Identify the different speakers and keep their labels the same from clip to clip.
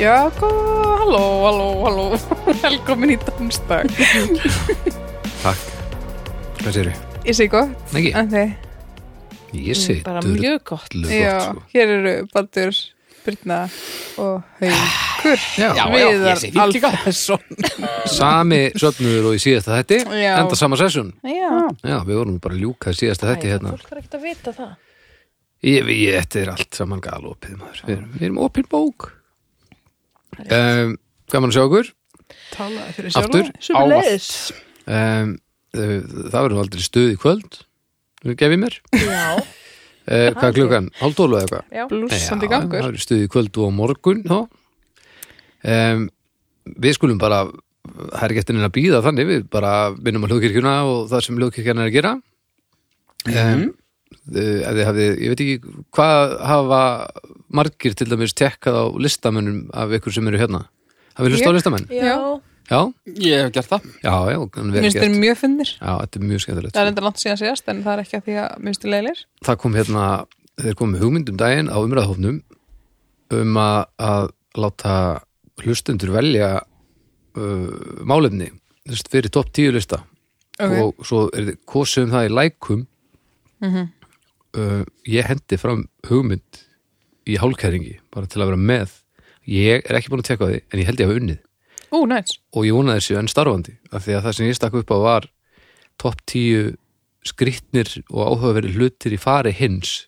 Speaker 1: Já, góð, halló, halló, halló, velkomin í dansdag.
Speaker 2: Takk. Hvað séru?
Speaker 1: Ég sé gott,
Speaker 2: Nei,
Speaker 1: en þið,
Speaker 2: ekki, ég sé
Speaker 3: Eh, mm, bara
Speaker 2: dörlu
Speaker 3: mjög gott
Speaker 2: gott,
Speaker 1: já,
Speaker 2: sko.
Speaker 1: hér eru Baldur, Brynna og Haukur.
Speaker 2: Já,
Speaker 3: já,
Speaker 1: Viðar
Speaker 3: ég sé fínt líka
Speaker 2: sko. sami söfnuður og í síðasta þætti,
Speaker 1: Já.
Speaker 2: enda sama sessun.
Speaker 3: já,
Speaker 2: Já, við vorum bara að ljúka síðasta þætti hérna.
Speaker 3: fólk er ekkert að vita það
Speaker 2: Ég, ég, þetta er allt saman galopið, maður. Við erum, við erum opin bók. Um, gaman að sjá okkur.
Speaker 1: Talaði fyrir
Speaker 2: Aftur.
Speaker 3: Sömuleiðis.
Speaker 2: Um, það það verður nú aldrei stuð í kvöld, gefið mér.
Speaker 3: já,
Speaker 2: Uh, hvað er klukkan? Hálftólu eða eitthvað?
Speaker 3: já,
Speaker 1: Blúsandi
Speaker 2: Já,
Speaker 1: gangur.
Speaker 2: Það eru stuði kvöld og á morgun þá. Um, við skulum bara, það er ekki eftir neina að býða þannig, við bara vinnum á hljóðkirkjuna og það sem hljóðkirkjana er að gera. Um,
Speaker 1: Mhm.
Speaker 2: eh, ef þið hafið, ég veit ekki, hvað hafa margir til dæmis tekkað á listamönnum af ykkur sem eru hérna? Hafið hlust á
Speaker 1: Ég?
Speaker 2: listamenn?
Speaker 3: já,
Speaker 2: Já,
Speaker 4: Ég hef gert það.
Speaker 2: já, já, hann
Speaker 1: Mér
Speaker 2: verið
Speaker 1: finnst þér
Speaker 2: gert.
Speaker 1: mjög finnir.
Speaker 2: Já, þetta er mjög skemmtilegt.
Speaker 1: Það er enda langt síðan síðast, en það er ekki að því að minnstu leilir.
Speaker 2: það kom hérna þeir kom með hugmyndum daginn á umræðahofnum um að, að láta hlustundur velja uh, málefni þú veist, fyrir topp tíu lista
Speaker 1: Ok.
Speaker 2: og svo er þið kosið um það í lækum uh, ég hendi fram hugmynd í hálkæringi bara til að vera með ég er ekki búin að tekka því en ég held ég hafa unnið
Speaker 1: Ú, næs.
Speaker 2: og ég vonaði þessu enn starfandi af því að það sem ég stakk upp á var topp tíu skrýtnir og áhugaverið hlutir í fari hins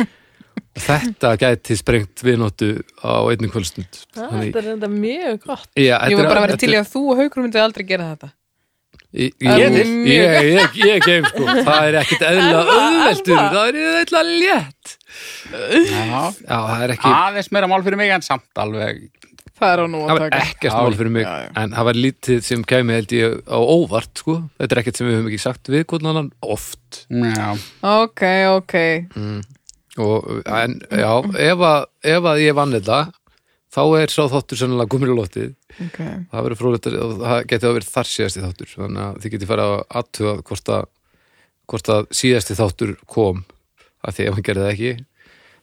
Speaker 2: og þetta gæti sprengt viðnóttu á einnig kvöldstund
Speaker 3: Ah, þetta er enda mjög gott
Speaker 2: Já,
Speaker 1: Ég var bara að vera til í að þú og Haukur myndið aldrei gera þetta.
Speaker 2: Ég,
Speaker 1: Það er
Speaker 2: ég,
Speaker 1: mjög-
Speaker 2: ég, ég, ég geim sko Það er ekkit eðla auðveldur Það er eðla létt
Speaker 4: Já.
Speaker 2: Já, það er ekki
Speaker 4: Aðeins meira mál fyrir mig en samt alveg.
Speaker 1: Það er á nú
Speaker 2: Það
Speaker 1: að
Speaker 2: var
Speaker 1: taka.
Speaker 2: ekkert mál fyrir mig En það var lítið sem kæmi held ég á óvart sko Þetta er ekkert sem við höfum ekki sagt við hvernig annan oft
Speaker 4: Já.
Speaker 1: Ok, ok.
Speaker 2: Mm. og, en já, ef að, ef að ég vann þetta þá er sá þáttur sennilega gumir á loftið
Speaker 1: Ok.
Speaker 2: það verður frólætt og það getur verið þar síðasti þáttur þannig að þið getið farið að athuga hvort að, hvort að síðasti þáttur kom af því ef hann gerði það ekki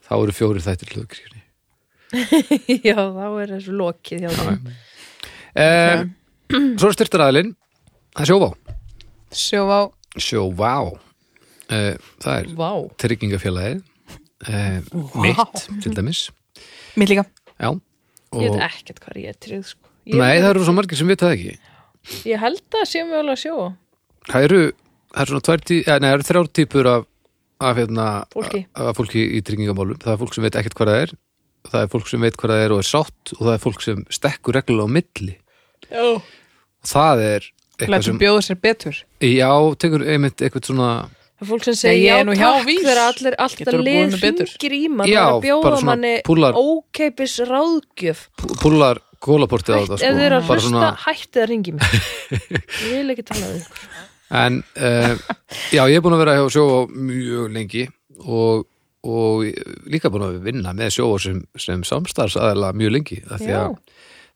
Speaker 2: þá eru fjórir þættir hlugkirkjunni
Speaker 3: já, þá er þessu lokið hjá þeim
Speaker 2: um, Svo er styrtaraðilinn það er sjóvá
Speaker 1: Sjóvá.
Speaker 2: sjóvá uh, það er
Speaker 3: vá,
Speaker 2: tryggingafélagið uh, mitt til dæmis
Speaker 1: Mér líka.
Speaker 2: já og,
Speaker 3: ég veit ekkert hvað ég er tryggð sko. ég,
Speaker 2: Nei, það eru svo margir sem vita það ekki
Speaker 3: ég held að sé mjög alveg að sjóa
Speaker 2: það eru, það eru svona tvær tí, eh, nei, það eru þrjár típur af, af, hérna,
Speaker 3: Fólki.
Speaker 2: af af fólki í tryggingamálum það er fólk sem veit ekkert hvað það er það er fólk sem veit hvað það er og er sátt og það er fólk sem stekkur reglulega á milli
Speaker 3: já,
Speaker 2: og það er eitthvað
Speaker 1: Lætum
Speaker 2: sem
Speaker 1: bjóða sér betur.
Speaker 2: já, tekur einmitt eitthvað svona
Speaker 3: það er fólk sem
Speaker 1: Nei,
Speaker 3: segir
Speaker 1: ég
Speaker 3: já,
Speaker 1: er nú
Speaker 3: takk
Speaker 1: hjálpvís.
Speaker 3: þegar allir, alltaf
Speaker 1: Geturðu búið
Speaker 3: lið
Speaker 1: mér betur?
Speaker 3: hringir í mann
Speaker 2: Já,
Speaker 3: það er að
Speaker 2: bara
Speaker 3: bjóða
Speaker 2: svona
Speaker 3: manni
Speaker 2: púlar-
Speaker 3: ókeipis ráðgjöf
Speaker 2: púlar kólaportið á
Speaker 3: Hætt,
Speaker 2: þetta
Speaker 3: ef þið eru að
Speaker 2: sko. bara
Speaker 3: hlusta,
Speaker 2: svona,
Speaker 3: hættið að ringi mig ég vil ekki tala við ykkur
Speaker 2: en uh, já, ég er búin að vera hjá sjó mjög lengi og og líka búin að vinna með sjóa sem, sem samstarfsaðala mjög lengi af því að
Speaker 3: já,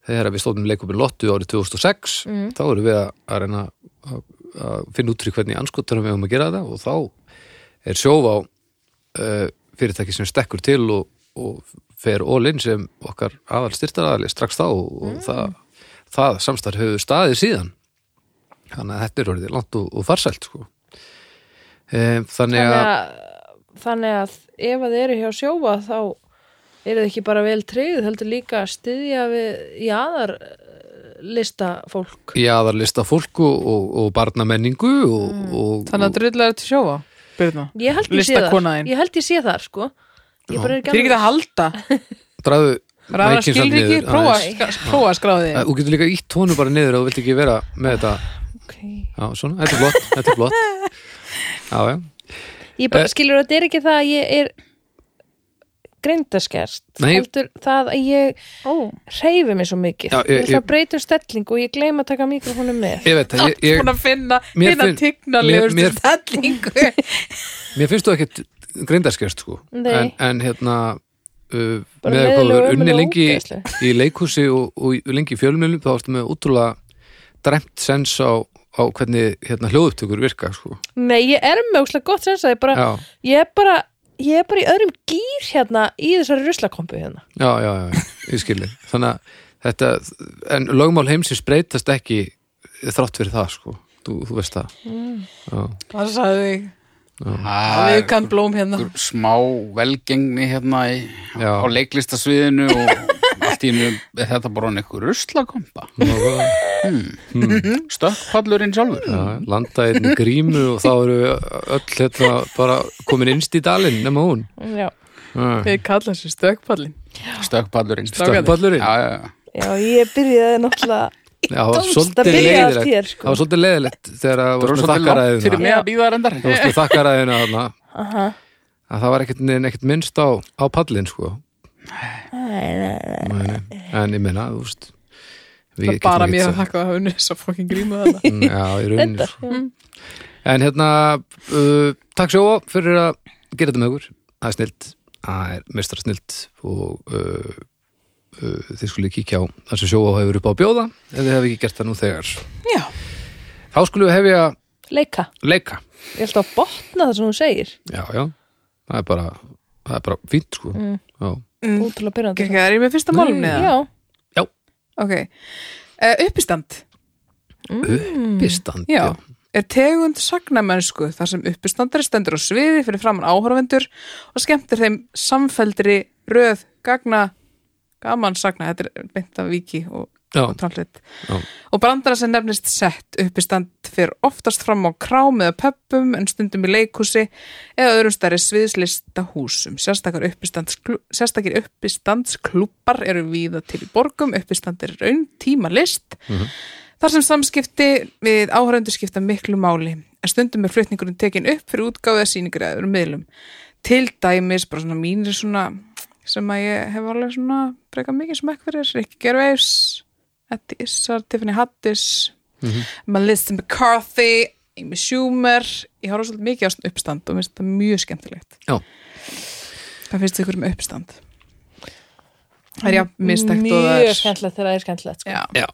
Speaker 2: þegar við stóðum leikupin Lottu árið 2006 þá erum við að, að reyna að, að finna út fyrir hvernig anskotunum við höfum að gera það og þá er sjóf á uh, fyrirtæki sem stekkur til og, og fer ólinn sem okkar aðal styrtaraðali strax þá og,
Speaker 1: Mm.
Speaker 2: og það, það samstarf hefur staðið síðan þannig að þetta er orðið langt og, og farsælt sko. um, þannig
Speaker 3: þannig
Speaker 2: að
Speaker 3: að þannig að ef að þið eru hjá sjófa þá eru þið ekki bara vel treyð heldur líka að styðja við í aðar lista fólk
Speaker 2: í aðarlista fólku og, og barnamenningu og, og,
Speaker 1: Mm. Þannig að drullar til sjóvá. Byrna.
Speaker 3: ég held ég sé
Speaker 1: Listakona þín.
Speaker 3: þar, ég held ég sé þar sko ég bara er
Speaker 1: Þið er
Speaker 3: ekki
Speaker 1: ekki að halda.
Speaker 2: og dragu
Speaker 1: Það er að
Speaker 2: mækinn samt
Speaker 1: skilja ekki,
Speaker 2: niður
Speaker 1: prófa,
Speaker 2: aðeins.
Speaker 1: sk- prófa skráði
Speaker 2: Æ, Þú getur líka ítt tónu bara niður og þú vilt ekki vera með þetta
Speaker 3: okay.
Speaker 2: Já, svona, þetta er flott, þetta er flott Já, já
Speaker 3: ég bara skilur að þetta er ekki það að ég er greindaskert
Speaker 2: Nei.
Speaker 3: heldur það að ég
Speaker 1: Ó.
Speaker 3: hreyfi mig svo mikið
Speaker 2: Já,
Speaker 3: ég,
Speaker 2: ég-
Speaker 3: ég,
Speaker 2: ég-
Speaker 3: það breytum stelling um og ég gleyma að taka mikrofónum með
Speaker 2: Ég veit það, ég, ég,
Speaker 1: Búin að finna
Speaker 2: Mér
Speaker 1: finna
Speaker 2: finn-
Speaker 1: tignarlegustu
Speaker 2: mér- mér-
Speaker 1: stellingu
Speaker 2: mér finnst þú ekkit grindarskjöst sko
Speaker 3: Nei.
Speaker 2: en, en hérna uh,
Speaker 3: Bara
Speaker 2: með eitthvað
Speaker 3: leiðilegur,
Speaker 2: verður unni
Speaker 3: ömurlegur,
Speaker 2: lengi í,
Speaker 3: ógeðsleg.
Speaker 2: í leikhúsi og, og í- lengi í fjölmjölum þá ertu með útrúlega dræmt sens á, á hvernig hérna, hljóðuptökur virka sko
Speaker 3: nei, ég er með óslega gott sens að ég bara
Speaker 2: Já,
Speaker 3: ég er bara ég er bara í öðrum gýr hérna í þessari ruslakompu hérna
Speaker 2: já, já, já ég skilji þannig að þetta, en lögmál heimsins breytast ekki þrátt fyrir það sko, þú, þú veist það já,
Speaker 1: Hvað sagði þig?
Speaker 4: Það
Speaker 1: Það
Speaker 4: er
Speaker 1: er kann blóm hérna.
Speaker 4: einhver smá velgengni hérna í,
Speaker 2: Já.
Speaker 4: á leiklistasviðinu og allt í einu er þetta bara hann einhver ruslakompa
Speaker 2: nákvæmlega.
Speaker 4: stökkpallurinn sjálfur
Speaker 2: já, landa einn í grímu og þá eru öll hérna bara komin innst í dalinn nema hún
Speaker 1: Já,
Speaker 2: já,
Speaker 1: þið kalla þessi stökkpallin.
Speaker 4: stökkpallurinn
Speaker 2: stökkpallurinn
Speaker 4: já, já, já.
Speaker 3: Já, ég byrjaði náttúrulega
Speaker 2: það var
Speaker 3: Tómst að
Speaker 2: svolítið
Speaker 3: byrja allt
Speaker 2: leiðilegt
Speaker 3: hér, sko.
Speaker 2: það var svolítið leiðilegt þegar það
Speaker 4: það
Speaker 2: var
Speaker 4: var
Speaker 2: svona þakkaræðina
Speaker 4: svolítið langt fyrir mig að býða reyndar
Speaker 2: það var svona þakkaræðina þarna að það var ekkert, ekkert minnst á, á pallin sko Nei, nei. en ég meina, þú veist
Speaker 1: Það er bara mér að þakka að hafa unnið þess að fokkin grímu þarna.
Speaker 2: Mm, Já, í rauninni
Speaker 3: Reyndar, Mm.
Speaker 2: sko. En hérna uh, Takk sjóa fyrir að gera þetta með okkur Það er snilt, það er mestra snilt og uh, uh, þið skulle kíkja á það sem sjóa hefur upp á að bjóða ef þið hefur ekki gert það nú þegar
Speaker 1: Já.
Speaker 2: Þá skulle við hefja
Speaker 3: leika
Speaker 2: leika
Speaker 3: Ég held að botna það sem hún segir
Speaker 2: Já, já, það er bara það er bara fínt sko Já,
Speaker 1: Mm.
Speaker 3: Útrúlega byrjandi
Speaker 1: Gekka, er ég með fyrsta málum
Speaker 3: Já,
Speaker 1: neða?
Speaker 3: Mm, já.
Speaker 2: já.
Speaker 1: Ok. Uh, uppistand.
Speaker 2: uppistand
Speaker 1: Mm. Já. Er tegund sagnamennsku þar sem uppistandari stendur á sviði fyrir framann áhorfendur og skemmtir þeim samfeldri röð gagna gaman sagna, þetta er beint af viki og
Speaker 2: já,
Speaker 1: trámsleitt
Speaker 2: Já.
Speaker 1: og brandara sem nefnist sett uppistand fyrir oftast fram á krám eða pöppum en stundum í leikhúsi eða öðrum stærri sviðslista húsum sérstakir, uppistandsklú- sérstakir uppistandsklúpar eru víða til í borgum uppistand er raun tímalist
Speaker 2: Mhm.
Speaker 1: þar sem samskipti við áhörundu skipta miklu máli en stundum er flutningurinn tekin upp fyrir útgáfið að sýningur eða öðrum miðlum til dæmis bara svona mínir svona sem að ég hef alveg svona breyka mikið smekk fyrir, Rikki Gervais Eddi Issar, Tiffany Hattis Melissa McCarthy Amy Schumer ég horf svolítið mikið á svona uppstand og finnst þetta mjög skemmtilegt
Speaker 2: Já.
Speaker 1: Hvað finnst ykkur um uppstand? Það er já, mistækt og það
Speaker 3: Mjög
Speaker 1: er
Speaker 3: skemmtilegt þegar það er skemmtilegt sko.
Speaker 1: Já.
Speaker 2: já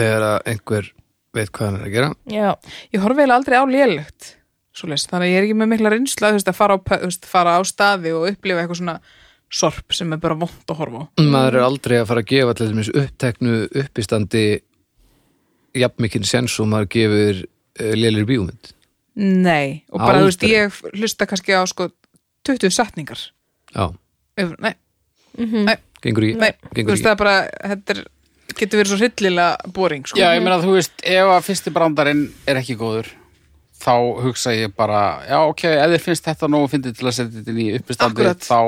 Speaker 2: Þegar að einhver veit hvað hann er að gera
Speaker 3: Já,
Speaker 1: Ég horfi eiginlega aldrei á lélegt Svoleiðis, þannig að ég er ekki með mikla reynsla þú veist, að fara á, pö- þú veist, fara á staði og upplifa eitthvað svona sorp sem er bara vond að horfa á
Speaker 2: maður er aldrei að fara að gefa til þess uppteknu uppistandi jafnmikinn sens og maður gefur uh, lélir bíómynd
Speaker 1: Nei, og bara, þú veist,
Speaker 2: Aldrei.
Speaker 1: ég hlusta kannski á sko 20 setningar
Speaker 2: já,
Speaker 1: Ef- Nei, Mhm.
Speaker 2: gengur í,
Speaker 1: nei, þú
Speaker 2: gengur
Speaker 1: veist,
Speaker 2: í.
Speaker 1: það er bara þetta er, getur verið svo hryllilega boring sko.
Speaker 4: já, ég meina þú veist, ef að fyrsti brandarinn er ekki góður þá hugsa ég bara, já ok, ef þið finnst þetta nógu fyndið til að setja þetta inn í uppistandi
Speaker 1: Akkurat.
Speaker 4: þá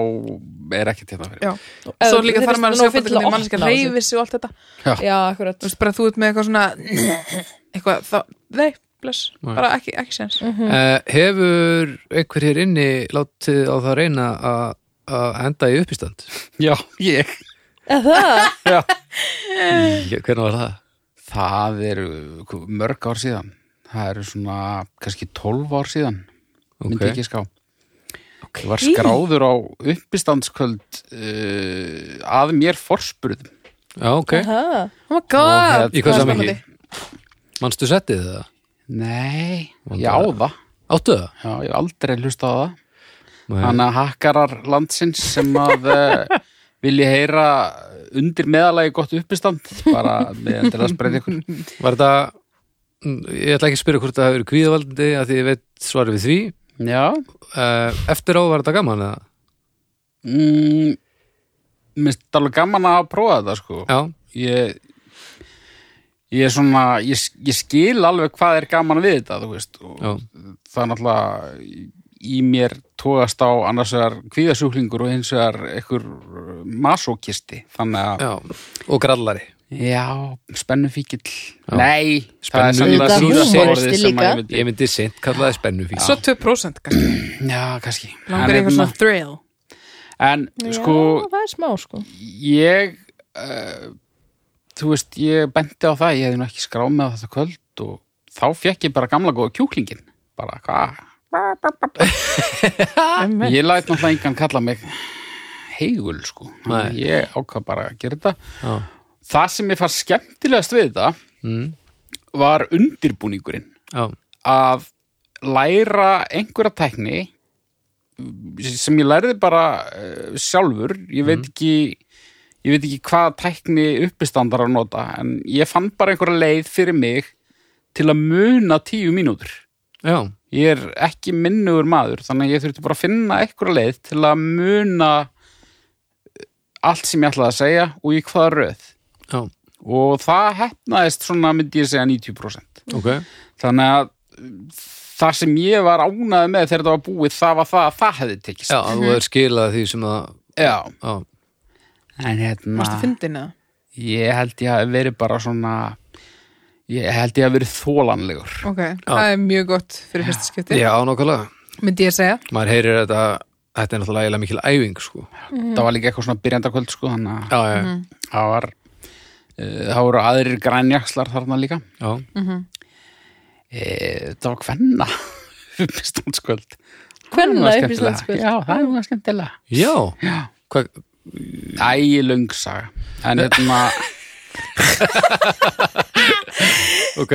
Speaker 4: er ekki þetta fyrir
Speaker 1: Já.
Speaker 3: Ef
Speaker 1: Svo
Speaker 3: þú-
Speaker 1: líka
Speaker 3: þér
Speaker 1: þarf
Speaker 3: finnst
Speaker 1: maður að
Speaker 3: það
Speaker 1: sjá
Speaker 3: nóg fyndið
Speaker 1: hvernig
Speaker 3: að
Speaker 1: mannskja
Speaker 3: opna á sig.
Speaker 1: reyfir sig og allt þetta Þú
Speaker 3: já, akkurat
Speaker 1: veist, bara þú ert með eitthvað svona eitthvað, þá, nei, bless bara ekki, ekki séns
Speaker 2: Uh, hefur einhver hér inni látið á það reyna að að henda í uppistand
Speaker 4: Já, ég
Speaker 3: Er það?
Speaker 2: Í- hvernig var það?
Speaker 4: Það eru mörg ár síðan Það eru svona kannski 12 ár síðan myndi
Speaker 2: Ok.
Speaker 4: ekki ská Ég var skráður á uppistandskvöld uh, að mér forspurðum
Speaker 2: já, ok,
Speaker 3: Ha?
Speaker 1: Oh my god,
Speaker 4: Og
Speaker 2: í hvað
Speaker 4: hvað er
Speaker 2: samingi? manstu settið það?
Speaker 4: Nei,
Speaker 2: Vandræði.
Speaker 4: ég á það
Speaker 2: áttu það?
Speaker 4: Já, ég hef aldrei hlustað á það
Speaker 2: Nei.
Speaker 4: Þannig að hakkarar landsins sem að uh, vilji heyra undir meðalagi gott uppistand bara með til að spreita ykkur
Speaker 2: var þetta Mm, ég ætla ekki að spyrja hvort það hefur verið kvíðavaldandi að því ég veit svarið við því
Speaker 4: Já
Speaker 2: uh, eftir á var þetta gaman eða?
Speaker 4: mm, Mér finnst alveg gaman að prófa þetta sko
Speaker 2: já,
Speaker 4: ég ég er svona, ég, ég skil alveg hvað er gaman við þetta, þú veist og
Speaker 2: já,
Speaker 4: það er náttúrulega í- í mér tóðast á annars vegar kvíðasjúklingur og hins vegar einhver uh, masókisti, þannig að
Speaker 2: já og grallari
Speaker 4: já, spennu fíkil nei, það er
Speaker 2: Spennu-
Speaker 4: sennilega
Speaker 2: Auðvitað
Speaker 4: síðasta
Speaker 3: húmoristi
Speaker 4: orðið sem að
Speaker 3: líka.
Speaker 4: ég myndi-
Speaker 2: Ég myndi sent kalla það spennufík
Speaker 1: svo 2% kannski,
Speaker 4: já, kannski
Speaker 1: langar
Speaker 4: en,
Speaker 1: eitthvað svona
Speaker 4: hérna-
Speaker 1: thrill
Speaker 4: en sko,
Speaker 3: Já, það er smá sko
Speaker 4: ég uh, þú veist, ég benti á það ég hefði nú ekki skráð með þetta kvöld og þá fekk ég bara gamla góða kjúklingin bara, hvað?
Speaker 1: Einmitt.
Speaker 4: ég læt náttúrulega engan kalla mig heigul, sko
Speaker 2: Nei.
Speaker 4: ég ákvað bara að gera þetta
Speaker 2: Já. Mm.
Speaker 4: það sem ég far skemmtilegast við þetta var undirbúningurinn
Speaker 2: Já,
Speaker 4: að læra einhverja tækni sem ég lærði bara eh, sjálfur, ég veit ekki ég veit ekki hvað tækni uppistandar að nota en ég fann bara einhverja leið fyrir mig til að muna tíu mínútur
Speaker 2: já,
Speaker 4: ég er ekki minnugur maður þannig að ég þurfti bara að finna einhverja leið til að muna eh, allt sem ég ætlaði að segja og í hvaða röð
Speaker 2: já,
Speaker 4: og það hefnaðist svona myndi ég segja 90%
Speaker 2: ok
Speaker 4: þannig að það sem ég var ánaði með þegar þetta var búið það var það að það hefði tekist
Speaker 2: Já, að þú er skilað því sem það
Speaker 4: Já.
Speaker 2: já,
Speaker 4: en hérna
Speaker 1: Mástu fyndin eða?
Speaker 4: Ég held ég að verið bara svona Ég held ég að verið þólanlegur
Speaker 1: Ok, það er mjög gott fyrir fyrsta skipti
Speaker 2: já nokkulega
Speaker 1: myndi ég segja
Speaker 2: maður heyrir þetta, þetta er náttúrulega eiginlega mikil æfing sko. Mhm.
Speaker 4: Það var líka eitthvað svona byrjandakvöld sko Þannig að
Speaker 2: já, já,
Speaker 4: það var uh, Það voru aðrir grænjakslar þarna líka
Speaker 2: já,
Speaker 4: e, Það var kvenna Uppistandskvöld
Speaker 3: Kvenna uppistandskvöld.
Speaker 4: Já, það var skemmtilega
Speaker 2: já. Hva,
Speaker 4: Ægi löngsaga En hérna
Speaker 2: ok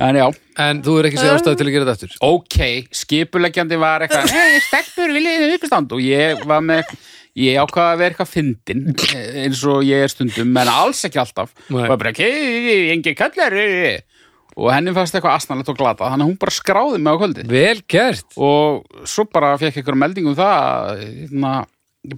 Speaker 4: En já,
Speaker 2: en þú er ekki séð ástæði til að gera þetta aftur
Speaker 4: ok, skipuleggjandi var eitthvað Hei, stelpur, viljið þið uppistand? Og ég var með, ég ákvaða að vera eitthvað fyndin eh, eins og ég er stundum en alls ekki alltaf
Speaker 2: Nei.
Speaker 4: og bara, ok, engi kallar eh." og henni fannst eitthvað asnalegt og glata þannig að hún bara skráði mig á kvöldið
Speaker 2: vel gert
Speaker 4: og svo bara fekk eitthvað melding um það hérna,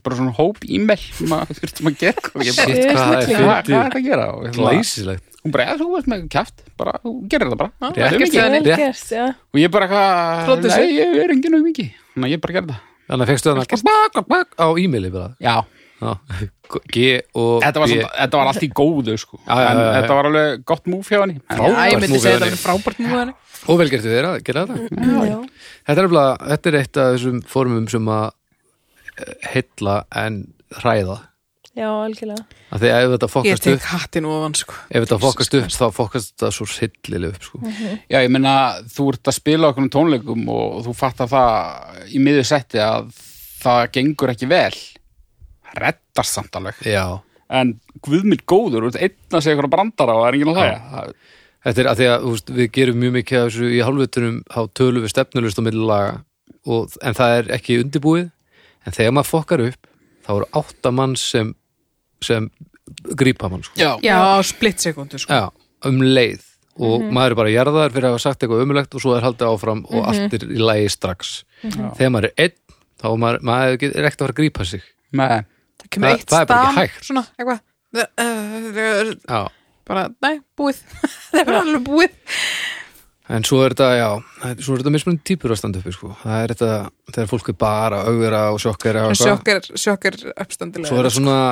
Speaker 4: bara svona hóp e-mail sem að þurftum að gera og ég
Speaker 2: Shit,
Speaker 4: bara,
Speaker 2: hvað það er
Speaker 4: "Hvað- hvað er
Speaker 2: fyndið.
Speaker 4: þetta að gera? Og hérna,
Speaker 2: glæsilegt
Speaker 4: hún bara, "Ja, þú veist með kæft bara, þú gerir það bara
Speaker 1: Já,
Speaker 4: Þau
Speaker 1: ekkert
Speaker 4: mikið."
Speaker 1: þannig.
Speaker 3: Vel
Speaker 2: rétt.
Speaker 3: gert, já.
Speaker 4: og ég bara eitthvað,
Speaker 1: Plótur sig.
Speaker 4: nei, ég er enginn um ekki þannig að ég bara gerði það
Speaker 2: þannig að fegstu þannig að bak, bak, bak, á e-maili bara
Speaker 4: já,
Speaker 2: Já. G og
Speaker 4: þetta var,
Speaker 2: B.
Speaker 4: samt, þetta var allt í góðu sko.
Speaker 2: Já, já, já,
Speaker 4: en
Speaker 2: já.
Speaker 4: þetta var alveg gott múf hjá henni En-
Speaker 2: Frábært
Speaker 1: Já, ég myndi
Speaker 2: múfi henni.
Speaker 1: segja þetta alveg frábært nú henni
Speaker 2: og vel gertu þeirra, gera þetta
Speaker 3: Já.
Speaker 2: þetta er, efla, þetta er eitt af þessum formum sem að eh, heilla en hræða
Speaker 3: Já, algjörlega.
Speaker 2: af því að ef þetta
Speaker 1: Ég
Speaker 2: fokkast upp
Speaker 1: tek hattin ofan sko
Speaker 2: ef þetta fokkast upp þá fokkast þetta svo sillileg upp sko.
Speaker 1: Mhm.
Speaker 4: já, ég meina, þú ert að spila okkur um tónleikum og þú fattar það í miður setti að það gengur ekki vel reddast samt alveg
Speaker 2: já,
Speaker 4: en guð minn góður, þú ert einn að segja eitthvað brandara og það er enginn að hlæja
Speaker 2: þetta er að því að þú veist, við gerum mjög mikið af þessu í hálfvitunum þá tölum við stefnulust og millilaga og, en það er ekki undirbúið en þegar maður fokkar upp þá eru átta mann sem, sem grípa mann sko.
Speaker 4: já,
Speaker 1: Já, splitt sekundu sko
Speaker 2: já, um leið og
Speaker 1: Mhm.
Speaker 2: maður er bara jarðar fyrir að hafa sagt eitthvað umulegt og svo er haldið áfram og allt er í lagi strax
Speaker 1: Mhm.
Speaker 2: þegar maður er einn þá er maður, maður get- er ekkert að fara að grípa sig
Speaker 4: Nei.
Speaker 1: Það kemur
Speaker 2: Það-
Speaker 1: eitt
Speaker 2: það er bara ekki
Speaker 1: stam,
Speaker 2: hægt.
Speaker 1: svona, eh, eitthvað
Speaker 2: já.
Speaker 1: bara, nei, búið það er bara alveg búið
Speaker 2: en svo er þetta, já þetta- svo er þetta mismunandi típur að standa uppi sko. það er þetta, þegar fólk er bara augra og sjokkera og
Speaker 1: en
Speaker 2: eitthvað.
Speaker 1: sjokk er, sjokk er uppstandilega
Speaker 2: svo er það svona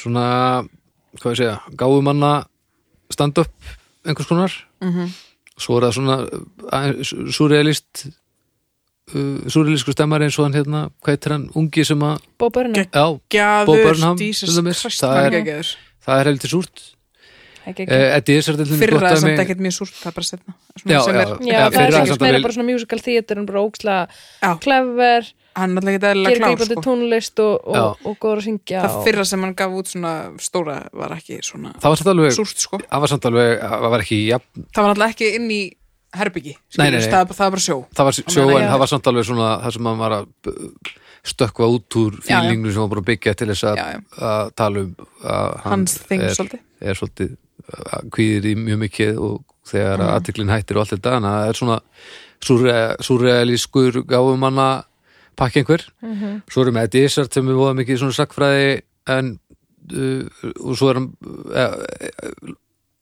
Speaker 2: svona, hvað ég segja gáðum manna standa upp einhvers konar
Speaker 1: Mhm.
Speaker 2: svo er það svona aðeins surrealist uh, surrealísku stemmar eins og hann hérna, hvað heitir hann, ungi sem að
Speaker 3: Bob Burnham.
Speaker 2: já, Bob
Speaker 1: gjadur,
Speaker 2: Burnham,
Speaker 1: Jesus
Speaker 2: til dæmis,
Speaker 1: Christ
Speaker 2: það
Speaker 1: það
Speaker 2: er-
Speaker 1: er geggjaður.
Speaker 2: það er heldur súrt
Speaker 3: Ekki ekki.
Speaker 2: uh, Eddie Izzard er til dæmis
Speaker 1: fyrra
Speaker 2: gott
Speaker 1: er
Speaker 2: dæmi.
Speaker 1: samt ekkert mjög súrt það er bara setna
Speaker 2: Já, já.
Speaker 3: Já,
Speaker 2: eða
Speaker 3: það
Speaker 2: fyrra
Speaker 3: er
Speaker 2: er
Speaker 3: ekki
Speaker 2: samt
Speaker 3: meira
Speaker 2: alveg-
Speaker 3: bara svona musical theater en bara ókslega
Speaker 1: Já.
Speaker 3: clever,
Speaker 1: hann er alltaf ekki eðlilega
Speaker 3: gerir
Speaker 1: klár
Speaker 3: grýpandi
Speaker 1: sko.
Speaker 3: tónlist og, og,
Speaker 2: Já.
Speaker 3: og góður að syngja
Speaker 1: það
Speaker 3: og-
Speaker 1: fyrra sem hann gaf út svona stóra var ekki svona
Speaker 2: það var samt alveg
Speaker 1: súrt sko
Speaker 2: það var samt alveg, það var ekki jafn
Speaker 1: það var alltaf ekki inn í herbyggi
Speaker 2: Nei, nei, nei.
Speaker 1: skilur, það, er bara- það var bara sjó
Speaker 2: það var sjó
Speaker 1: meina,
Speaker 2: en
Speaker 1: já.
Speaker 2: það var samt alveg svona það sem maður var að b- stökkva út úr
Speaker 1: já.
Speaker 2: fílinginu sem var búin að byggja til þess að
Speaker 1: Já, já.
Speaker 2: að tala um að hann eh,
Speaker 1: hans þing
Speaker 2: er,
Speaker 1: svolítið
Speaker 2: er svolítið að kvíðir í mjög mikið og þegar að aðtiklinn hættir og allt þetta en það er svona súrre- súrrealískur gáfum manna pakki einhver svo erum við Eddie Izzard sem er voða mikið svona sakfræði en uh, og svo er hann uh,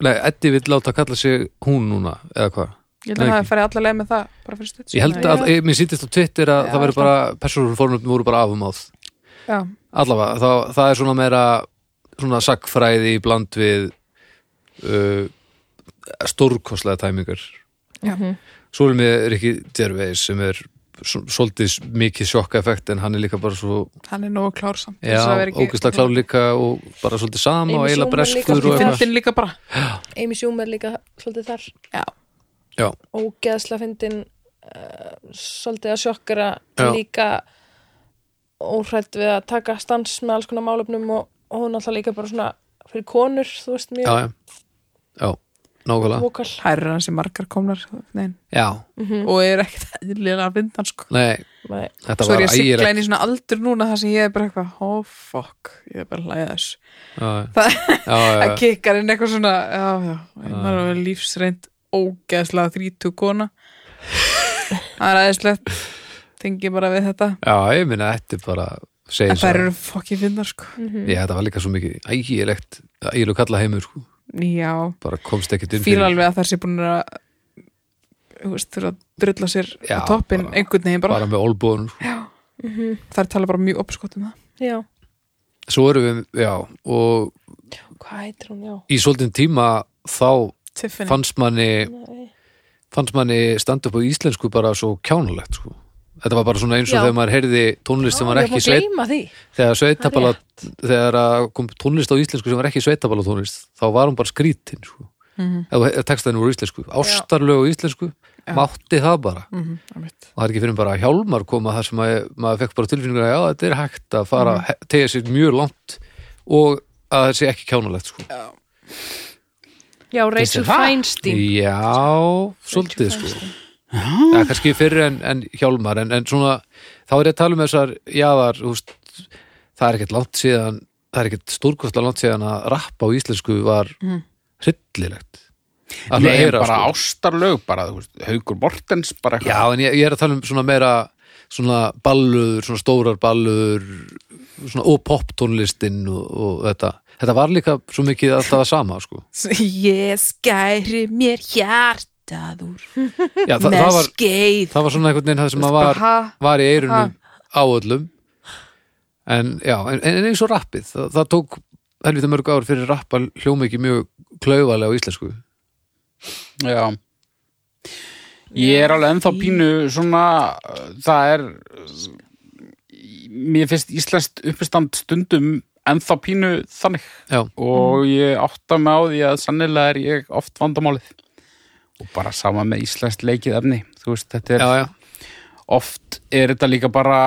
Speaker 2: nei, Eddie vill láta kalla sig hún núna eða hvað
Speaker 1: ég held að
Speaker 2: Nei,
Speaker 1: það færi allar leið með það bara fyrir stutt
Speaker 2: Ég held að, ég, mér sýttist á Twitter að það verður bara, persónufornöfnum voru bara afumáð.
Speaker 1: já,
Speaker 2: Allavega, það, það er svona meira svona sakfræði bland við uh, stórkostlega tæmingar.
Speaker 1: Já.
Speaker 2: Svo erum við Rikki Gervais sem er svo- svolítið mikið sjokkaeffekt en hann er líka bara svo
Speaker 1: hann er nógu klár samt
Speaker 2: já, ógæslega klár líka og bara svolítið sama
Speaker 3: Amy
Speaker 2: og eiginlega
Speaker 3: Schumer líka.
Speaker 2: breskur og eitthvað.
Speaker 1: fyndin líka bara
Speaker 3: Amy Schumer líka svolítið þar
Speaker 1: já,
Speaker 2: Já,
Speaker 3: ógeðsla fyndin uh, svolítið að sjokkara
Speaker 2: Já.
Speaker 3: líka óhrætt við að taka stans með alls konar málefnum og, og hún alltaf líka bara svona fyrir konur, þú veist
Speaker 2: já,
Speaker 3: mjög
Speaker 2: já. já. nákvæmlega
Speaker 3: vokal
Speaker 1: hærur hans í margar komnar nein.
Speaker 2: Já,
Speaker 1: og er ekkert eðlilega að vinda hann sko
Speaker 2: nei,
Speaker 3: Nei,
Speaker 2: þetta
Speaker 1: svo
Speaker 2: var
Speaker 1: er ég að
Speaker 2: ægilegt.
Speaker 1: sigla inn í svona aldur núna þar sem ég er bara eitthvað, oh fuck ég er bara að hlæða þess
Speaker 2: Já,
Speaker 1: Það-
Speaker 2: já, já,
Speaker 1: að
Speaker 2: já.
Speaker 1: kikkar inn eitthvað svona já, já,
Speaker 2: Ah.
Speaker 1: maður er alveg lífsreind ógeðslega þrítug kona það er aðeinslegt tengi bara við þetta
Speaker 2: já, ég minna þetta er bara segir
Speaker 1: en
Speaker 2: svo,
Speaker 1: þær eru fokkin finnar sko
Speaker 3: Mm.
Speaker 2: ég þetta var líka svo mikið ægilegt, ægilegu kalla heimur sko.
Speaker 1: já,
Speaker 2: bara komst ekkert inn
Speaker 1: fíla alveg að þær sé búin að þú veist, þurfa að drulla sér
Speaker 2: Já,
Speaker 1: á toppin
Speaker 2: bara-
Speaker 1: einhvern veginn bara,
Speaker 2: bara með sko. olbúðun
Speaker 1: þær tala bara mjög opskott um það
Speaker 3: já,
Speaker 2: svo erum við, já, og
Speaker 3: hvað heitir hún, já
Speaker 2: í svolítinn tíma þá
Speaker 1: Tiffany,
Speaker 2: fannst manni
Speaker 3: Nei.
Speaker 2: fannst manni standa upp á íslensku bara svo kjánulegt sko. þetta var bara svona eins og
Speaker 3: Já.
Speaker 2: þegar maður heyrði tónlist sem var
Speaker 3: Já,
Speaker 2: ekki
Speaker 3: ég má
Speaker 2: sveit
Speaker 3: gleyma því
Speaker 2: þegar sveitabala
Speaker 3: Það
Speaker 2: þegar að kom tónlist á íslensku sem var ekki sveitabala tónlist þá var hún bara skrítin sko.
Speaker 1: Mhm.
Speaker 2: mm -hmm. textaðin voru íslensku, ástarlög á íslensku mátti það bara
Speaker 1: mhm, einmitt.
Speaker 2: og það er ekki fyrir bara að hjálmar koma þar sem maður, maður fekk bara tilfinningur að já, þetta er hægt að fara
Speaker 1: Mhm.
Speaker 2: mm -hmm. tegja sér mjög langt og að það sé ekki kjánulegt sko.
Speaker 3: já, Rachel
Speaker 4: það?
Speaker 3: Feinstein
Speaker 2: Já, svolítið sko Já, kannski fyrr en, en hjálmar en, en svona, þá er ég að tala um þessar jáðar, húst það er ekkert langt síðan, það er ekkert stórkostlega langt síðan að rappa á íslensku var mm. hryllilegt Að
Speaker 4: Nei,
Speaker 2: heyra,
Speaker 4: bara
Speaker 2: sko.
Speaker 4: ástarlög, bara, þú veist, Haugur Mortens, bara
Speaker 2: Já, en ég, ég er að tala um svona meira svona ballur, svona stórar ballur svona og poptónlistin og, og þetta þetta var líka svo mikið að það var sama sko.
Speaker 1: ég skæri mér hjartað úr
Speaker 2: Já, það,
Speaker 1: með
Speaker 2: það, var,
Speaker 1: skeið
Speaker 2: það var svona einhvern veginn það sem að var
Speaker 1: ha,
Speaker 2: var í eirunum á öllum en já, en, en eins og rappið það, það tók helvita mörg ár fyrir rapp að hljóma ekki mjög klaufalega á íslensku
Speaker 4: Já Ég er alveg ennþá pínu svona, uh, það er uh, mér finnst íslenskt uppistand stundum ennþá pínu þannig
Speaker 2: já,
Speaker 4: og ég átta mig á því að sannilega er ég oft vandamálið og bara sama með íslenskt leikið efni þú veist, þetta er
Speaker 2: já, já,
Speaker 4: oft er þetta líka bara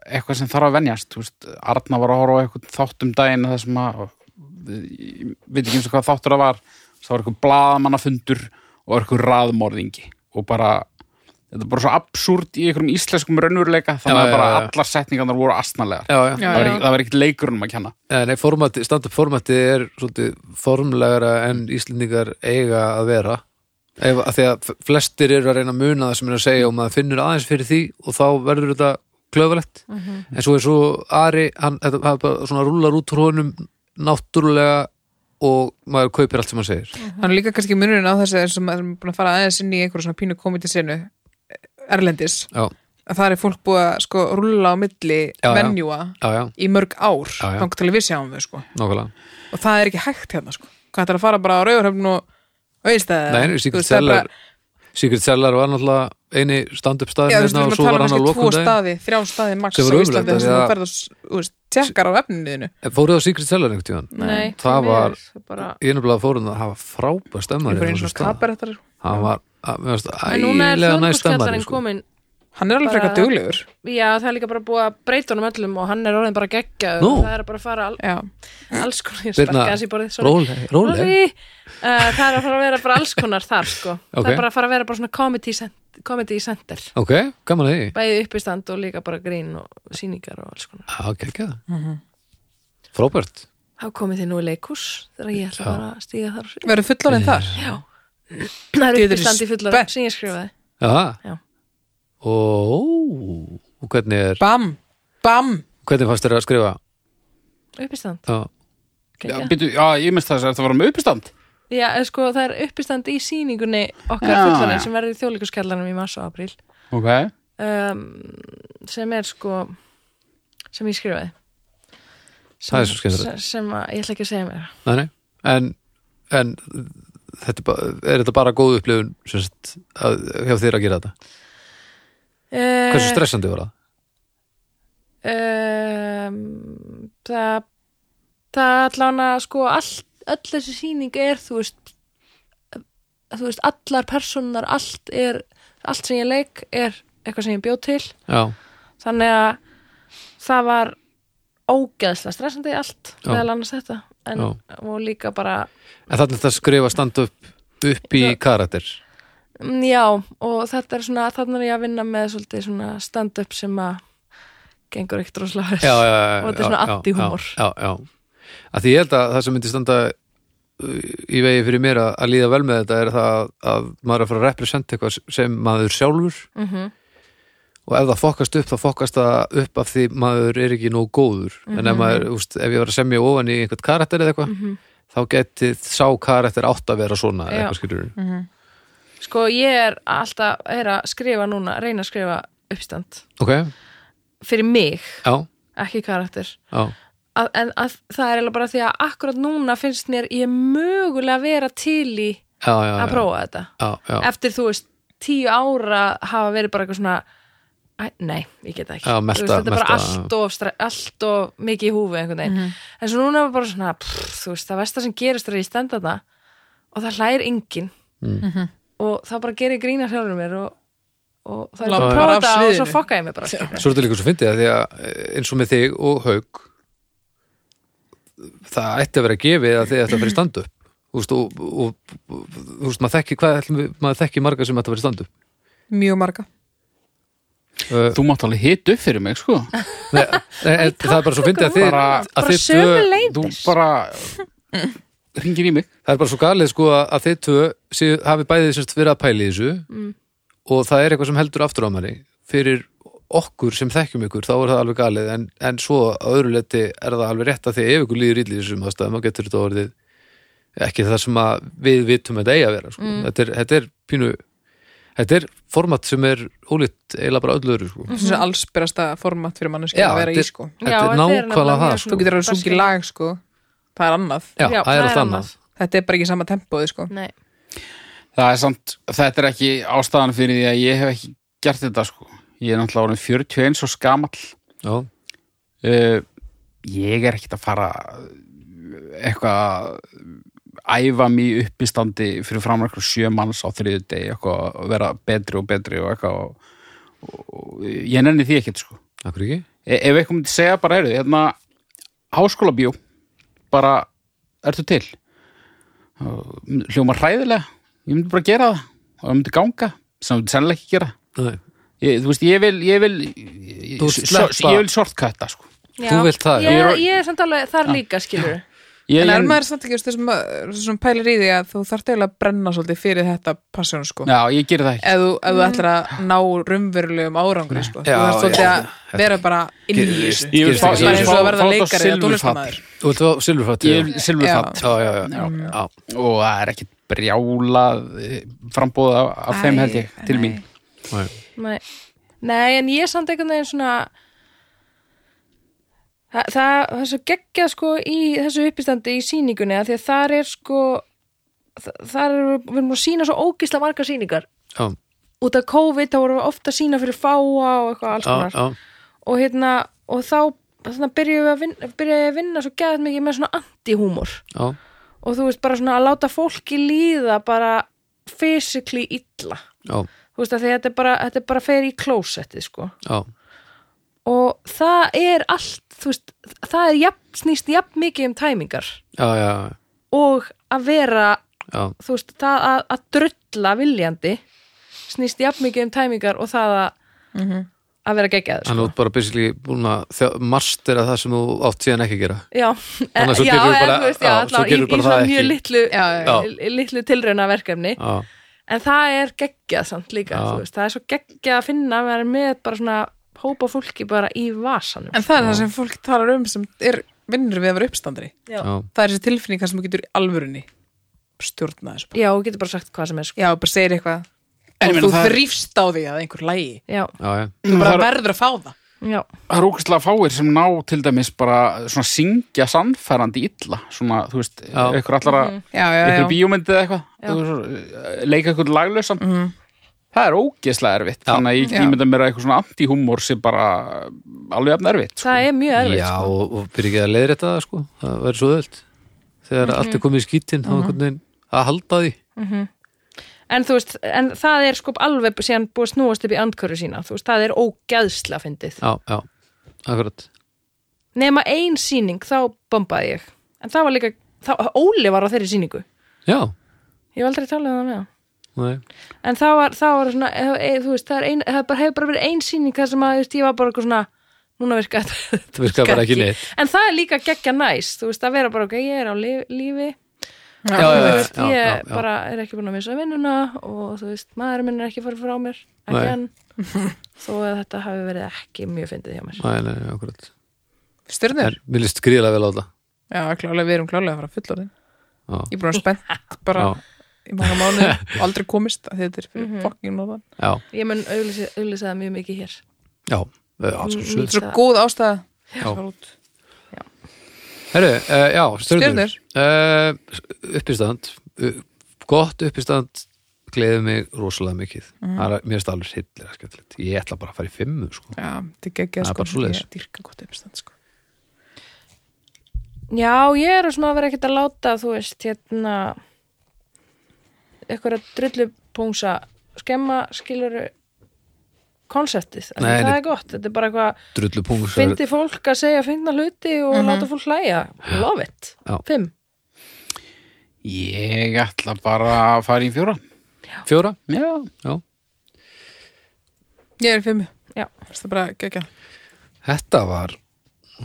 Speaker 4: eitthvað sem þarf að venjast þú veist, Arna var að horfa á eitthvað þátt um daginn það sem að ég veit ekki eins og hvað þáttur það var það var eitthvað blaðamannafundur og eitthvað raðmorðingi og bara þetta er bara svo absúrt í einhverjum íslenskum raunveruleika þannig
Speaker 2: Já,
Speaker 4: að
Speaker 2: já,
Speaker 4: bara
Speaker 2: já, já.
Speaker 4: allar setningarnar voru astnalegar
Speaker 2: já, já.
Speaker 1: Já.
Speaker 4: það var ekki- það var ekkert leikurunum að kenna
Speaker 2: Eh, Nei, formati, stand-up formatið er svolítið formlegra en íslendingar eiga að vera Ef, að því að f- flestir eru að reyna að muna það sem er að segja og maður finnur aðeins fyrir því og þá verður þetta klauvalegt
Speaker 1: Mhm.
Speaker 2: en svo er svo Ari hann, þetta, hann bara svona rúlar út úr honum náttúrulega og maður kaupir allt sem hann segir
Speaker 1: hann er líka kannski munurinn á þessu sem er búin að fara aðeins inn í einhverju svona pínu komitisinu erlendis,
Speaker 2: Já,
Speaker 1: að það er fólk búið að sko rulla á milli
Speaker 2: Já, já.
Speaker 1: venjúa
Speaker 2: já, já,
Speaker 1: í mörg ár
Speaker 2: Já, já.
Speaker 1: þangt til að við sjáum þau sko
Speaker 2: nákvæmlega
Speaker 1: og það er ekki hægt hérna sko hvað þetta er að fara bara á rauðurhöfn og auðstæði
Speaker 2: Nei, Secret Cellar Secret Cellar var náttúrulega eini stand-up
Speaker 1: Já, þú
Speaker 2: staðin
Speaker 1: veist,
Speaker 2: hérna
Speaker 1: við
Speaker 2: og
Speaker 1: erum
Speaker 2: svo
Speaker 1: að
Speaker 2: var
Speaker 1: tala um
Speaker 2: hann að
Speaker 1: kannski tvo
Speaker 2: lokum daginn
Speaker 1: staði, þrjá staði max
Speaker 2: Sem
Speaker 1: á
Speaker 2: var ömurlegt,
Speaker 1: Íslandi þar sem
Speaker 2: af því
Speaker 1: þú
Speaker 2: að-
Speaker 1: ferð og s- þú veist, tjekkar á efninuðinu
Speaker 2: En Fóruð á Secret Cellar einhvern tíðan?
Speaker 3: Nei,
Speaker 2: það
Speaker 3: því
Speaker 2: var-
Speaker 3: miður, það er bara...
Speaker 2: Ég er nefnilega fórun að hafa hérna frábæð stemmari
Speaker 1: Mm. Ég fór einu svona sko. kabarettar
Speaker 2: hann var að- mér varst
Speaker 3: En núna
Speaker 2: ægilega
Speaker 3: er
Speaker 2: næst stemmari
Speaker 3: þjóðbúrskjallarinn
Speaker 2: sko.
Speaker 3: komin
Speaker 1: Hann er alveg
Speaker 3: Bara-
Speaker 1: frekar duglegur
Speaker 3: Já, það er líka bara búið að breyta honum öllum og hann er orðin bara geggjaður
Speaker 2: Nú.
Speaker 3: og það er bara að fara al,
Speaker 1: Já,
Speaker 3: alls konar ég
Speaker 2: Birna,
Speaker 3: sparka þessi borðið sorry.
Speaker 2: róleg, róleg
Speaker 3: Sorry. Uh, það er að fara að vera bara alls konar þar sko. það
Speaker 2: Ok.
Speaker 3: er bara að fara að vera bara svona comedy, cent comedy center
Speaker 2: ok, gaman að því
Speaker 3: bæði uppistand og líka bara grín og síningar og alls konar
Speaker 2: ok, ekki frábært
Speaker 3: þá komið þið nú í leikús þegar ég ætla bara að stíga þar
Speaker 1: verður fullorinn þar
Speaker 3: Já. það
Speaker 1: Þið
Speaker 3: er
Speaker 1: eruð
Speaker 3: uppistand í fullar
Speaker 1: spennt.
Speaker 3: sem ég skrifaði
Speaker 2: já,
Speaker 3: Já.
Speaker 2: Ó, og hvernig er
Speaker 1: Bam, bam
Speaker 2: hvernig fannst þér að skrifa
Speaker 3: uppistand
Speaker 2: já,
Speaker 4: já,
Speaker 3: geggjað.
Speaker 4: býtu, já, ég minnst þess að þetta var um uppistand
Speaker 3: Já, eh, sko, það er uppistand í síningunni okkar
Speaker 4: Já,
Speaker 3: fullarinn
Speaker 4: já.
Speaker 3: sem verður í þjóðleikuskjallanum í mars og apríl
Speaker 4: ok,
Speaker 3: um, sem er sko sem ég skrifaði sem,
Speaker 2: Það er svo skemmtilegt.
Speaker 3: sem- sem að, ég ætla ekki að segja mér
Speaker 2: nei, nei en, en þetta, er ba- er þetta bara góð upplifun sem sagt, að, hjá þér að gera þetta hversu
Speaker 3: uh,
Speaker 2: stressandi var það?
Speaker 3: um, Eh, það það allan að sko all, öll þessi sýning er þú veist þú veist, allar personar allt er, allt sem ég leik er eitthvað sem ég bjóð til
Speaker 2: já,
Speaker 3: þannig að það var ógeðslega stressandi allt
Speaker 2: Já.
Speaker 3: meðal annars þetta en, og líka bara
Speaker 2: en þannig að skrifa stand-up upp í karakter
Speaker 3: Mm, Já, og þetta er svona, þannig er ég að vinna með svolítið svona stand-up sem að gengur ekkert rosalega vel.
Speaker 2: já, já, já,
Speaker 3: Og þetta er svona
Speaker 2: já, já,
Speaker 3: anti-húmor.
Speaker 2: já, já, já. að því ég held að það sem myndi standa uh, í vegi fyrir mér að, að líða vel með þetta er það að, að maður er að fara að representa eitthvað sem maður sjálfur
Speaker 3: Mhm.
Speaker 2: og ef það fokkast upp þá fokkast það upp af því maður er ekki nóg góður en
Speaker 3: Mhm.
Speaker 2: ef, maður, úst, ef ég var að semja ofan í einhvern karakter eða eitthvað þá geti sá karakter átt að vera svona eða
Speaker 3: Já. Mhm.
Speaker 2: eitthvað skilur
Speaker 3: Sko, ég er alltaf er að skrifa núna, reyna að skrifa uppstand
Speaker 2: ok,
Speaker 3: fyrir mig,
Speaker 2: já,
Speaker 3: ekki karakter.
Speaker 2: já,
Speaker 3: Að, en að, það er eiginlega bara því að akkurat núna finnst mér ég mögulega vera til í
Speaker 2: já, já,
Speaker 3: að
Speaker 2: já,
Speaker 3: prófa þetta.
Speaker 2: já, já.
Speaker 3: Eftir, þú veist, tíu ára hafa verið bara eitthvað svona Æ, nei, ég get það ekki
Speaker 2: Já,
Speaker 3: Þú
Speaker 2: melta-
Speaker 3: veist, þetta er bara
Speaker 2: melta,
Speaker 3: allt of, stre- allt of mikið í húfi einhvern veginn en svo núna var bara svona pff, þú veist, það versta sem gerist er að ég stenda það og það hlægir engin
Speaker 2: Mm.
Speaker 3: og það bara gerir grína sjálfur mér og, og það er
Speaker 1: Lá
Speaker 3: bara
Speaker 1: bara
Speaker 3: að prófa
Speaker 1: af
Speaker 3: það og svo
Speaker 1: sviðinu.
Speaker 3: fokka ég mig bara skilurðu.
Speaker 2: Svo er þetta líka svo fyndið að því að eh, eins og með þig og haug það ætti að vera gefið að þið ætti að vera í standu Þú veist, og, og, og þú veist, maður þekki, hvað, ætlum við- maður þekki marga sem ætti að vera í standu
Speaker 1: mjög marga
Speaker 2: uh,
Speaker 4: Þú mátt alveg hita upp fyrir mig, sko
Speaker 2: nei, nei, en Það er bara svo fyndið að þið
Speaker 4: Bara-
Speaker 2: að
Speaker 3: bara
Speaker 2: þið tvö-
Speaker 3: sömu
Speaker 4: Þú
Speaker 3: leiðis
Speaker 4: bara ringir í mig
Speaker 2: Það er bara svo galið sko að að þið tvö séu, hafi bæðið semst verið að pæla í þessu og það er eitthvað sem heldur aftur á manni fyrir okkur sem þekkjum ykkur þá er það alveg galið en, en svo að öðru leti er það alveg rétt að því að ef ykkur líður illa í þessum aðstæðum þá getur þetta orðið ekki það sem að við vitum að þetta eiga að vera sko. þetta, er, þetta er pínu þetta er format sem er ólíkt eiginlega bara öllu öðru sko.
Speaker 1: þessi mm -hmm. allsbyrasta format fyrir manneski
Speaker 2: Já,
Speaker 1: að vera í
Speaker 2: þetta-
Speaker 1: sko
Speaker 2: þetta er
Speaker 3: nefnilega
Speaker 2: nákvæmlega það,
Speaker 3: mjög
Speaker 2: sko.
Speaker 1: þú getur alveg sungið lag sko það er annað,
Speaker 2: Já, það er allt annað.
Speaker 1: þetta er bara ekki sama tempóði sko
Speaker 3: Nei.
Speaker 4: Það er samt, þetta er ekki ástæðan fyrir því að ég hef ekki gert þetta sko. Ég er náttúrulega orðin 41 og skamall.
Speaker 2: Já,
Speaker 4: Uh, ég er ekkit að fara eh, eitthvað að æfa mig upp í standi fyrir framar eitthvað sjö manns á þriðu degi eitthvað að vera betri og betri og eitthvað og, og, og ég nenni því ekkit sko.
Speaker 2: akkur ekki
Speaker 4: E ef eitthvað myndi segja bara, heyrðu, hérna háskóla bjó, bara ertu til Og hljóma hræðilega, ég myndi bara gera það og það myndi ganga, sem það myndi sennilega ekki gera
Speaker 2: Nei.
Speaker 4: ég, þú veist, ég vil ég vil, ég,
Speaker 2: Þú vilt
Speaker 4: svo-
Speaker 2: sleppa-
Speaker 4: ég vil shortcutta sko.
Speaker 3: Já.
Speaker 2: Þú vilt það, já.
Speaker 3: ég, ég er samt alveg þar líka skilur
Speaker 4: ég,
Speaker 1: en er
Speaker 4: ég-
Speaker 1: maður samt ekki þú veist, þessum eh, þessum pælir í því að þú þarft eiginlega að brenna svolítið fyrir þetta passjón sko
Speaker 4: já, ég gerir það ekki
Speaker 1: ef þú, ef þú ætlar að ná raunverulegum árangri sko. þú
Speaker 2: Já,
Speaker 1: þarf svolítið
Speaker 2: já.
Speaker 1: að vera bara inn í
Speaker 2: Gerist-
Speaker 1: þessu
Speaker 4: ég vil
Speaker 2: gerist
Speaker 4: fá,
Speaker 2: ekki
Speaker 1: það er
Speaker 4: ég
Speaker 1: eins og
Speaker 4: vil fá,
Speaker 1: að verða
Speaker 4: fá þetta
Speaker 1: leikari eða
Speaker 4: silfurfatt
Speaker 1: tónlistamæður
Speaker 2: Þú vilt fá silfurfætti
Speaker 4: ég vil silfurfatt
Speaker 2: Já, já, já, já, já.
Speaker 4: og það er ekkit brjálað frambóð af, af þeim held ég til mín
Speaker 2: Nei.
Speaker 3: Nei. Nei, en ég er samt einhvern veginn svona Þa, það, það er svo geggjað sko í þessu uppistandi í sýningunni að því að þar er sko þa- þar er, við erum að sína svo ógisla margar sýningar
Speaker 2: Já,
Speaker 3: út af COVID þá vorum við ofta að sína fyrir fáa og eitthvað alls
Speaker 2: já,
Speaker 3: konar
Speaker 2: já.
Speaker 3: og hérna, og þá þannig að byrjuðu að vinna, byrjuðu að vinna svo gæðið mikið með svona anti-húmor
Speaker 2: já.
Speaker 3: og þú veist bara svona að láta fólki líða bara physically illa
Speaker 2: Já,
Speaker 3: þú veist að því að þetta er bara, þetta er bara fer í klósetti sko
Speaker 2: já,
Speaker 3: og það er allt þú veist, það er jafn, snýst jafn mikið um tæmingar
Speaker 2: já, já,
Speaker 3: og að vera
Speaker 2: já,
Speaker 3: þú veist, það að, að drulla viljandi snýst jafn mikið um tæmingar og það að,
Speaker 2: Mhm.
Speaker 3: að vera geggjaður
Speaker 2: hann
Speaker 3: sko.
Speaker 2: út bara basically búin að mastera það sem þú átt síðan ekki að gera
Speaker 3: já,
Speaker 2: Þannig að svo gerðu
Speaker 3: en
Speaker 2: bara-
Speaker 3: þú veist, já,
Speaker 2: já, svo
Speaker 3: allan, í,
Speaker 2: gerðu bara
Speaker 3: í svona
Speaker 2: það
Speaker 3: mjög
Speaker 2: ekki.
Speaker 3: litlu,
Speaker 2: já.
Speaker 3: í- litlu tilraunaverkefni
Speaker 2: Já,
Speaker 3: en það er geggjað samt líka,
Speaker 2: Já.
Speaker 3: þú veist, það er svo geggjað að finna að vera með bara svona hópa fólki bara í vasanum
Speaker 1: en það er það sem fólk talar um sem er vinnur við að vera uppstandri
Speaker 3: já,
Speaker 2: já,
Speaker 1: það er þessi tilfinning þar sem þú getur í alvörunni stjórna þessu bara.
Speaker 3: já, og getur bara sagt hvað sem er sko.
Speaker 1: já, bara segir eitthvað
Speaker 4: En ég
Speaker 1: og
Speaker 4: meina,
Speaker 1: þú
Speaker 4: það er- Mm,
Speaker 1: þrýfst á því að einhver lægi
Speaker 3: já,
Speaker 2: já, já,
Speaker 1: þú bara
Speaker 4: Það er-
Speaker 1: verður að fá það
Speaker 3: já,
Speaker 4: það er ógæslega fáir sem ná til dæmis bara svona syngja sannfærandi illa svona, þú veist,
Speaker 2: Já.
Speaker 4: ykkur allara
Speaker 1: já, já,
Speaker 4: ykkur
Speaker 1: Mhm. já,
Speaker 4: bíómyndið eitthvað eitthvað svo, eh, leika ykkur laglausan það er ógæslega erfitt þannig að ég
Speaker 1: Já.
Speaker 4: get ímynda mér að eitthvað svona anti-humor sem bara alveg efn erfitt sko.
Speaker 3: það er mjög erfitt
Speaker 2: já og, og byrja ekki að leiðrétta það sko, það verður svo öðvöld þegar allt er komið í skítin þá er einhvern veginn að halda því
Speaker 3: En þú veist, en það er sko alveg síðan búið að snúast upp í andköru sína, þú veist, það er ógæðsla fyndið.
Speaker 2: Já, já, akkurat
Speaker 3: Nefna ein síning, þá bombaði ég. En það var líka, þá, Óli var á þeirri síningu.
Speaker 2: Já,
Speaker 3: Ég hef aldrei talað um það með hann.
Speaker 2: Nei.
Speaker 3: En það var, það var svona, eh, eh, þú veist, það er ein, það bara, hefur bara verið ein sýning þar sem að, þú veist, ég var bara eitthvað svona, núna virka þetta.
Speaker 2: Það virkaði bara ekki neitt.
Speaker 3: En það er líka geggja næs, þú veist, að vera bara okkur, ég er á líf, lífi,
Speaker 2: Já, já, já,
Speaker 3: þú
Speaker 2: já,
Speaker 3: veist,
Speaker 2: já,
Speaker 3: ég
Speaker 2: já, já.
Speaker 3: bara er ekki búin að missa vinnuna og þú veist, maður minn er ekki farið frá mér,
Speaker 2: Nei.
Speaker 3: ekki hann, þó að þetta hafi verið ekki mjög fyndið hjá mér.
Speaker 2: Nei, nei, nei, akkurat.
Speaker 1: Styrnir?
Speaker 2: En mér líst gríðlega vel á það.
Speaker 1: Já, klálega, við erum klálega að fara fullorðin.
Speaker 2: Já.
Speaker 1: Ég er búin að vera spennt bara
Speaker 2: Já,
Speaker 1: í marga mánuði, aldrei komist að þetta er fyrir mm -hmm. fucking nóðan.
Speaker 2: já,
Speaker 3: Ég mun auglýsa auglýsa það mjög mikið hér.
Speaker 2: já. Alls og
Speaker 1: Þetta er
Speaker 2: söður.
Speaker 1: svo góð ástæða.
Speaker 2: Já.
Speaker 1: Sjálf.
Speaker 2: Herru, uh, já, stjörnur.
Speaker 1: Stjörnur.
Speaker 2: Uh, uppistand. Uh, gott uppistand gleði mig rosalega mikið. Það er, mér er það alveg hittilega skemmtilegt. Ég ætla bara að fara í fimmu, sko.
Speaker 1: Já, þetta er geggjað
Speaker 2: Það er
Speaker 1: sko.
Speaker 2: bara svoleiðis.
Speaker 1: Ég dýrka gott uppstand sko.
Speaker 3: Já, ég er svona að vera ekkert að láta, þú veist, hérna, eitthvað drullupóngsa skemma skiluru konseptið. Af því
Speaker 2: Nei,
Speaker 3: Það
Speaker 2: nei.
Speaker 3: er gott, þetta er bara eitthvað,
Speaker 2: Drullu pungus.
Speaker 3: fyndi fólk að segja fyndna hluti og láta fólk hlæja. Love it.
Speaker 2: Já.
Speaker 3: Fimm.
Speaker 4: Ég ætla bara að fara í fjóra.
Speaker 2: Fjóra?
Speaker 4: Já.
Speaker 2: Já.
Speaker 1: Ég er í fimmu.
Speaker 3: Já.
Speaker 1: Þetta er bara geggjað.
Speaker 2: Þetta var,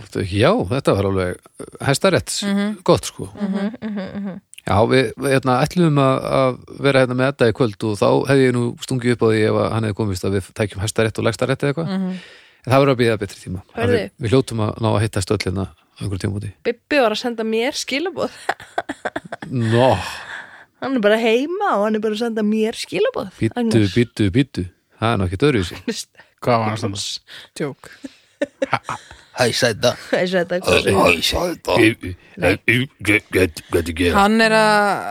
Speaker 2: þetta- já, þetta var alveg hæstarétt, gott sko. Já, við, við hérna, ætlum að, að vera hérna með þetta í kvöld og þá hefði ég nú stungið upp á því ef að hann hefði komist að við tækjum hæstarétt og legstarétt eða eitthvað. En það verður að býða betri tíma.
Speaker 3: Hörðu.
Speaker 2: Við, við hljótum að ná að hitta stöll hérna á einhverjum tíma úti.
Speaker 3: Bibbi var að senda mér skilabóð.
Speaker 2: Nó,
Speaker 3: Hann er bara heima og hann er bara að senda mér skilabóð.
Speaker 2: býttu, býttu, býttu. Það er nú ekki dörrið sér.
Speaker 4: Hvað var hann standa?
Speaker 1: Tjók. Hann er að...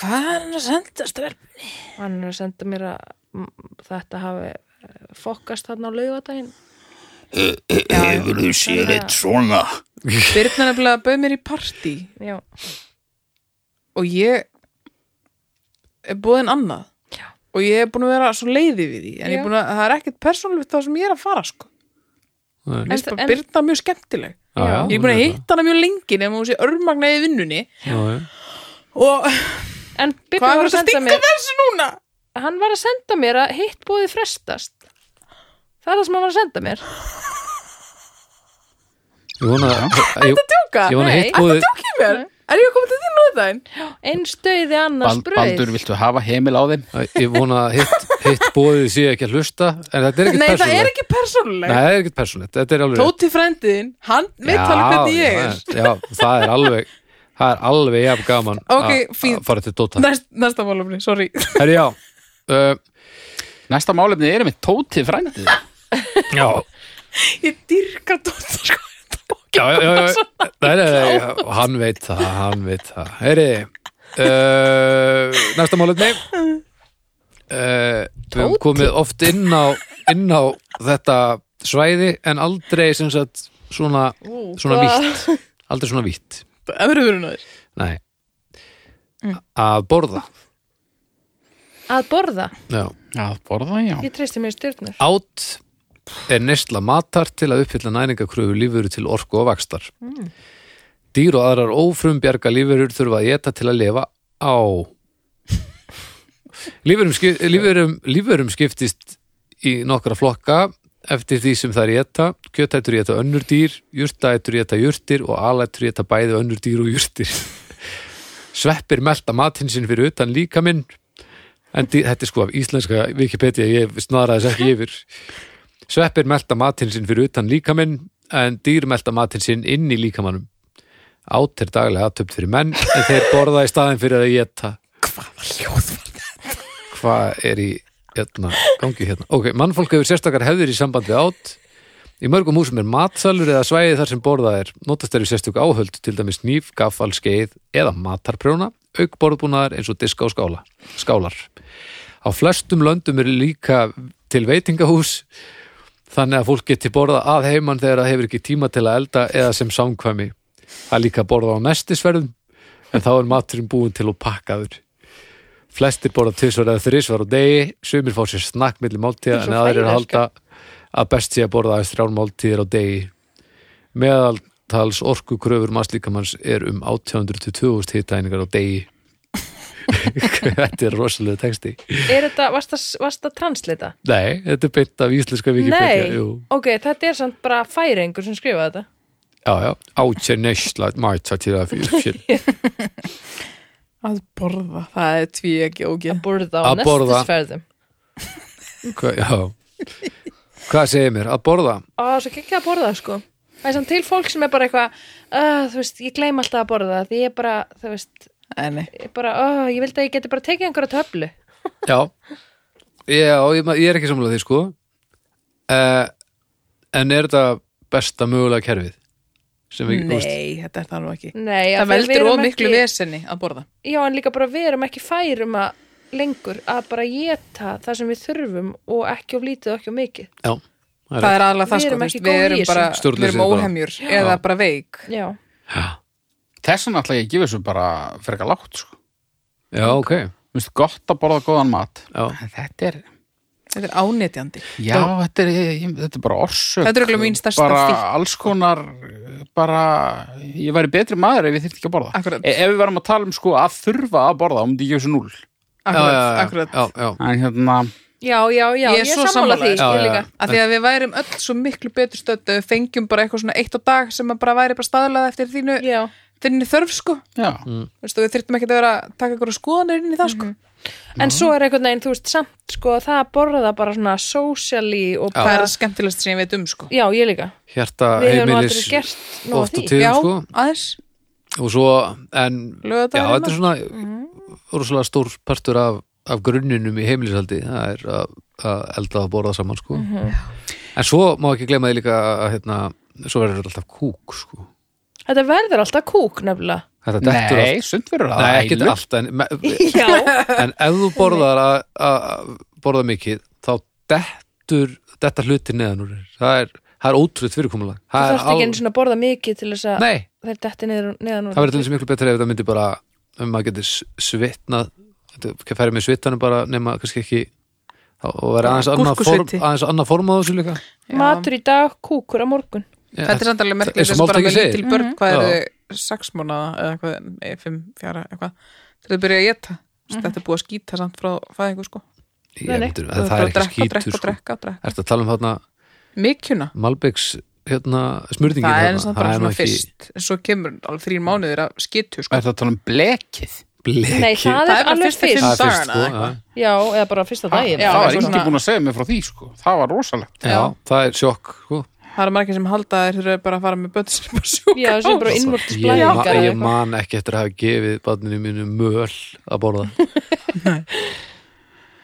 Speaker 1: Hvað er hann að senda stjörn?
Speaker 3: Hann er að senda mér að mm, þetta hafi eh, fokkast þarna á laugadaginn.
Speaker 5: Hefur þú séð eitt svona?
Speaker 1: Birna nefnilega bauð mér í partí
Speaker 3: Já.
Speaker 1: og ég er búin annað.
Speaker 3: Já.
Speaker 1: Og ég er búin að vera svo leiði við því. En ég
Speaker 3: Já.
Speaker 1: er búin að, það er ekkert persónulegt það sem ég er að fara sko.
Speaker 2: Nei.
Speaker 1: Mér
Speaker 3: En-
Speaker 1: finnst bara
Speaker 3: en-
Speaker 1: Birna mjög skemmtileg.
Speaker 2: Já, já,
Speaker 1: Ég er
Speaker 2: hún
Speaker 1: búin að
Speaker 2: er
Speaker 1: hitta hana mjög lengi nema hún sé örmagna í vinnunni.
Speaker 2: Já, já.
Speaker 1: Og
Speaker 3: En Bibbi
Speaker 1: hvað er
Speaker 3: var að
Speaker 1: þetta
Speaker 3: senda
Speaker 1: stinga
Speaker 3: mér
Speaker 1: þessu núna?
Speaker 3: Hann var að senda mér að hitt bóði frestast Það er það sem hann var að senda mér
Speaker 2: Ég vona að- ég-
Speaker 1: Tjóka?
Speaker 2: ég vona að hitt
Speaker 3: Nei.
Speaker 2: búið
Speaker 1: Tjókið mér? Er ég að koma til þín núna þæn?
Speaker 3: Einn stöði annars
Speaker 4: Bald,
Speaker 3: brauð
Speaker 4: Baldur, viltu hafa heimil á þeim?
Speaker 2: Æ, Ég vona að hitt, hitt bóðið sé ekki að hlusta en þetta er ekkert
Speaker 1: Nei, það
Speaker 2: persónulegt
Speaker 1: er ekki
Speaker 2: Nei,
Speaker 1: persónulegt
Speaker 2: það er ekkert persónulegt, þetta er alveg
Speaker 1: Tóti frændiðin, hann veit alveg hvernig ég er
Speaker 2: það Já, það er alveg það er alveg jafn gaman að-
Speaker 1: Ok, fínt.
Speaker 2: að fara til Dota
Speaker 1: Næst, Næsta málumni, sorry
Speaker 2: Herri, já uh,
Speaker 4: Næsta málefni er með Tóti frændið.
Speaker 2: Já,
Speaker 1: Ég dyrka Tóti sko
Speaker 2: já, já, já, já. Nei, nei, nei, já, hann veit það, hann veit það Herri uh, Næsta málefni uh, Við höfum komið oft inn á inn á þetta svæði en aldrei sem sagt svona, svona vítt aldrei svona vítt
Speaker 1: Öfruðurinn aður
Speaker 2: Nei
Speaker 1: Mm.
Speaker 2: Að borða
Speaker 3: Að borða,
Speaker 2: Já.
Speaker 4: Já, borða, já.
Speaker 3: ég treysti mér stjórnur
Speaker 2: Át er neysla matar til að uppfylla næringakröfu lífuru til orku og vakstar Dýr og aðrar ófrumbjarga lífurur þurfa að geta til að lifa á Lífurum, skip, lífurum, lífurum skiptist í nokkra flokka eftir því sem þær geta kjötætur geta önnur dýr, jurtætur geta jurtir og alætur geta bæði önnur dýr og jurtir Sveppir melta matinn sinn fyrir utan líkaminn En dý- þetta er sko af íslenska Wikipedia, ég snaraði þess ekki yfir. Sveppir melta matinn sinn fyrir utan líkaminn, en dýr melta matinn sinn inn í líkamannum. Át er daglega aðtöpt fyrir menn, en þeir borða í staðin fyrir að geta. Hvaða ljóð var þetta? Hvað er í hérna, gangi hérna? Ok, mannfólk hefur sérstakar hefðir í sambandi við át. Í mörgum húsum er matsalur eða svæði þar sem borða er. Notast eru sérstök áhöld, til dæmis nýf, gaffal, skeið eða matarprjóna, auk borðbúnaðar eins og diska og skála, skálar. Á flestum löndum eru líka til veitingahús þannig að fólk geti borða að heiman þegar það hefur ekki tíma til að elda eða sem samkvæmi. Það er líka borða á mestisverðum en þá er maturinn búin til og pakkaður. Flestir borða tvisvar eða þrisvar á degi, sumir fá sér snakk milli máltíða
Speaker 3: Þú
Speaker 2: en
Speaker 3: ert svo
Speaker 2: aðrir
Speaker 3: frægur,
Speaker 2: halda að best sé að borða aðeins þrjár máltíðir á degi. Meðaltals orkukröfur masslíkamanns er um 800-2000 hitaðningar á degi. þetta er rosalega texti
Speaker 3: Er þetta, varst það, varst það translita?
Speaker 2: nei, þetta er beint af íslenska
Speaker 3: Nei,
Speaker 2: Wikipedia jú.
Speaker 3: ok, þetta er samt bara færingur sem skrifaði þetta
Speaker 2: já, já, átja neysla mæta til að fyrir fyrir
Speaker 1: Að borða, það er tví ekki
Speaker 3: að
Speaker 1: ógeð.
Speaker 3: borða á
Speaker 2: Að borða.
Speaker 3: nestisferðum
Speaker 2: Hva, já. hvað segir mér, að borða
Speaker 3: Ó, svo ekki að borða sko Það er samt til fólk sem er bara eitthvað uh, þú veist, ég gleym alltaf að borða því ég bara, þú veist,
Speaker 1: Nei, nei.
Speaker 3: ég bara uh, ég vildi að ég geti bara tekið einhverja töflu
Speaker 2: já, já ég, ma- ég er ekki samlega því sko uh, en er þetta besta mögulega kerfið sem við þú veist,
Speaker 1: Nei, þetta er það nú ekki.
Speaker 3: Nei,
Speaker 1: það
Speaker 3: af því að við
Speaker 1: veldur
Speaker 3: erum
Speaker 1: of miklu
Speaker 3: ekki-
Speaker 1: vesenni að borða.
Speaker 3: Já, en líka bara við erum ekki færum að lengur að bara geta það sem við þurfum og ekki of lítið og ekki of mikið
Speaker 2: já,
Speaker 1: Það er aðalega það sko,
Speaker 3: Við erum
Speaker 1: þú veist,
Speaker 3: ekki
Speaker 1: við
Speaker 3: góð í
Speaker 1: erum
Speaker 3: þessu.
Speaker 1: bara, við
Speaker 2: Stjórnleysið
Speaker 1: erum
Speaker 2: bara.
Speaker 1: óhemjur eða bara veik.
Speaker 3: Já,
Speaker 4: Þess vegna ætla ég að gefa þessu bara frekar lágt sko.
Speaker 2: já, ok
Speaker 4: Mér finnst gott að borða góðan mat
Speaker 2: Já.
Speaker 4: En Þetta er,
Speaker 1: Þetta er ánetjandi.
Speaker 4: já, þetta er, ég, ég- þetta er bara orsök
Speaker 1: Þetta er örugglega mín stærsta
Speaker 4: Bara
Speaker 1: fíkn.
Speaker 4: alls konar bara, ég væri betri maður ef ég þyrfti ekki að borða
Speaker 1: Akkúrat.
Speaker 4: e Ef við varum að tala um sko að þurfa að borða þá myndi ég gefa þessu núl
Speaker 1: Akkurat,
Speaker 2: já, já,
Speaker 1: akkurat.
Speaker 2: já, já,
Speaker 4: En hérna,
Speaker 3: já, já,
Speaker 1: Ég
Speaker 3: já ég
Speaker 1: er
Speaker 3: er
Speaker 1: svo
Speaker 3: sammála
Speaker 1: sammála
Speaker 3: því
Speaker 1: þér.
Speaker 2: Já,
Speaker 3: ég
Speaker 2: já.
Speaker 3: líka
Speaker 1: Af því að við værum öll svo miklu betur stödd ef við fengjum bara eitthvað svona eitt á dag sem að bara væri bara staðalað eftir þínu,
Speaker 3: Já,
Speaker 1: þínu þörf sko.
Speaker 4: já
Speaker 1: Veistu, við þyrftum ekki að vera að taka eitthvað skoðanir inn í það sko.
Speaker 3: en svo er einhvern veginn, þú veist, samt sko að það að borða bara svona socially og
Speaker 1: Það er
Speaker 3: bara,
Speaker 1: það skemmtilegst sem ég veit um sko.
Speaker 3: já, ég líka
Speaker 2: hjarta
Speaker 3: Við höfum
Speaker 2: heimilis
Speaker 3: aldrei gert nóg af
Speaker 2: oft og
Speaker 3: því.
Speaker 2: til
Speaker 1: Já,
Speaker 2: sko.
Speaker 1: aðeins. hérna.
Speaker 2: og svo, en já,
Speaker 1: Laugardagurinn
Speaker 2: þetta er svona rosalega stór partur af, af grunninum í heimilishaldi það er að, að elda að borða saman sko. en svo má ekki glemma því líka að hérna, svo verður þetta alltaf kúk sko.
Speaker 3: Þetta verður alltaf kúk nefnilega
Speaker 2: þetta dettur
Speaker 4: Nei,
Speaker 2: allt
Speaker 4: sund verður að
Speaker 2: Nei, ekkert
Speaker 4: ælu.
Speaker 2: allt en, me-
Speaker 3: Já,
Speaker 2: en ef þú borðar að, að borða mikið þá dettur þetta hluti neðan úr þér. það er, það er ótrúið fyrirkomulag
Speaker 3: þú
Speaker 2: það er
Speaker 3: þarft ekki einu
Speaker 2: al...
Speaker 3: svona að borða mikið til þess að
Speaker 2: Nei,
Speaker 3: þeir detti niður, neðan úr
Speaker 2: það verður til þessi miklu betra ef það myndi bara ef maður getur svitnað þetta færi með svittanum bara nema kannski ekki þá- og vera aðeins annað form,
Speaker 1: Gúrkusviti.
Speaker 2: aðeins annað form á þessu líka
Speaker 3: Matur í dag, kúkur á morgun
Speaker 2: Já,
Speaker 1: Þetta er samt alveg merkilegt
Speaker 2: eins og
Speaker 1: þess bara
Speaker 2: máltækið
Speaker 1: með
Speaker 2: segir.
Speaker 1: lítil börn, hvað
Speaker 2: Já.
Speaker 1: eru þau, sex mánaða eða hvað, nei, fimm, fjara, eitthvað þegar þau byrja að geta, þetta er búið að skýta samt frá fæðingu sko
Speaker 2: Ég
Speaker 3: Nei, nei.
Speaker 2: heldur,
Speaker 1: Þú
Speaker 2: að það
Speaker 1: ert
Speaker 2: er
Speaker 1: bara
Speaker 2: ekki
Speaker 1: að drekka,
Speaker 2: skítur
Speaker 1: drekka,
Speaker 2: sko.
Speaker 1: drekka, drekka.
Speaker 2: Ertu að tala um þarna
Speaker 1: mikjuna,
Speaker 2: Malbyggs hérna, smurðingin
Speaker 1: það er
Speaker 2: hérna?
Speaker 1: eins og bara
Speaker 2: nú
Speaker 1: svona
Speaker 2: ekki
Speaker 1: fyrst en svo kemur alveg þrín mánuðir að skýtu sko
Speaker 4: Er þetta að tala um blekið?
Speaker 2: bleki
Speaker 3: Nei, það
Speaker 1: Það er
Speaker 3: er
Speaker 1: bara
Speaker 3: alveg
Speaker 2: Það er fyrst sko, já.
Speaker 1: fyrsta fimm- dagana eða
Speaker 3: fyrst Já, eða bara fyrsta daginn
Speaker 1: já,
Speaker 4: Ah, það
Speaker 1: eins
Speaker 4: var
Speaker 1: og
Speaker 4: enginn
Speaker 1: svona-
Speaker 4: búin að segja mér frá því sko. það var rosalegt
Speaker 2: Já, það er sjokk sko.
Speaker 1: það er margir sem halda að þeir þurfa bara að fara með börn sem bara sjúka
Speaker 3: Já, sem bara
Speaker 1: á.
Speaker 3: innvortis
Speaker 2: ég, ma-
Speaker 3: blæðingar
Speaker 2: ég man ekki eftir að hafa gefið barninu mínu möl að borða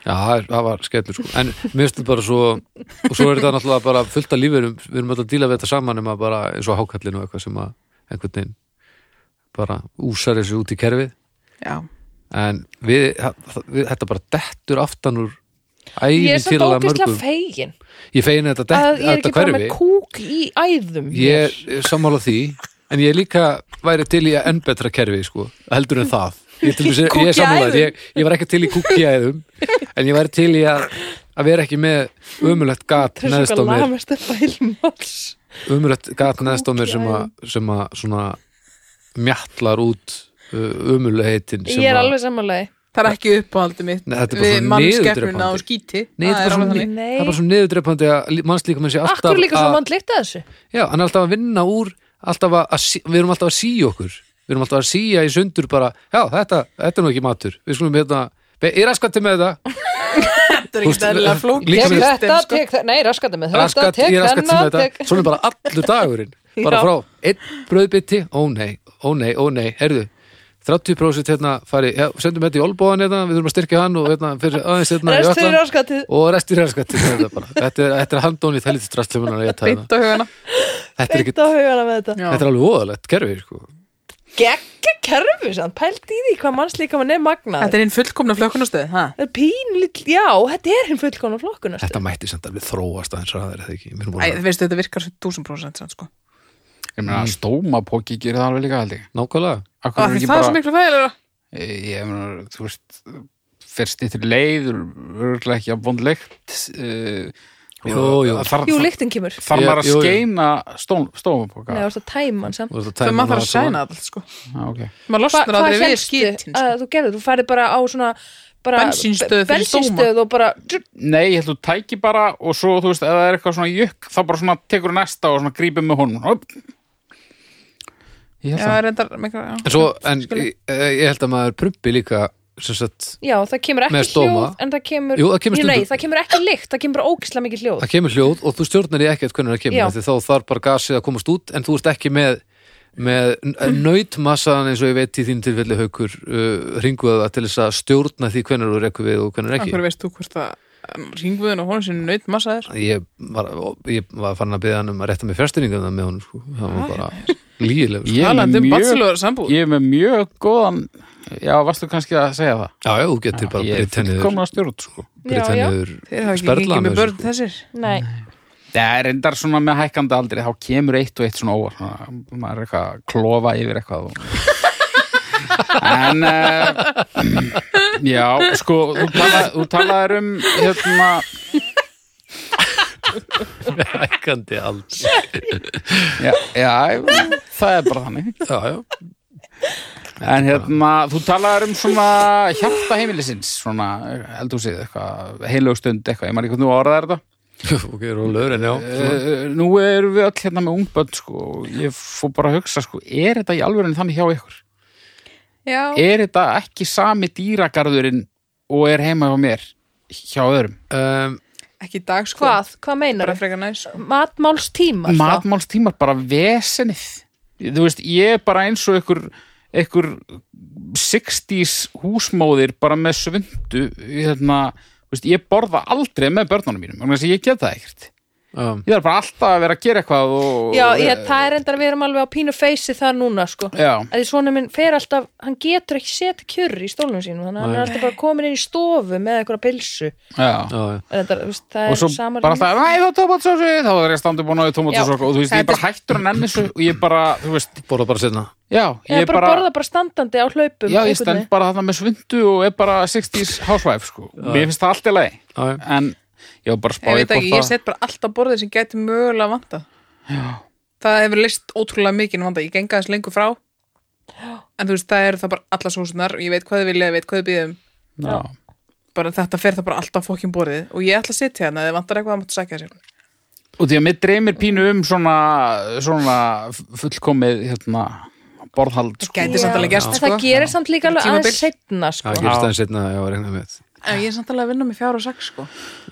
Speaker 2: Já, það er- það var skellur sko. en mér finnst þetta bara svo og svo er þetta náttúrulega bara fullt af lífverum við erum alltaf að díla við þetta saman um að bara eins og hákallin og eitthvað sem að einhvern veginn bara úsar þessu út í kerfið
Speaker 1: já,
Speaker 2: en við, það- við þetta bara dettur aftan úr
Speaker 3: Ég er
Speaker 2: ævinn
Speaker 3: samt
Speaker 2: týralega
Speaker 3: ógislega
Speaker 2: mörgum
Speaker 3: fegin
Speaker 2: ég fegin þetta,
Speaker 3: að
Speaker 2: dett,
Speaker 3: ég er ekki
Speaker 2: þetta
Speaker 3: bara með
Speaker 2: hverfi
Speaker 3: kúk í æðum
Speaker 2: ég er sammála því en ég líka væri til í að enn betra kerfi sko, heldur en það ég, er til dæmis- ég er sammála því, ég, ég var ekki til í kúkjaæðum en ég væri til í að að vera ekki með ömulegt gat
Speaker 3: Þessu
Speaker 2: neðst á
Speaker 3: hvað
Speaker 2: mér
Speaker 3: lamast upp að ilmars
Speaker 2: ömulegt gat neðst á mér sem að sem að svona mjallar út ömulegheitin
Speaker 3: Ég er alveg sammálaði
Speaker 1: það er ekki uppáhaldi mitt
Speaker 2: Nei, þetta er bara
Speaker 1: við
Speaker 2: svona
Speaker 1: mannskeppnuna á
Speaker 2: niðurdrepandi.
Speaker 1: skýti
Speaker 2: Nei, þetta er bara
Speaker 1: það er alveg
Speaker 2: svo,
Speaker 1: þannig
Speaker 3: þannig.
Speaker 2: það er bara svo niðurdrepandi að mannslíkum sé alltaf
Speaker 3: Akkur líka
Speaker 2: að-
Speaker 3: svo vant líkta þessu
Speaker 2: Já, hann er alltaf að vinna úr alltaf að, að, sí- við erum alltaf að síja okkur við erum alltaf að síja í sundur bara já, þetta, þetta er nú ekki matur við skulum hérna, be- ég raskatti með það
Speaker 1: þetta er ekki dæðilega flók
Speaker 2: Líka með-
Speaker 3: tek þetta, nei, raskandi með
Speaker 2: raskat, ég raskatti með þetta svona bara allur dagurinn bara
Speaker 3: Já.
Speaker 2: frá einn brauðbytti, ó nei, ó nei, ó nei herðu, 30% hérna fari, já, sendum þetta í olbóðan hérna, við þurfum að styrkja hann og hérna fyrir aðeins hérna í
Speaker 3: Rest
Speaker 2: öklan
Speaker 3: fyrir raskatið.
Speaker 2: og restur í raskatti þetta, er bara- þetta er, þetta er handóni þælítið strastlumunar að ég tæða
Speaker 1: beint á hugana
Speaker 2: þetta er ekki,
Speaker 3: Eitt á hugana með þetta
Speaker 1: Já.
Speaker 2: þetta er alveg voðalegt kerfi sko.
Speaker 3: Gekka kerfi samt, pælt í því hvað mannslíka mann er magnað
Speaker 1: þetta er hinn fullkomna flökkunastöð ha?
Speaker 3: Það er pínlít, já, þetta er hinn fullkona flokkunast
Speaker 2: Þetta mætti samt alveg þróast aðeins ræðar eða ekki. Við erum
Speaker 1: Æ,
Speaker 2: búin að
Speaker 1: veistu, þetta virkar svo 1000% sann, sko.
Speaker 4: ég meina stómapóki gerir það alveg líka held ég
Speaker 2: nákvæmlega.
Speaker 1: Mm.
Speaker 4: Akkur
Speaker 1: Af
Speaker 4: er
Speaker 1: því
Speaker 4: ekki
Speaker 1: Það er svo
Speaker 4: bara,
Speaker 1: miklu fæðilega
Speaker 4: Eh, ég meina þú veist fyrst yttir leið örgulega ekki að vond leikt uh,
Speaker 2: Jú, jú.
Speaker 4: Þar,
Speaker 3: Jú, lyktin kemur
Speaker 4: þar
Speaker 2: Ég-
Speaker 4: maður að
Speaker 2: jú, jú.
Speaker 4: skeina stofupokka
Speaker 3: Nei, þú ert að tæma hann samt
Speaker 2: Þú ert að
Speaker 1: Svo
Speaker 2: tæma
Speaker 1: maður þarf
Speaker 2: hana
Speaker 1: að
Speaker 2: svona.
Speaker 1: sæna allt sko
Speaker 4: okay.
Speaker 1: Maður
Speaker 3: Hva-
Speaker 1: losnar
Speaker 3: hvað
Speaker 1: aldrei við
Speaker 3: hélstu
Speaker 1: skýtin sko.
Speaker 3: að þú gerðir, þú færði bara á svona bara
Speaker 1: Bensínstöð fyrir
Speaker 3: bensínstöð og bara
Speaker 4: Nei, ég held þú tæki bara og svo, þú veist, ef það er eitthvað svona jökk þá bara svona tekur næsta og svona grípum með honum Hopp. Ég held
Speaker 1: Já,
Speaker 4: það
Speaker 1: reyndar mikla, já
Speaker 2: En svo, en ég, ég held að maður prumpi líka sem sagt,
Speaker 3: já, það kemur ekki
Speaker 2: Með stóma.
Speaker 3: hljóð en það kemur,
Speaker 2: Jú, það kemur
Speaker 3: nei,
Speaker 2: stundum.
Speaker 3: það kemur ekki lykt, það kemur bara ógislega mikið hljóð
Speaker 2: það kemur hljóð og þú stjórnar því ekkert hvernig það kemur
Speaker 3: Já.
Speaker 2: af því þá þarf bara gasið að komast út en þú ert ekki með með nautmassaðan eins og ég veit í þínu tilfelli haukur uh, ringuða til þess að stjórna því hvernig þú rekur við og hvernig
Speaker 1: Af
Speaker 2: ekki
Speaker 1: hverju veist þú hvort að ringvöðun og honum sinni naut massa þér
Speaker 2: ég var, ég var farin að byggja hann um að rétta mig fjárstyrninga með honum sko. það var bara lígileg sko.
Speaker 4: Ég er
Speaker 1: Talandi
Speaker 4: með
Speaker 1: um
Speaker 4: mjög,
Speaker 1: batsilöður sambúð
Speaker 4: ég er með mjög góðan Já, varstu kannski að segja það?
Speaker 2: já, já, þú getur bara
Speaker 4: Ég er
Speaker 2: breytt henni
Speaker 4: fullkomna stjórn sko.
Speaker 3: já, já,
Speaker 1: Þeir hafa ekki gengið með börn þessir
Speaker 3: nei,
Speaker 4: Það er endar svona með hækkandi aldrei þá kemur eitt og eitt svona óvar svona, maður er eitthvað að klofa yfir eitthvað og... en uh, já, sko þú, tala, þú talaðir um hérna,
Speaker 2: hækandi alls
Speaker 4: já, já, það er bara þannig
Speaker 2: já, já,
Speaker 4: en hérna, þú talaðir um svona hjarta heimilisins svona, eldhúsið, eitthvað heilugstund, eitthvað, ég maður ekki hvernig þú orðaðir þetta
Speaker 2: ok, rólegur en já svona.
Speaker 4: Uh, nú erum við öll hérna með ungbönd sko, og ég fór bara að hugsa sko, er þetta í alvörinu þannig hjá ykkur?
Speaker 1: Já,
Speaker 4: Er þetta ekki sami dýragarðurinn og er heima hjá mér hjá öðrum?
Speaker 2: um,
Speaker 1: ekki í dag sko
Speaker 3: hvað, hvað meinar sko.
Speaker 1: Bara frekar næs
Speaker 3: matmálstíma
Speaker 4: Matmálstímar bara vesenið þú veist, ég er bara eins og ykkur ykkur 60s húsmóðir bara með svundu hérna, þú veist, ég borða aldrei með börnunum mínum, vegna þess að ég get það ekkert
Speaker 2: um,
Speaker 4: ég þarf bara alltaf að vera að gera eitthvað og,
Speaker 3: já, ég, það er endar að við erum alveg á pínu feysi þar núna sko
Speaker 4: já.
Speaker 3: að því svona minn fer alltaf, hann getur ekki setja kjurri í stólnum sínum, þannig að hann er alltaf bara komin inn í stofu með eitthvað pilsu
Speaker 4: Já.
Speaker 2: já, já.
Speaker 3: En þetta, þú veist, það
Speaker 4: og
Speaker 3: er
Speaker 4: svo
Speaker 3: sama
Speaker 4: bara
Speaker 3: líf.
Speaker 4: alltaf, næ þá tomatsósu þá er ég standið búin á því tomatsósu og þú veist, ég er bara hættur að nenni þessu og ég bara, þú veist,
Speaker 2: borða bara setna
Speaker 4: já
Speaker 3: Já, bara, borða bara standandi á
Speaker 1: um
Speaker 3: hlaupum
Speaker 4: já, ég
Speaker 3: einhvern
Speaker 4: stend
Speaker 3: veginn.
Speaker 4: bara þarna með svindu og er bara 60s housewife, sko mér finnst það allt í lagi,
Speaker 2: Já, já.
Speaker 4: en ég var bara að spá
Speaker 1: Ég
Speaker 4: í
Speaker 1: veit ekki, ég
Speaker 4: hvort að
Speaker 1: set bara allt á borðið sem gæti mögulega vanda Það hefur list ótrúlega mikið vanda Ég genga þess lengur frá En þú veist, það eru það bara alla sósunar og Ég veit hvað þið vilja, ég veit hvað um. þið býðum
Speaker 4: já,
Speaker 1: bara þetta fer það bara alltaf fokkin borðið og ég ætla að sitja hérna, ef þið vantar eitthvað það máttu sækja sér
Speaker 4: og því að mér dreymir pínu um svona, svona fullkomið, hérna borðhald, sko
Speaker 1: Gæti samt alveg gerst,
Speaker 3: En
Speaker 1: sko.
Speaker 3: það gerir samt líka alveg
Speaker 1: Tímabil.
Speaker 3: aðeins setna
Speaker 2: Já,
Speaker 3: sko.
Speaker 2: gerist aðeins setna, já, reikna með
Speaker 1: en ég er samt alveg að vinna með fjár og sex sko.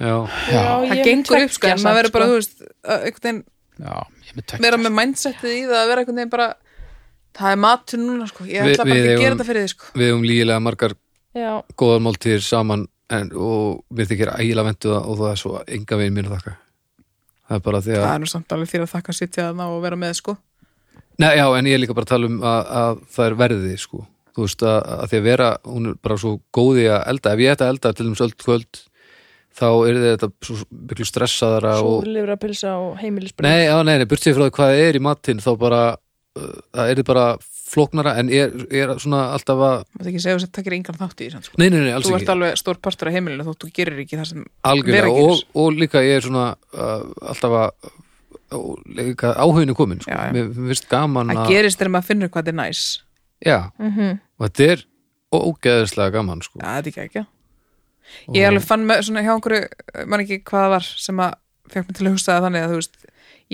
Speaker 2: Já,
Speaker 3: Já,
Speaker 1: það
Speaker 3: ég
Speaker 1: gengur
Speaker 3: mun
Speaker 1: upp sko,
Speaker 3: tveggja
Speaker 1: en
Speaker 3: samt,
Speaker 1: maður verður bara,
Speaker 3: sko.
Speaker 1: þú veist að einhvern veginn,
Speaker 4: já, ég er með tökk
Speaker 1: vera með mindsetið í það að vera einhvern veginn bara það er matur núna sko, ég
Speaker 2: Við-
Speaker 1: ætla bara
Speaker 2: við
Speaker 1: ekki að gera
Speaker 2: eigum-
Speaker 1: þetta fyrir þið sko
Speaker 2: við höfum lígilega margar
Speaker 3: Já,
Speaker 2: góðar máltíðir saman en, og mér þykir ægilega ventu það og það er svo enga veginn mér að þakka Það er bara því að,
Speaker 1: það er nú samt alveg þér að þakka að sitja þarna og vera með sko
Speaker 2: Nei, já, en ég er líka bara að tala um að, að það er verðið, sko Þú veist að, að því að vera, hún er bara svo góði að elda, ef ég ætti að elda til þess öll kvöld þá er þetta svo miklu stressaðara og
Speaker 3: súrlifur að pilsa og heimilisbröð
Speaker 2: Nei, já, nei, nei, burtið frá því hvað það er í matinn þá bara, uh, það er bara flóknara en ég er, ég er svona alltaf að
Speaker 1: maður ekki segja þess að takir engan þátt í því samt, sko.
Speaker 2: Nei, nei, nei, alls
Speaker 1: þú
Speaker 2: ekki
Speaker 1: ert alveg stór partur af heimilinu þótt þú gerir ekki það sem vera
Speaker 2: algjörlega
Speaker 1: gerir.
Speaker 2: og, og líka ég er svona uh, alltaf að og líka áhuginu komin sko.
Speaker 1: Já, já.
Speaker 2: mér mér finnst gaman
Speaker 1: það
Speaker 2: að
Speaker 1: gerist þegar maður finnur hvað þetta er næs
Speaker 2: já, og þetta er ógeðislega gaman sko.
Speaker 1: Já, þetta er ekki ekki. Ég alveg fann með svona hjá einhverju, mann ekki hvað það var sem að fekk mig til að hugsa það þannig að þú veist,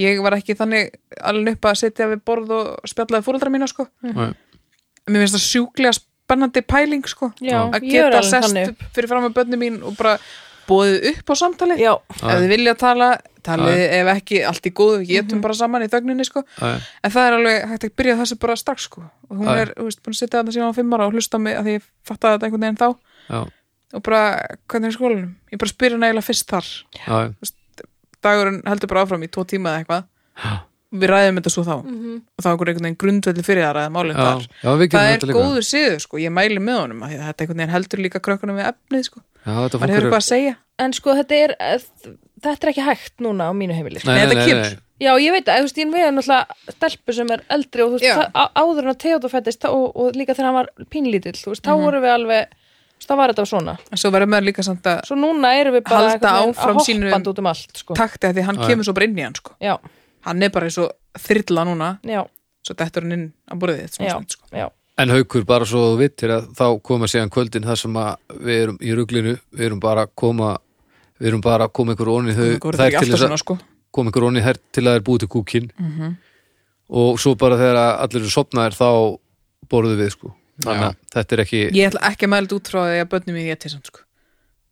Speaker 1: ég var ekki þannig alveg upp að sitja við borð og spjallaði fóröldra mína sko.
Speaker 2: mm.
Speaker 1: Mér finnst það sjúklega spennandi pæling sko.
Speaker 3: Já,
Speaker 1: að
Speaker 3: ég er
Speaker 1: geta
Speaker 3: alveg
Speaker 1: sest
Speaker 3: þannig
Speaker 1: upp fyrir fram með börnum mín og bara bóðið upp á samtalið.
Speaker 3: Já,
Speaker 1: Ef þið vilja tala, talið ef ekki, allt í góðu, við
Speaker 3: Mhm.
Speaker 1: getum bara saman í þögninni sko. En það er alveg hægt að byrja á þessu bara strax sko. Og hún
Speaker 2: Já.
Speaker 1: er, þú veist, búin að sitja þarna síðan á fimm ára og hlusta á mig að því ég fattaði þetta einhvern veginn þá
Speaker 2: já,
Speaker 1: og bara, hvernig er skólanum? Ég bara spyr hann eiginlega fyrst þar
Speaker 2: já, já,
Speaker 1: dagurinn heldur bara áfram í tvo tíma eða eitthvað við ræðum þetta svo þá og þá er einhver einhvern veginn grundvelli fyrir það að ræða málið
Speaker 2: já,
Speaker 1: þar
Speaker 2: já, við
Speaker 1: það
Speaker 2: gerum
Speaker 1: er
Speaker 2: þetta líka
Speaker 1: góður síður sko, ég mæli með honum af því að þetta einhvern veginn heldur líka krökkunum við efnið sko,
Speaker 2: já, þetta
Speaker 1: maður hefur
Speaker 2: fólk
Speaker 1: eitthvað að segja
Speaker 3: en sko þetta er þetta er ekki hægt núna á mínu heimili sko.
Speaker 2: Nei,
Speaker 1: Nei,
Speaker 2: nei,
Speaker 1: þetta
Speaker 2: nei,
Speaker 1: kemur.
Speaker 2: nei.
Speaker 3: Já, ég veit að, þú veist, ég veið náttúrulega stelpu sem er eldri og þú veist,
Speaker 1: Já. Mhm.
Speaker 3: það- á- áður en að Theodor fættist og, og líka þegar hann var pínlítill, þú veist, þá vorum við alveg Þú veist, það var þetta svona
Speaker 1: en svo verður maður líka samt að
Speaker 3: svo núna erum við bara
Speaker 1: Halda
Speaker 3: einhvern veginn
Speaker 1: áfram
Speaker 3: að
Speaker 1: sínum-
Speaker 3: hoppandi út um allt sko.
Speaker 1: takti að því hann
Speaker 2: Já,
Speaker 1: kemur svo bara inn í hann sko.
Speaker 3: já,
Speaker 1: hann er bara eins og þyrla núna
Speaker 3: já,
Speaker 1: svo dettur hann inn á borðið þitt
Speaker 3: já,
Speaker 1: svona stund, sko.
Speaker 3: já,
Speaker 2: En haukur, bara svo þú vittir að þá koma síðan kvöldin þar sem að við erum í ruglinu, við erum bara að koma við erum bara að koma ykkur onni þau
Speaker 1: Það er
Speaker 2: þær til
Speaker 1: ekki alltaf
Speaker 2: þess
Speaker 1: svona
Speaker 2: að
Speaker 1: sko Mhm.
Speaker 2: koma ykkur onni þær til að þeir búið til kúkin og svo bara þegar að allir eru sopnaðir þá borðum við sko þannig að þetta er ekki
Speaker 1: Ég ætla ekki að mæla þetta út frá því að börnum mín ég til samt sko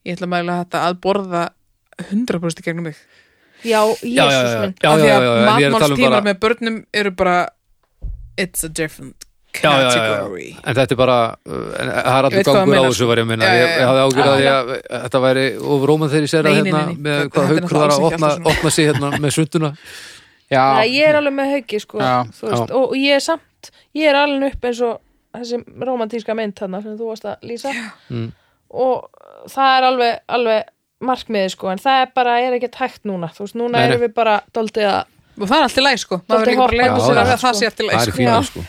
Speaker 1: Ég ætla að mæla þetta að borða 100% í gegnum mig
Speaker 3: já,
Speaker 2: já, já,
Speaker 3: jésus
Speaker 2: já,
Speaker 3: minn
Speaker 2: já,
Speaker 1: Af
Speaker 2: já,
Speaker 1: því
Speaker 2: já,
Speaker 1: að
Speaker 2: já, en ég er að tala um
Speaker 1: matmálstímar
Speaker 2: bara
Speaker 1: með börnum eru bara It's a different
Speaker 2: Já, já, já, já.
Speaker 1: category
Speaker 2: en þetta er bara, uh, en það er
Speaker 1: Ég
Speaker 2: allur
Speaker 1: veit hvað þú
Speaker 2: gangur á
Speaker 1: meinar,
Speaker 2: þessu var ég að minna,
Speaker 1: Já, já,
Speaker 2: ég,
Speaker 1: já.
Speaker 2: ég hafði ágjur
Speaker 1: Já,
Speaker 2: að, að, að þetta væri of róman þegar ég sér að
Speaker 1: Nei, nei,
Speaker 2: hérna
Speaker 1: nei, nei.
Speaker 2: með
Speaker 1: Þetta-
Speaker 2: hvað
Speaker 1: þetta er
Speaker 2: haukur var að
Speaker 1: náttúrulega
Speaker 2: opna,
Speaker 1: alls ekki alltaf
Speaker 2: opna sig hérna með sunduna
Speaker 4: já,
Speaker 3: Nei, ég er alveg með hauki sko,
Speaker 4: Já,
Speaker 3: þú veist, og og ég er samt ég er alveg upp eins og þessi romantíska mynd þarna sem þú varst að lýsa
Speaker 2: Mm.
Speaker 3: og það er alveg, alveg markmiði sko, en það er bara er ekkert hægt núna, þú veist, núna
Speaker 2: Nei, nei.
Speaker 3: erum við bara doldið að,
Speaker 1: Og það er allt í læg sko Maður
Speaker 3: Dálítið
Speaker 1: er líka bara að leiða
Speaker 2: horfa
Speaker 1: sér
Speaker 2: á
Speaker 1: að það
Speaker 3: það, sko.
Speaker 1: sé allt í
Speaker 2: það
Speaker 1: læg
Speaker 2: er
Speaker 1: sko
Speaker 2: fína
Speaker 3: Já.
Speaker 2: sko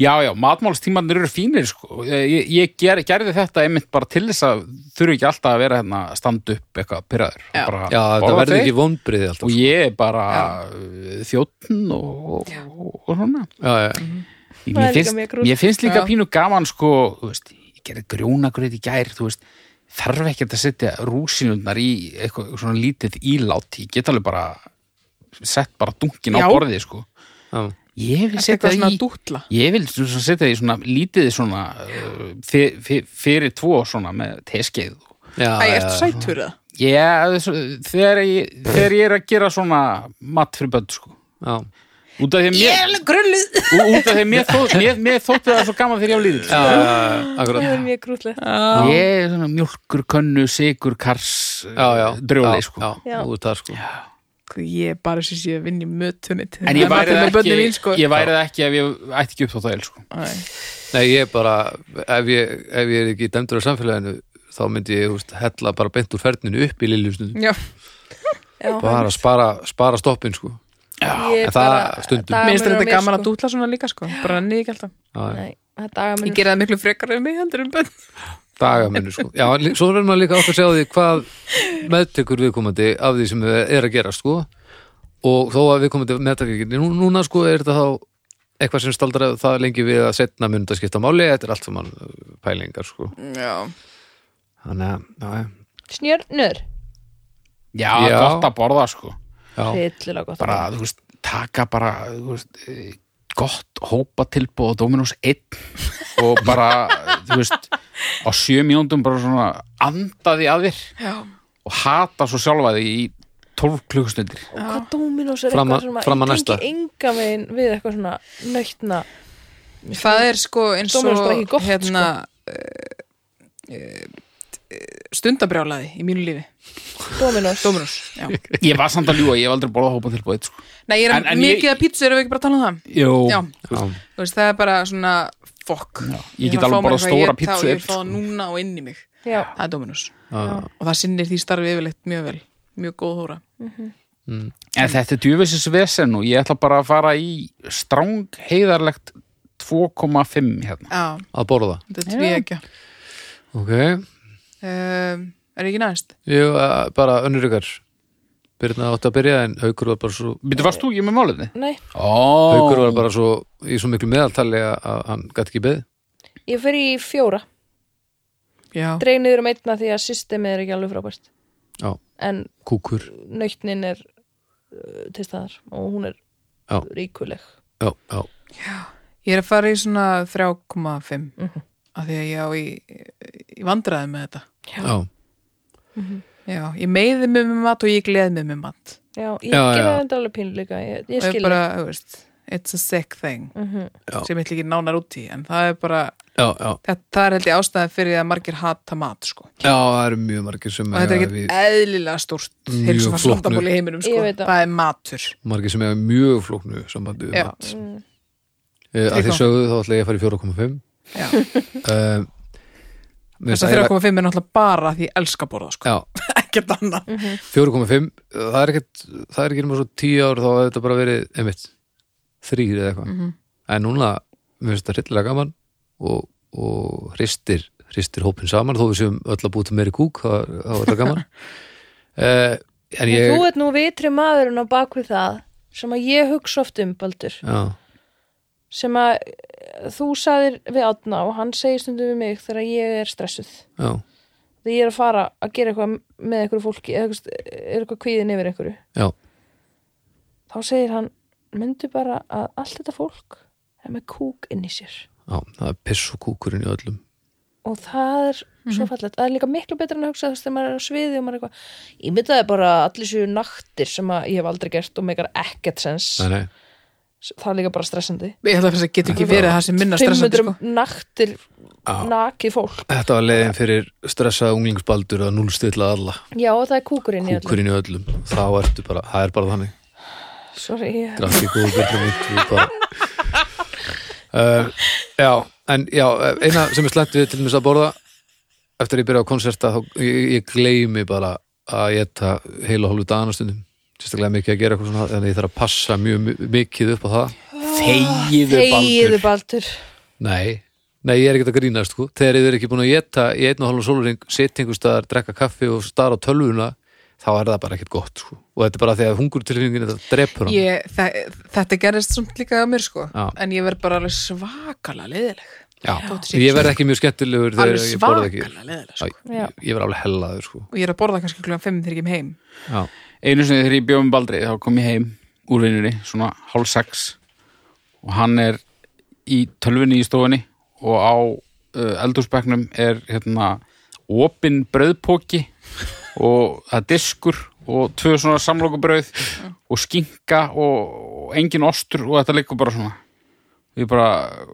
Speaker 4: já, já matmálstímanir eru fínir sko. ég, ég ger, gerði þetta einmitt bara til þess að þurfi ekki alltaf að vera hérna stand upp eitthvað pyrraður
Speaker 1: Já.
Speaker 4: bara,
Speaker 2: Já, þetta
Speaker 4: borða
Speaker 2: verður
Speaker 4: þau.
Speaker 2: ekki vonbriði alltaf
Speaker 4: og
Speaker 2: sko.
Speaker 4: ég er bara uh, þjóttn og, og, og, og svona
Speaker 2: já, já.
Speaker 3: er
Speaker 4: mér
Speaker 3: líka
Speaker 4: finnst,
Speaker 3: mjög grúsk.
Speaker 4: mér finnst líka
Speaker 1: Já.
Speaker 4: pínu gaman sko, þú veist, ég gerði grjónagröð í gær þú veist, þarf ekki að setja rúsinundnar í eitthvað svona lítið ílát ég get alveg bara sett bara dunkin á
Speaker 1: Já.
Speaker 4: borðið sko.
Speaker 2: Já.
Speaker 4: ég vil
Speaker 1: Ertu
Speaker 4: setja
Speaker 1: eitthvað
Speaker 4: það
Speaker 1: svona
Speaker 4: í
Speaker 1: dútla
Speaker 4: ég vil svona setja það í svona lítið svona uh, fyr, fyr, fyrir tvo svona með teskeið
Speaker 2: Já,
Speaker 1: Æ,
Speaker 2: já,
Speaker 1: ertu
Speaker 2: já.
Speaker 1: sætur það?
Speaker 4: ég, þegar, ég, þegar ég er að gera svona mat fyrir börn sko.
Speaker 2: Já.
Speaker 4: út af því að mér
Speaker 1: Ég er alveg grulluð
Speaker 4: Ú- út af því að mér, þó, mér, mér þótti það svo gaman þegar ég á lítill
Speaker 2: Já, já, já, akkurat.
Speaker 3: það er mjög grútlegt
Speaker 4: ég er svona mjölkur, könnu, sigur, kars
Speaker 2: Já, já.
Speaker 4: drjóli
Speaker 2: Já,
Speaker 4: sko
Speaker 2: já,
Speaker 3: Já.
Speaker 2: þú ert það sko
Speaker 1: Ég er bara sem sé að vinna í mötunni til
Speaker 4: en ég
Speaker 1: þeirra
Speaker 4: væri,
Speaker 1: með
Speaker 4: það
Speaker 1: börnin
Speaker 4: ekki,
Speaker 1: mín, sko.
Speaker 4: ég væri það ekki ef ég ætti ekki upp þótt aðeins sko.
Speaker 1: Æ.
Speaker 2: Nei, ég er bara, ef ég, ef ég er ekki dæmdur á samfélaginu þá myndi ég húst, hella bara beint úr ferninu upp í liljusnum
Speaker 1: Já,
Speaker 3: já,
Speaker 2: bara spara, spara stoppin sko
Speaker 3: ég
Speaker 2: en það stundum.
Speaker 3: dagamunur
Speaker 1: minnst
Speaker 3: á
Speaker 1: þetta
Speaker 3: mér,
Speaker 1: gaman að
Speaker 3: sko.
Speaker 1: dútla svona líka sko Bara nenni ég ekki alltaf
Speaker 2: Já, já.
Speaker 3: Nei, það er dagamunur
Speaker 1: Ég gera það miklu frekar en mig heldur um bönn
Speaker 2: dagamennu sko Já, li- svo verður maður líka átt að segja á því hvað meðtekur viðkomandi af því sem er að gera sko og þó að viðkomandi meðtekur ekki nú, núna sko er þetta þá eitthvað sem staldra það lengi við að setna mynd að skipta máli, þetta er allt saman uh, pælingar sko
Speaker 1: Já
Speaker 2: þannig að, já, já,
Speaker 3: Snjörnur
Speaker 4: já,
Speaker 2: Já.
Speaker 4: gott að borða sko
Speaker 2: já,
Speaker 3: Hryllilega gott
Speaker 4: bara, þú veist, taka bara þú veist, eh, gott hópa tilbúð og Dominus 1 og bara, þú veist á sjö mínúndum bara svona andaði að þér
Speaker 1: Já
Speaker 4: og hata svo sjálfaði í 12 klukkustundir
Speaker 3: Og hvað Dominos er
Speaker 2: Fram að-
Speaker 3: eitthvað svona
Speaker 2: fram að
Speaker 3: Ég
Speaker 2: næsta.
Speaker 3: tengi enga megin við eitthvað svona nöytna
Speaker 1: Það er sko eins og
Speaker 3: Dóminus bara ekki gott,
Speaker 1: hérna sko. stundabrjálaði í mínu lífi
Speaker 3: Dominos
Speaker 1: Dóminus Nei,
Speaker 4: ég var samt að ljúa, ég hef aldrei borðað hópa tilbúið sko.
Speaker 1: ég er
Speaker 4: En- en
Speaker 1: mikið
Speaker 4: ég-
Speaker 1: að pítsu, erum við ekki bara að tala um það?
Speaker 4: Jó,
Speaker 1: Já,
Speaker 2: já.
Speaker 1: þú veist, það er bara svona fokk
Speaker 4: Ég get alveg borðað stóra pítsu
Speaker 1: Ég
Speaker 4: einn,
Speaker 1: vil fá það
Speaker 4: sko.
Speaker 1: núna og inn í mig
Speaker 3: Já,
Speaker 1: Það er Dóminus
Speaker 2: já.
Speaker 1: og það sinnir því starfi yfirleitt mjög vel mjög góð hóra
Speaker 4: en þetta er djúfisins vesen og ég ætla bara að fara í stráng heiðarlegt 2,5 hérna.
Speaker 1: Já,
Speaker 2: að borða
Speaker 1: þetta er tví ekki Ehm,
Speaker 2: ok,
Speaker 1: Er ekki næst?
Speaker 2: ég eh, bara önnur ykkar Byrna átti að byrja en Haukur var bara svo
Speaker 4: Býttu, varst þú ekki með málefni?
Speaker 3: nei,
Speaker 4: Ó,
Speaker 2: Haukur var bara svo í svo miklu meðaltali að að hann gæti ekki beðið
Speaker 3: ég fer í fjóra
Speaker 1: Já
Speaker 3: Dreig niður um einna því að systemið er ekki alveg frábært
Speaker 2: Já,
Speaker 3: En
Speaker 2: kúkur
Speaker 3: nöytnin er uh, til staðar og hún er
Speaker 2: Já.
Speaker 3: ríkuleg
Speaker 2: Já, já,
Speaker 1: Ég er að fara í svona 3,5 af því að ég á í, í vandræði með þetta.
Speaker 2: já,
Speaker 1: Já, ég meiði mig með mat og ég gleði mig með mat.
Speaker 3: Já, ég
Speaker 2: Já,
Speaker 3: gera
Speaker 2: já.
Speaker 3: þetta alveg pínu líka Ég, ég
Speaker 1: Það er
Speaker 3: skil Mhm.
Speaker 1: bara,
Speaker 3: bara...
Speaker 1: þú veist, it's a sick thing
Speaker 2: Já.
Speaker 1: sem ég ætla ekki nánar út í, en það er bara
Speaker 2: já, já.
Speaker 1: það, það er held ég ástæðan fyrir því að margir hata mat, sko.
Speaker 2: Já, það eru mjög margir sem
Speaker 1: Og þetta er
Speaker 2: eiga
Speaker 1: ekkit
Speaker 2: við,
Speaker 1: eðlilega stórt
Speaker 2: Mjög
Speaker 1: heilsum að
Speaker 2: flóknu.
Speaker 1: slandaból í heiminum, sko.
Speaker 3: Ég veit það.
Speaker 1: Það er matur.
Speaker 2: margir sem hefur mjög flóknu sambandi við
Speaker 1: Já.
Speaker 2: mat Eh, Að þið
Speaker 1: Tryggva.
Speaker 2: sögðu þá ætla ég að fara í 4,5
Speaker 1: Já.
Speaker 2: Eh, mér
Speaker 1: Þess
Speaker 2: finnst
Speaker 1: að
Speaker 2: ægilega-
Speaker 1: 3,5 er náttúrulega bara því ég elska að borða, sko.
Speaker 2: Já,
Speaker 1: Ekkert annað.
Speaker 3: Mhm.
Speaker 2: 4,5 það er ekkert, það er ekki nema svo 10 ár þá hefði þetta bara verið, einmitt þrýr
Speaker 1: Mhm.
Speaker 2: eða eitthvað, en núna mér finnst þetta hryllilega gaman og, og hristir, hristir hópin saman þó við séum öll að búið til meiri kúk þá þá er þetta gaman uh, en
Speaker 3: Ég... Þú
Speaker 2: ég
Speaker 3: ert nú vitri maðurinn á bakvið það sem að ég hugsa oft um, Baldur
Speaker 2: já,
Speaker 3: sem að eh, þú sagðir við Átna og hann segir stundum við mig þegar ég er stressuð
Speaker 2: já,
Speaker 3: þegar ég er að fara að gera eitthvað með einhverju fólki eða eitthvað, er eitthvað kvíðin yfir einhverju
Speaker 2: já,
Speaker 3: þá segir hann, myndu bara að allt þetta fólk er með kúk inn í sér
Speaker 2: já það er piss og kúkurinn í öllum
Speaker 3: og það er svo
Speaker 1: Mhm.
Speaker 3: fallegt það er líka miklu betra en að hugsa þess þegar maður er á sviði og maður er eitthvað, ég myndaði bara að allir séu naktir sem að ég hef aldrei gert og megar ekkert sens,
Speaker 2: nei, nei,
Speaker 3: það er líka bara stressandi
Speaker 1: Ég held að það getur ekki verið það sem minna stressandi
Speaker 3: 500
Speaker 1: sko.
Speaker 3: naktir
Speaker 2: Já.
Speaker 3: nakið fólk,
Speaker 2: þetta var leiðin fyrir stressaða unglingsbaldur að núlstilla alla
Speaker 3: já og það er kúkurinn í öllu.
Speaker 2: kúkurinn í öllum, þá ertu bara það er bara þannig,
Speaker 3: sorry, ég-
Speaker 2: drakk ég góðu betra mitt við bara uh, já, en já eina sem er slæmt við til þess að borða eftir að ég byrja á konserta þá ég, ég gleymi bara að ég ta heila og hálfu dagana stundum sérstaklega mikið að gera eitthvað svona þannig að ég þarf að passa mjög mi- mikið upp á það
Speaker 4: Þegiðu
Speaker 3: þegiðu
Speaker 4: baldur
Speaker 3: baldur
Speaker 2: Nei, nei, ég er ekkert að grínast sko. Þegar þið er ekki búin að geta í einn og halvan sóluring, sittingu staðar, drekka kaffi og staðar á tölvuna, þá er það bara ekkert gott sko. Og þetta er bara þegar hungurtilfingin þetta drepur hann.
Speaker 1: Ég, þe- þetta gerist samt líka að mér sko
Speaker 2: Já.
Speaker 1: en ég verð bara alveg svakalega leiðileg
Speaker 2: Já,
Speaker 1: Þótt sé
Speaker 2: ég verð ekki mjög skemmtilegur þegar
Speaker 1: alveg
Speaker 2: ég borða ekki.
Speaker 1: svakalega leiðileg
Speaker 2: Já,
Speaker 1: sko.
Speaker 3: Já.
Speaker 2: Ég, ég verð alveg hellaður sko.
Speaker 1: og ég er að borða kannski klukkan 5 þegar ég kem heim
Speaker 2: Já,
Speaker 4: Einu sinni þegar ég bjóð með Baldri þá kom ég heim úr vinnunni, svona hálf sex og hann er í tölvunni í stofunni og á uh, eldhúsbekknum er hérna opinn brauðpóki og það er diskur og tvö svona samlokubrauð og skinka og, og engin ostur og þetta liggur bara svona ég bara,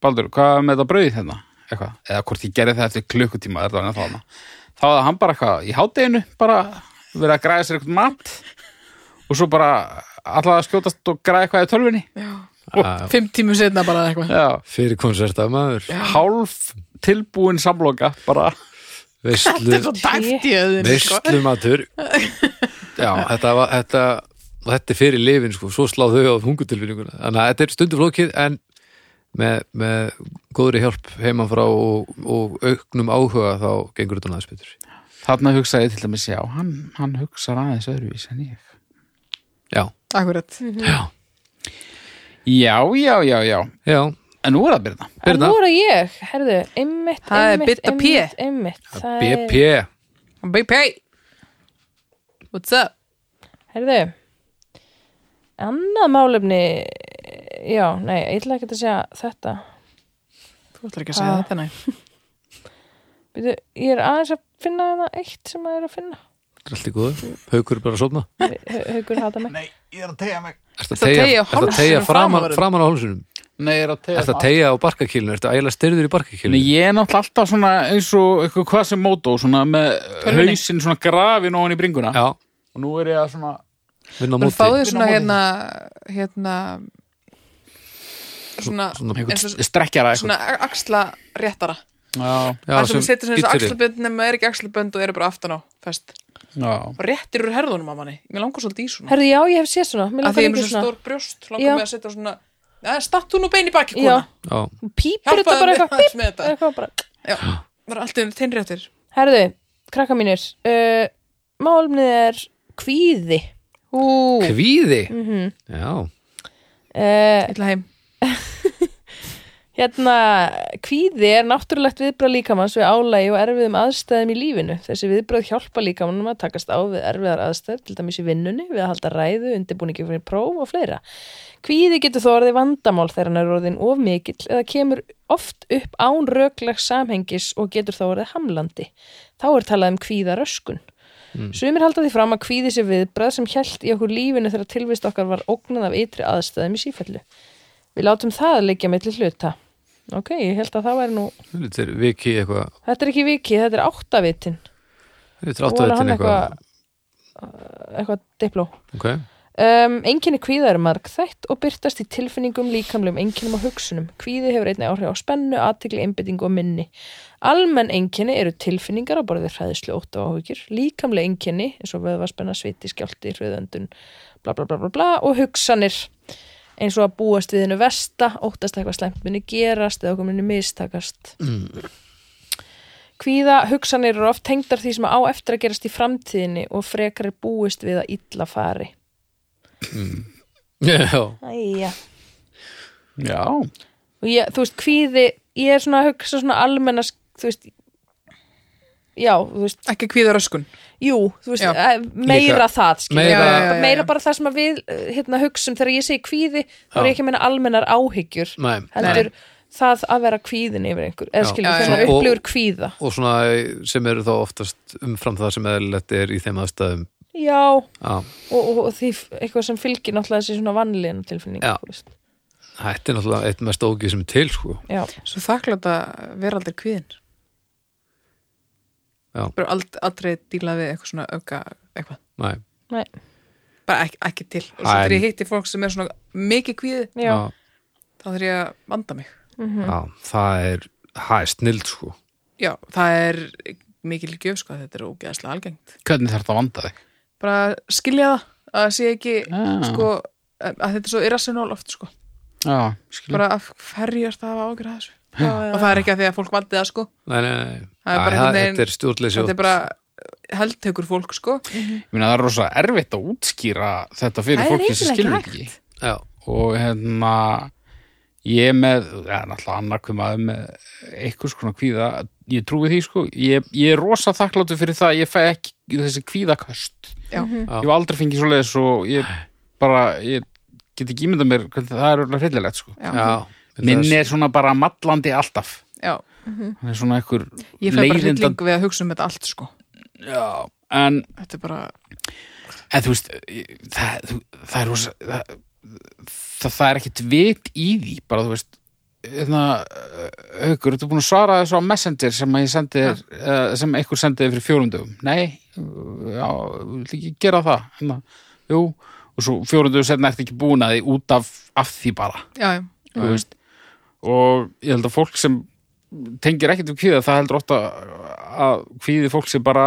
Speaker 4: Baldur, hvað er með þetta brauðið hérna? Eitthvað, eða hvort ég gerði það eftir klukkutíma þetta var ennþá hana þá að hann bara eitthvað í hádeginu bara verið að græða sér eitthvað mat og svo bara allavega að skjótast og græða eitthvað í tölvunni
Speaker 2: Já.
Speaker 1: 5 tímum setna bara eða eitthvað
Speaker 4: Já,
Speaker 2: fyrir konserta maður,
Speaker 4: hálf tilbúin samloka bara
Speaker 2: veistlu,
Speaker 1: dæft í sko. öðun
Speaker 2: veistlu matur. Já, þetta var, þetta, og þetta er fyrir lifin sko, svo slá þau á hungurtilfinninguna. Þannig að þetta er stundu flókið en með, með góðri hjálp heiman frá og, og auknum áhuga þá gengur þetta næðis betur
Speaker 4: Þarna hugsaði ég til dæmis, já, hann, hann hugsar aðeins öðruvís en ég
Speaker 2: já,
Speaker 1: Akkurat,
Speaker 2: já,
Speaker 4: Já, já, já, já,
Speaker 2: já,
Speaker 4: en nú er það Birna
Speaker 3: en
Speaker 2: Birna.
Speaker 3: nú er það ég, herðu, einmitt
Speaker 1: Það er
Speaker 3: einmitt,
Speaker 1: Birta P.
Speaker 3: einmitt, einmitt, það er-
Speaker 2: BP
Speaker 1: BP What's up?
Speaker 3: Herðu, annað málefni, já, nei, ég ætla ekki að segja þetta.
Speaker 1: Þú ætlar ekki að segja
Speaker 3: Ah.
Speaker 1: þetta, nei
Speaker 3: Býtu, ég er aðeins að finna það eitt sem maður er að finna.
Speaker 2: þetta er allt í góðu, haukur er bara að sofna
Speaker 3: Hau- Haukur hata mig.
Speaker 2: Ertu
Speaker 1: Ertu að teygja
Speaker 2: ertu að
Speaker 1: hálsinum
Speaker 2: tegja framan,
Speaker 1: framan á-
Speaker 2: framan á hálsunum
Speaker 4: Nei, ég er að
Speaker 2: Ertu að tegja á barkakýlinu, ertu ægilega styrður í
Speaker 4: Nei,
Speaker 2: barkakýlinu
Speaker 4: ég er náttúrulega alltaf svona eins og eitthvað hvað sem mótó, svona með
Speaker 1: Tölvunni.
Speaker 4: hausinn svona grafin ofan í bringuna
Speaker 2: já,
Speaker 4: og nú er ég að svona
Speaker 2: vinna á
Speaker 1: Bara fáðu
Speaker 2: móti
Speaker 1: svona
Speaker 4: Vinna á
Speaker 1: hérna hérna svona,
Speaker 2: svona-
Speaker 1: eins og
Speaker 4: eitthvað strekkjara eitthvað
Speaker 1: svona axla réttara
Speaker 4: Já,
Speaker 2: já,
Speaker 1: Það sem setur sem
Speaker 2: ýtir þér.
Speaker 1: axlabönd nema er ekki axlabönd og eru bara aftan á fest
Speaker 4: já,
Speaker 1: og réttir úr herðunum á manni Mér langar svolítið í svona
Speaker 3: Herðu, já, ég hef séð svona. Mér
Speaker 1: að því
Speaker 3: langar
Speaker 1: ég er
Speaker 3: ekki
Speaker 1: með svo
Speaker 3: svona.
Speaker 1: stór brjóst
Speaker 3: Já.
Speaker 1: langar mig að setja svona ja, stattu nú bein í baki
Speaker 3: Já,
Speaker 1: kona
Speaker 2: já,
Speaker 3: pípur þetta
Speaker 1: hjálpaðu
Speaker 3: bara
Speaker 1: mér
Speaker 3: eitthvað,
Speaker 1: aðeins með
Speaker 3: píp,
Speaker 1: þetta
Speaker 3: eitthvað bara.
Speaker 1: Já, bara allt um teinréttir
Speaker 3: Herðu, krakka mínir, uh, málefnið er kvíði. Ú,
Speaker 2: kvíði já,
Speaker 3: uh,
Speaker 1: Ítla heim
Speaker 3: Hérna, kvíði er náttúrulegt viðbröð líkamanns við álægi og erfiðum aðstæðum í lífinu. Þessi viðbröð hjálpa líkamannum að takast á við erfiðar aðstæður, til dæmis í vinnunni, við að halda ræðu, undirbúningi fyrir próf og fleira. Kvíði getur þó orðið vandamál þegar hann er orðin of mikill eða kemur oft upp án röglegs samhengis og getur þá orðið hamlandi. Þá er talað um kvíðaröskun. Sumir halda því fram að kvíði sér viðbröð sem hjælt í okkur lífinu þegar tilvist okkar var ógnað af ytri aðstæðum í sífellu. Við látum það liggja milli hluta. Ok, ég held að það væri nú,
Speaker 2: þetta er viki eitthvað
Speaker 3: þetta er ekki vikið, þetta er áttavitin.
Speaker 2: þetta er áttavitin eitthvað
Speaker 3: eitthvað dipló.
Speaker 2: ok,
Speaker 3: Um, enginni kvíða er margþætt og byrtast í tilfinningum, líkamlegum, enginnum og hugsunum. Kvíði hefur einnig áhrif á spennu, athygli, einbyttingu og minni. Almenn enginni eru tilfinningar á borðið hræðislu, óta og áhugir. Líkamleg enginni, eins og vöðvarspenna, sviti, skjálti, hröðöndun, bla bla bla bla bla og hugsanir eins og að búast við hennu versta, óttast að eitthvað slæmt muni gerast eða okkur muni mistakast. Kvíða hugsanir eru oft tengdar því sem á eftir að gerast í framtíðinni og frekar er búist við að illa fari.
Speaker 2: Já,
Speaker 3: Æja.
Speaker 4: Já,
Speaker 3: Og ég, þú veist, kvíði, ég er svona að hugsa svona almennast, þú veist, já, þú veist,
Speaker 1: ekki kvíða röskun
Speaker 3: jú, þú veist,
Speaker 1: Já.
Speaker 3: eh, meira
Speaker 2: Líka.
Speaker 3: það, skilur.
Speaker 2: Meira-
Speaker 1: Já, já, já, já.
Speaker 3: meira bara það sem að við eh, hérna hugsum þegar ég segi kvíði, þá er
Speaker 2: Já.
Speaker 3: ég ekki að meina almennar áhyggjur,
Speaker 2: nei, nei.
Speaker 3: heldur það að vera kvíðin yfir einhver, eða
Speaker 2: Já.
Speaker 3: skilur,
Speaker 1: Já, já,
Speaker 3: þegar
Speaker 2: já.
Speaker 3: upplifur kvíða.
Speaker 2: og svona eh, sem eru þá oftast umfram það sem eðlilegt er í þeim aðstæðum
Speaker 3: Já,
Speaker 2: Já,
Speaker 3: og, og, og því f- eitthvað sem fylgir náttúrulega þessi svona vanlíðan tilfinning
Speaker 2: Já.
Speaker 3: þú veist.
Speaker 2: þetta er náttúrulega eitt mest ógið sem er til sko.
Speaker 3: Já.
Speaker 1: svo þakklátt að vera aldrei kvíðin
Speaker 2: Já.
Speaker 1: bara ald, aldrei díla við eitthvað svona auka eitthvað,
Speaker 2: Nei,
Speaker 3: Nei,
Speaker 1: bara ekki, ekki til og
Speaker 2: Æ,
Speaker 1: svo þegar
Speaker 2: en-
Speaker 1: ég hitti fólk sem er svona mikið kvíði
Speaker 3: já,
Speaker 2: já,
Speaker 1: þá þarf ég að vanda mig
Speaker 2: já, það er það er snild sko
Speaker 1: já, það er mikil gjöf sko, þetta er ógeðslega algengt
Speaker 4: hvernig þarf þetta að vanda þig?
Speaker 1: bara skilja það, að það sé ekki
Speaker 4: Já.
Speaker 1: sko, að þetta er svo irrational oft sko,
Speaker 4: Já, skilur.
Speaker 1: bara af hverju er það að hafa ágjur að þessu og það er ekki að því að fólk vandi það sko
Speaker 2: Nei, nei, nei,
Speaker 1: Það er bara
Speaker 2: Æ,
Speaker 1: einhvern veginn-
Speaker 2: þetta er stjórnleysi
Speaker 1: þetta er bara heldtökur fólk sko
Speaker 4: Ég meina, það er rosa erfitt að útskýra þetta fyrir
Speaker 1: Það er
Speaker 4: fólki sem skilur
Speaker 1: eiginlega
Speaker 4: ekki.
Speaker 2: Já,
Speaker 4: Og hérna, ég er með, það er náttúrulega annarkvum maður með einhvers konar kvíða, ég trúi því sko, ég, ég er rosa þakkláttu fyrir það, að ég fæ ekki þessi kvíðaköst.
Speaker 1: já,
Speaker 2: Já.
Speaker 4: Ég hef aldrei fengið svo leiðis og ég bara, ég get ekki ímynda mér, hvernig það er alveg hryllilegt sko.
Speaker 1: já,
Speaker 2: já
Speaker 4: Minn er svona bara mallandi alltaf.
Speaker 1: já.
Speaker 4: Það er svona einhver
Speaker 1: ég fer bara
Speaker 4: leiðindan-
Speaker 1: hrylling við að hugsa um þetta allt sko
Speaker 4: Já, en
Speaker 1: þetta er bara,
Speaker 4: en þú veist ég- það, þú- það er rosa, það, það, það er ekkit vit í því bara þú veist hérna, haukur, ertu búin að svara þessu á Messenger sem að ég sendi þér uh, sem einhver sendi þér fyrir fjórundum nei, eh, já, vil ekki gera það hérna, jú og svo fjórundum setna ertu ekki búin að því út af, af því bara,
Speaker 1: já, já,
Speaker 4: þú veist og ég held að fólk sem tengir ekkit um kvíða, það heldur ótt að, að kvíði fólk sem bara,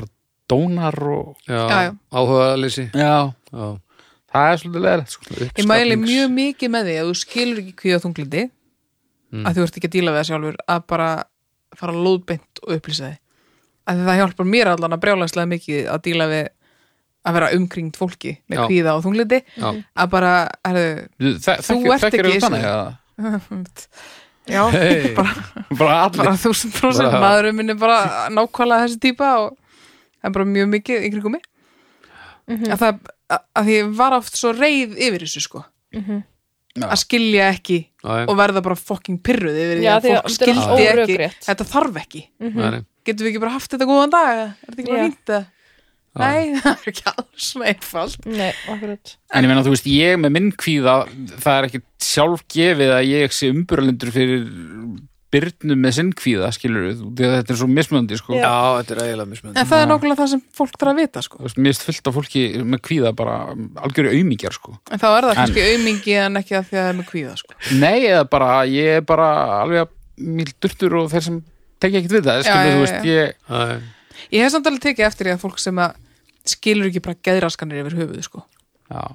Speaker 4: bara dónar og
Speaker 1: Já, já.
Speaker 2: já, áhugaðleysi
Speaker 4: Já,
Speaker 2: Já,
Speaker 4: það er svolítið leðilegt sko.
Speaker 1: ég mæli mjög mikið með því að þú skilur ekki kvíða þunglindi að þú ert ekki að díla við það sjálfur að bara fara lóðbeint og upplýsa því að það hjálpar mér allan að brjálæslega mikið að díla við að vera umkringd fólki með
Speaker 2: Já.
Speaker 1: kvíða og þunglindi
Speaker 2: Já.
Speaker 1: að bara, herðu,
Speaker 4: Þú
Speaker 1: Þú ert ekki í
Speaker 4: þannig
Speaker 1: þessu.
Speaker 4: eða?
Speaker 1: já,
Speaker 2: Hey.
Speaker 1: bara,
Speaker 4: Bara allir
Speaker 1: bara þúsund prósent
Speaker 2: Bara-
Speaker 1: maðurinn minn er bara nákvæmlega þessi típa og það er bara mjög mikið í kringum mig
Speaker 3: Mhm.
Speaker 1: að það að, að því ég var oft svo reið yfir þessu sko
Speaker 3: Mhm.
Speaker 1: að skilja ekki
Speaker 2: já,
Speaker 1: og verða bara fucking pyrruð yfir því
Speaker 3: Já,
Speaker 1: að
Speaker 3: því að
Speaker 1: fólk
Speaker 3: þetta er allt
Speaker 1: skildi ekki
Speaker 3: órökrétt.
Speaker 1: þetta þarf ekki,
Speaker 2: já, nei,
Speaker 1: getum við ekki bara haft þetta góðan dag eða? er þetta ekki bara
Speaker 3: Já.
Speaker 1: fínt að nei, það er ekki alls svona einfalt
Speaker 3: nei, akkurat
Speaker 4: En ég meina, þú veist, ég með minn kvíða það er ekki sjálf gefið að ég sé umburlendur fyrir byrnu með sinn kvíða, skilur við þetta er svo mismöndi, sko
Speaker 3: Já.
Speaker 2: já, þetta er eiginlega mismönd
Speaker 1: en það er nákvæmlega það sem fólk þarf að vita sko.
Speaker 4: Þú veist, Mér erst fullt af fólki með kvíða bara algjöru aumingjar, sko
Speaker 1: en þá er það
Speaker 4: En-
Speaker 1: kannski aumingi en ekki að því að það er með kvíða sko.
Speaker 4: Nei, eða bara, ég er bara alveg mjög durtur og þeir sem tekja ekkert við það, skilur
Speaker 1: já,
Speaker 4: þú veist, ég
Speaker 1: ég hef samt alveg tekið eftir því að fólk sem að skilur ekki bara geðraskanir yfir höfuðu sko.
Speaker 4: Já,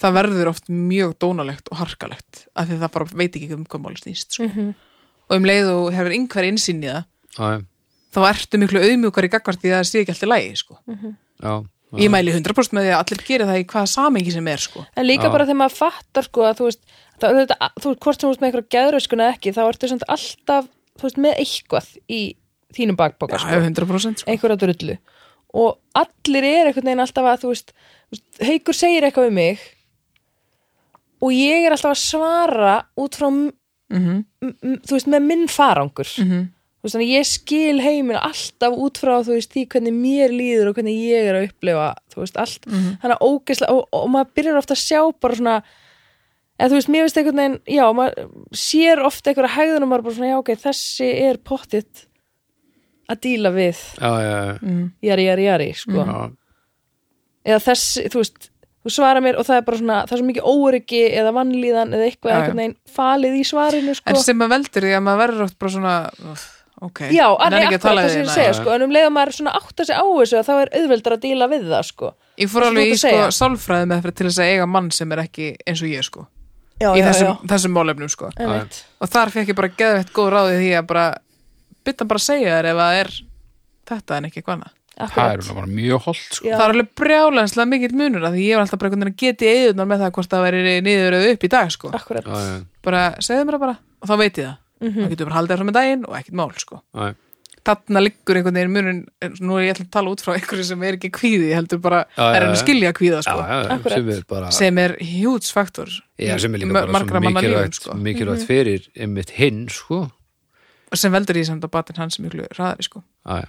Speaker 1: það verður oft mjög dónalegt og harkalegt af því að það bara veit ekki um hvað máli snýst sko.
Speaker 3: Mhm.
Speaker 1: og um leið og hefur einhver innsýn í það
Speaker 2: Já,
Speaker 1: þá ertu miklu auðmjúkar í gagvart því að það sé ekki allt í lagi sko.
Speaker 2: já,
Speaker 1: ég mæli 100% með því að allir gera það í hvaða samengi sem er sko.
Speaker 3: En líka
Speaker 2: Já.
Speaker 3: bara þegar maður fattar sko að þú veist, það, þetta, þú veist hvort sem þú veist með einhverja geðröskuna ekki, þá ertu samt alltaf þú veist, með eitthvað í þínum
Speaker 1: Já,
Speaker 3: bakboka sko,
Speaker 1: 100% sko.
Speaker 3: einhverja drullu og allir er einhvern veginn alltaf að þú veist, þú veist, haukur segir eitthvað við mig og ég er alltaf að svara út frá mm
Speaker 1: Mhm.
Speaker 3: -hmm. þú veist, með minn farangur -hmm. þú veist, þannig að ég skil heimin alltaf út frá þú veist, því hvernig mér líður og hvernig ég er að upplifa þú veist, allt,
Speaker 1: Mhm.
Speaker 3: þannig að ógeðslega og, og maður byrjar ofta að sjá bara svona eða þú veist, mér finnst einhvern veginn já, maður sér ofta einhverja hegðun og maður bara svona, já, ok, þessi er pottitt að díla við
Speaker 2: já, já,
Speaker 3: jari, jari, jari, sko
Speaker 1: Mhm.
Speaker 2: já.
Speaker 3: eða þess, þú veist, þú svara mér og það er bara svona, það er svo mikið óöryggi eða vannlíðan eða eitthvað
Speaker 1: Já, já.
Speaker 3: einhvern veginn falið í svarinu, sko
Speaker 1: en sem maður veldur því að maður verður oft bara svona "Uff, ok,
Speaker 3: Já,
Speaker 1: Ég nenni
Speaker 3: annir
Speaker 1: ekki að
Speaker 3: akkurat
Speaker 1: tala
Speaker 3: það
Speaker 1: við
Speaker 3: sem ég
Speaker 1: þína."
Speaker 3: segja, sko en um leiðum maður svona átta sig á þessu að þá er auðveldar að díla við það, sko
Speaker 1: ég fór
Speaker 3: Það sem þú
Speaker 1: alveg í
Speaker 3: ert að segja.
Speaker 1: sko, sálfræði með fyrir til þess að eiga mann sem er ekki eins og ég sko,
Speaker 3: Já,
Speaker 1: í þessum, þessum málefnum sko.
Speaker 3: Einmitt.
Speaker 1: og þar fekk ég bara geðveitt góð ráði því að bara byrta bara að segja þér ef það er þetta en ekki eitthvað annað
Speaker 4: það er
Speaker 3: akkurat
Speaker 4: alveg bara mjög holdt sko.
Speaker 3: Já.
Speaker 1: það er alveg brjálenslega mikill munur að því ég var alltaf bara einhvern veginn að geta í eðunar með það hvort það væri niður eða upp í dag sko.
Speaker 3: akkurat
Speaker 2: já, já,
Speaker 1: bara segðu mér það bara og þá veit ég það
Speaker 3: Mhm.
Speaker 1: þá getur bara haldið það með daginn og ekkert mál sko.
Speaker 2: já,
Speaker 1: þarna liggur einhvern veginn munur nú er ég ætla að tala út frá einhverju sem er ekki kvíði heldur bara,
Speaker 2: Já, já,
Speaker 1: er
Speaker 2: já.
Speaker 1: hann að skilja kvíða
Speaker 2: já,
Speaker 1: sko,
Speaker 2: já,
Speaker 3: Akkurat.
Speaker 2: sem er bara
Speaker 1: sem er huge faktor
Speaker 2: já, sem er
Speaker 1: í
Speaker 2: líka bara
Speaker 1: margra
Speaker 2: svo
Speaker 1: manna lífum
Speaker 2: mikilvægt,
Speaker 1: sko.
Speaker 3: Mhm.
Speaker 2: mikilvægt fyrir einmitt hinn sko.
Speaker 1: og sem veldur í samt að batinn hans er miklu hraðari sko.
Speaker 2: já, já,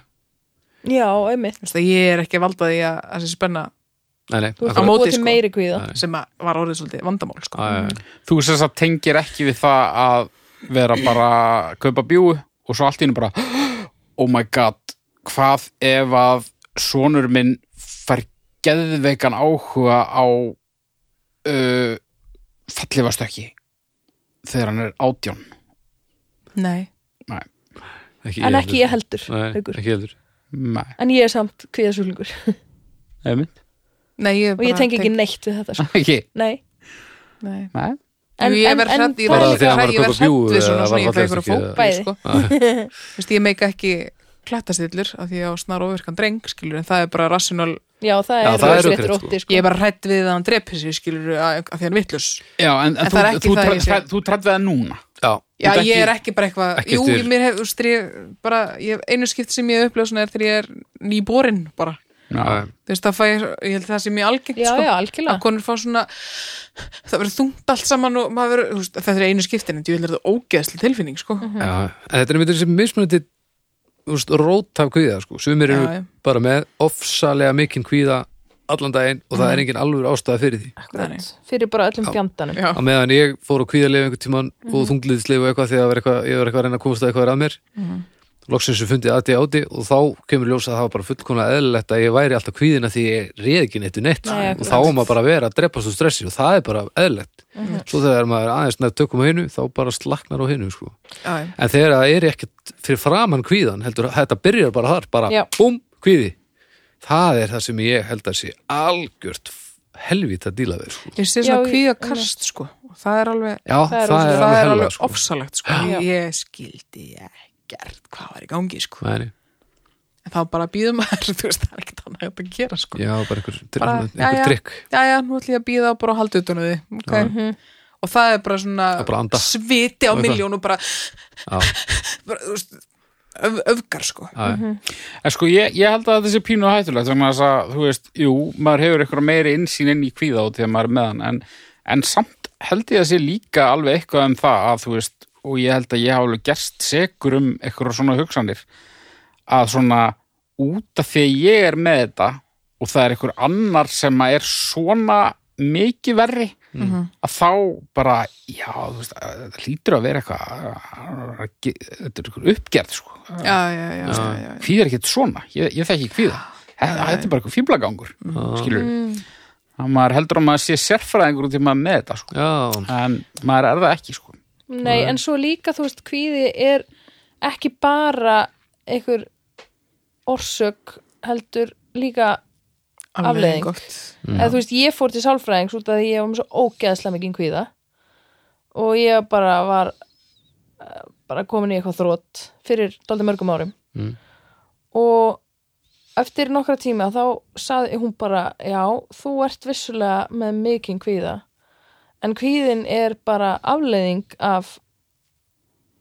Speaker 3: já,
Speaker 1: Þú
Speaker 3: einmitt
Speaker 1: veist að ég er ekki að valda því að að þessi spenna
Speaker 2: nei, nei,
Speaker 3: þú
Speaker 1: Á
Speaker 3: ert að
Speaker 2: akkurat.
Speaker 1: móti,
Speaker 3: búið til
Speaker 1: sko.
Speaker 3: meiri kvíða
Speaker 1: sem að var orðið svolítið vandamál sko.
Speaker 2: já, já,
Speaker 4: þú sem sagt tengir ekki við það að vera bara að kaupa bjúu og svo allt í hennu bara oh my god, hvað ef að sonur minn fær geðveikan áhuga á uh, fallifastökki þegar hann er átján
Speaker 1: Nei,
Speaker 4: Nei,
Speaker 3: en ekki ég heldur
Speaker 2: Nei,
Speaker 3: Haukur.
Speaker 2: ekki heldur
Speaker 4: nei,
Speaker 3: en ég er samt kvíðasúlingur
Speaker 4: einmitt
Speaker 1: Nei ég
Speaker 3: og ég tengi ekki neitt við þetta sko.
Speaker 4: ekki,
Speaker 3: nei
Speaker 1: Nei
Speaker 4: nei
Speaker 1: En, Jú, ég verð hrætt, ég
Speaker 3: það
Speaker 2: Bara
Speaker 1: verð
Speaker 3: er
Speaker 2: því
Speaker 1: líka
Speaker 2: að hann var að kaupa
Speaker 1: hrætt, ég verð hrætt
Speaker 2: bjúgu
Speaker 1: við
Speaker 2: eða
Speaker 1: svona
Speaker 2: var
Speaker 1: svona ég ætla
Speaker 2: fallegt ekki
Speaker 1: ykkur að
Speaker 2: eða-
Speaker 1: fópa
Speaker 3: Bæði.
Speaker 1: sko. Þú veist, ég meika ekki klettastillur af því ég á snar ofirkan dreng, skilur en það er bara rasjonal,
Speaker 3: já, það
Speaker 2: Já,
Speaker 3: er
Speaker 2: það er
Speaker 3: rosalegt
Speaker 2: rökrétt, sko.
Speaker 3: rótti, sko.
Speaker 1: ég er bara hrætt við að hann drepi sig, skilur, af af því hann er vittlus
Speaker 4: Já, en, en,
Speaker 1: En
Speaker 4: þú,
Speaker 1: það er ekki
Speaker 4: þú,
Speaker 1: það
Speaker 4: træ-
Speaker 1: ég sé.
Speaker 4: træ- þú trætt við það núna
Speaker 2: já,
Speaker 1: Já,
Speaker 4: Þú ert
Speaker 1: ég er
Speaker 4: ekki-
Speaker 1: ekki bara eitthvað,
Speaker 2: ekki
Speaker 1: jú,
Speaker 2: eftir-
Speaker 1: ég mér hef, þú veist, ég bara, ég, einu skipt sem ég hef upplifað svona er þegar ég er nýborinn bara,
Speaker 4: Já.
Speaker 1: þú veist, það fæ ég, ég held það sé mjög algengt,
Speaker 3: já,
Speaker 1: sko
Speaker 3: já,
Speaker 1: að
Speaker 3: algjörlega
Speaker 1: konur fá svona það verður þungt allt saman og maður verður, þú veist, þetta er einu skiptin en ég vil þetta ógeðsli tilfinning, sko
Speaker 3: Mhm.
Speaker 2: já, en þetta er einmitt þessi mismunandi þú veist, rót af kvíða sko. sumir
Speaker 1: Já,
Speaker 2: eru
Speaker 1: já.
Speaker 2: bara með ofsalega mikinn kvíða allan daginn og
Speaker 3: Mhm.
Speaker 2: það er engin alveg ástæða fyrir því
Speaker 1: Nei.
Speaker 3: akkurat fyrir bara öllum fjandanum
Speaker 1: Já.
Speaker 2: á meðan ég fór á kvíðarleif einhvern tímann og þungliðisleif og eitthvað því að var eitthvað, ég var eitthvað að reyna að komast að eitthvað er að mér loksins sem fundið aðdi áti og þá kemur ljósa að það var bara fullkomlega eðlilegt að ég væri alltaf kvíðina því ég reið ekki neitt við neitt
Speaker 3: Nei,
Speaker 2: og
Speaker 3: akkurat.
Speaker 2: þá á maður bara að vera að drepa svo stressi og það er bara eðlilegt svo þegar maður aðeins nær tökum á hinu þá bara slaknar á hinu sko.
Speaker 1: Já, já.
Speaker 2: en þegar það er ekkert fyrir framann kvíðan heldur, þetta byrjar bara þar bara
Speaker 3: Já.
Speaker 2: búm, kvíði það er það sem ég held að sé algjört helvít að díla við sko.
Speaker 1: Ég sé
Speaker 3: Já,
Speaker 1: svona
Speaker 3: ég-
Speaker 1: kvíðakast sko og það er alveg,
Speaker 2: Já, það
Speaker 3: er
Speaker 2: er,
Speaker 1: það er,
Speaker 2: alveg helvíða,
Speaker 1: alveg
Speaker 2: sko.
Speaker 1: ofsalegt sko.
Speaker 3: Já.
Speaker 1: Ég skildi ekkert hvað var í gangi sko.
Speaker 2: Nei, nei.
Speaker 1: En þá bara býðum maður, þú veist, það er ekkert annað hægt að gera sko.
Speaker 2: Já, bara einhver,
Speaker 1: Bara,
Speaker 2: bara, einhver
Speaker 1: jæja.
Speaker 2: trikk
Speaker 1: Já, já, nú ætlum ég að býða og bara halda utan á því. Okay.
Speaker 3: Mhm.
Speaker 1: Og það er bara svona
Speaker 2: Og bara anda.
Speaker 1: sviti á
Speaker 2: Og eitthvað.
Speaker 1: miljón og bara,
Speaker 2: Já,
Speaker 1: bara þú veist, öf, öfgar sko.
Speaker 2: já, já.
Speaker 4: En sko, ég, ég held að þetta sé pínu hættulegt vegna þess að, þú veist, jú, maður hefur eitthvað meiri innsýn inn í kvíða út þegar maður er með hann en, en samt held ég að sé líka alveg eitthvað um það að, þú veist og ég held að ég hafa alveg gerst segur um eitthvað svona hugsanir að svona út af því að ég er með þetta og það er eitthvað annar sem að er svona mikið verri að þá bara, já, þú veist að- það hlýtur að vera eitthvað að- að- þetta er eitthvað uppgerð, sko
Speaker 1: Já, já, já. já, já.
Speaker 4: kvíða er ekkert svona, ég, ég þekki kvíða þetta þetta er bara eitthvað fíblagangur skilur við mm. maður heldur að maður sé sérfræðingur út í maður með þetta sko.
Speaker 2: já.
Speaker 4: en maður er það ekki sko.
Speaker 3: Nei, en svo líka, þú veist, kvíði er ekki bara einhver orsök heldur líka, Afleiðing.
Speaker 1: gott.
Speaker 3: eða þú veist, ég fór til sálfræðings út af því ég var með svo ógeðslega mikið kvíða og ég bara var eh, bara komin í eitthvað þrótt fyrir daldið mörgum árum
Speaker 2: Mm.
Speaker 3: og eftir nokkra tíma þá saði hún bara, já, þú ert vissulega með mikið kvíða en kvíðin er bara afleiðing af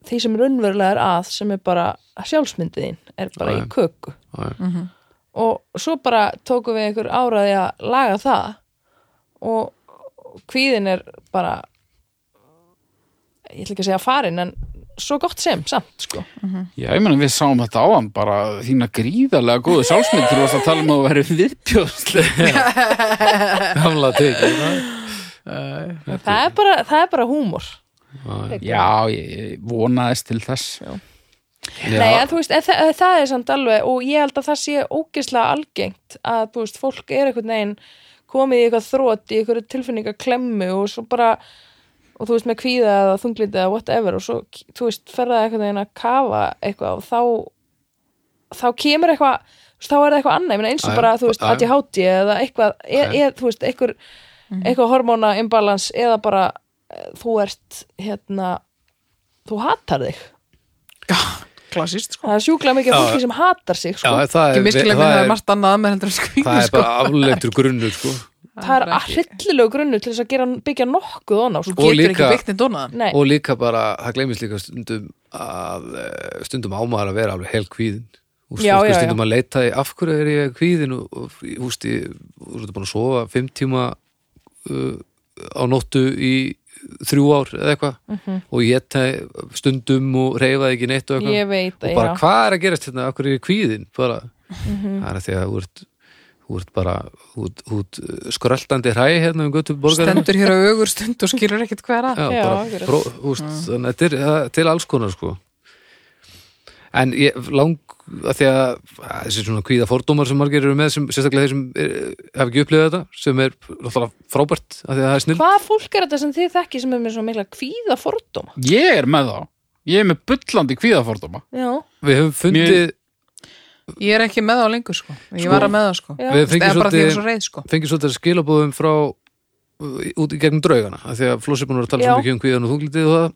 Speaker 3: því sem raunverulega er að sem er bara sjálfsmyndiðin er bara í
Speaker 2: Já.
Speaker 3: köku
Speaker 2: já.
Speaker 3: og svo bara tókum við einhver áraði að laga það og kvíðin er bara ég ætla ekki að segja farin en svo gott sem, samt sko
Speaker 4: já, ég meina við sáum þetta áðan bara þína gríðarlega góðu sjálfsmynd þú varst að tala um að vera viðbjóðslega
Speaker 2: Gamla tekið
Speaker 3: það er bara, það er bara húmor
Speaker 4: já, ég, ég vonaðist til þess já,
Speaker 3: Nei, en þú veist, en það, það er samt alveg og ég held að það sé ógislega algengt að, þú veist, fólk er einhvern veginn komið í eitthvað þrótt í eitthvað tilfinningaklemmu og svo bara og þú veist, með kvíða eða þunglindi eða whatever og svo, þú veist, ferða einhvern veginn að kafa eitthvað og þá þá kemur eitthvað þú veist, þá er það eitthvað annað, ég meina eins og
Speaker 2: Já,
Speaker 3: bara, þú veist,
Speaker 2: já.
Speaker 3: ADHD eða eitthvað, e, e, þú veist, eitthvað eitthvað hormóna imbalans eða bara eh, þú ert, hérna þú hatar þig
Speaker 1: klassist sko.
Speaker 3: það er sjúklega mikið af fólki sem hatar sig sko.
Speaker 2: Já, það
Speaker 1: Ekki
Speaker 2: er,
Speaker 1: miskilega með
Speaker 2: það
Speaker 1: það
Speaker 2: er,
Speaker 1: er margt annað með heldur en
Speaker 2: það
Speaker 1: skvínu
Speaker 2: er
Speaker 1: sko.
Speaker 2: bara afleitur grunnur sko.
Speaker 3: það er
Speaker 1: ekki-
Speaker 3: hryllilegu grunnu til þess að gera, byggja nokkuð on á sko.
Speaker 2: og
Speaker 1: Getur
Speaker 2: líka-
Speaker 1: ekki byggt neitt donaðan
Speaker 3: Nei,
Speaker 2: og líka bara, það gleymist líka stundum að eh, stundum ámaður að vera alveg hel kvíðin Úst,
Speaker 3: Já, já, já.
Speaker 2: stundum að leita í af hverju er ég kvíðin og, og úst, ég, þú ertu búin að sofa fimm tíma uh, á nóttu í þrjú ár eða eitthvað
Speaker 1: Mhm.
Speaker 2: og ég te- stundum og reyfaði ekki neitt og eitthvað
Speaker 3: ég veit
Speaker 2: og
Speaker 3: að
Speaker 2: bara
Speaker 3: já
Speaker 2: hvað er að gerast hérna, af hverju er ég kvíðin bara,
Speaker 3: Mhm.
Speaker 2: það er að því að þú ert þú ert bara, þú ert- þú ert uh, skröltandi hræ hérna um götu borgarinn
Speaker 1: Stendur hér á ögur stund og skýrur ekkert hver að
Speaker 2: já,
Speaker 3: Já,
Speaker 2: bara,
Speaker 3: akkurat.
Speaker 2: pró, úst, þannig að þetta er það- til alls konar sko en ég lang að því að að þessi svona kvíða fordómar sem margir eru með sem, sérstaklega þeir sem er, hef ekki upplifað þetta sem er náttúrulega frábært að því að það er snill
Speaker 3: Hvað fólk er þetta sem þið þekki sem er með svona mikla kvíða fordóma?
Speaker 4: Ég er með þá. Ég er með bullandi kvíðafordóma.
Speaker 3: Já,
Speaker 2: við höfum fundið,
Speaker 1: Ég er ekki með það lengur sko. Ég var að með það sko.
Speaker 3: já,
Speaker 2: við
Speaker 1: Það
Speaker 2: fengið
Speaker 1: er bara því að ég er
Speaker 2: svolítið
Speaker 1: svo reið sko.
Speaker 2: fengið svolítið skilabóðum frá uh, út í gegnum draugana af því að Flossi búin að vera að tala
Speaker 3: Já.
Speaker 2: svo mikið um kvíðan og þunglitið og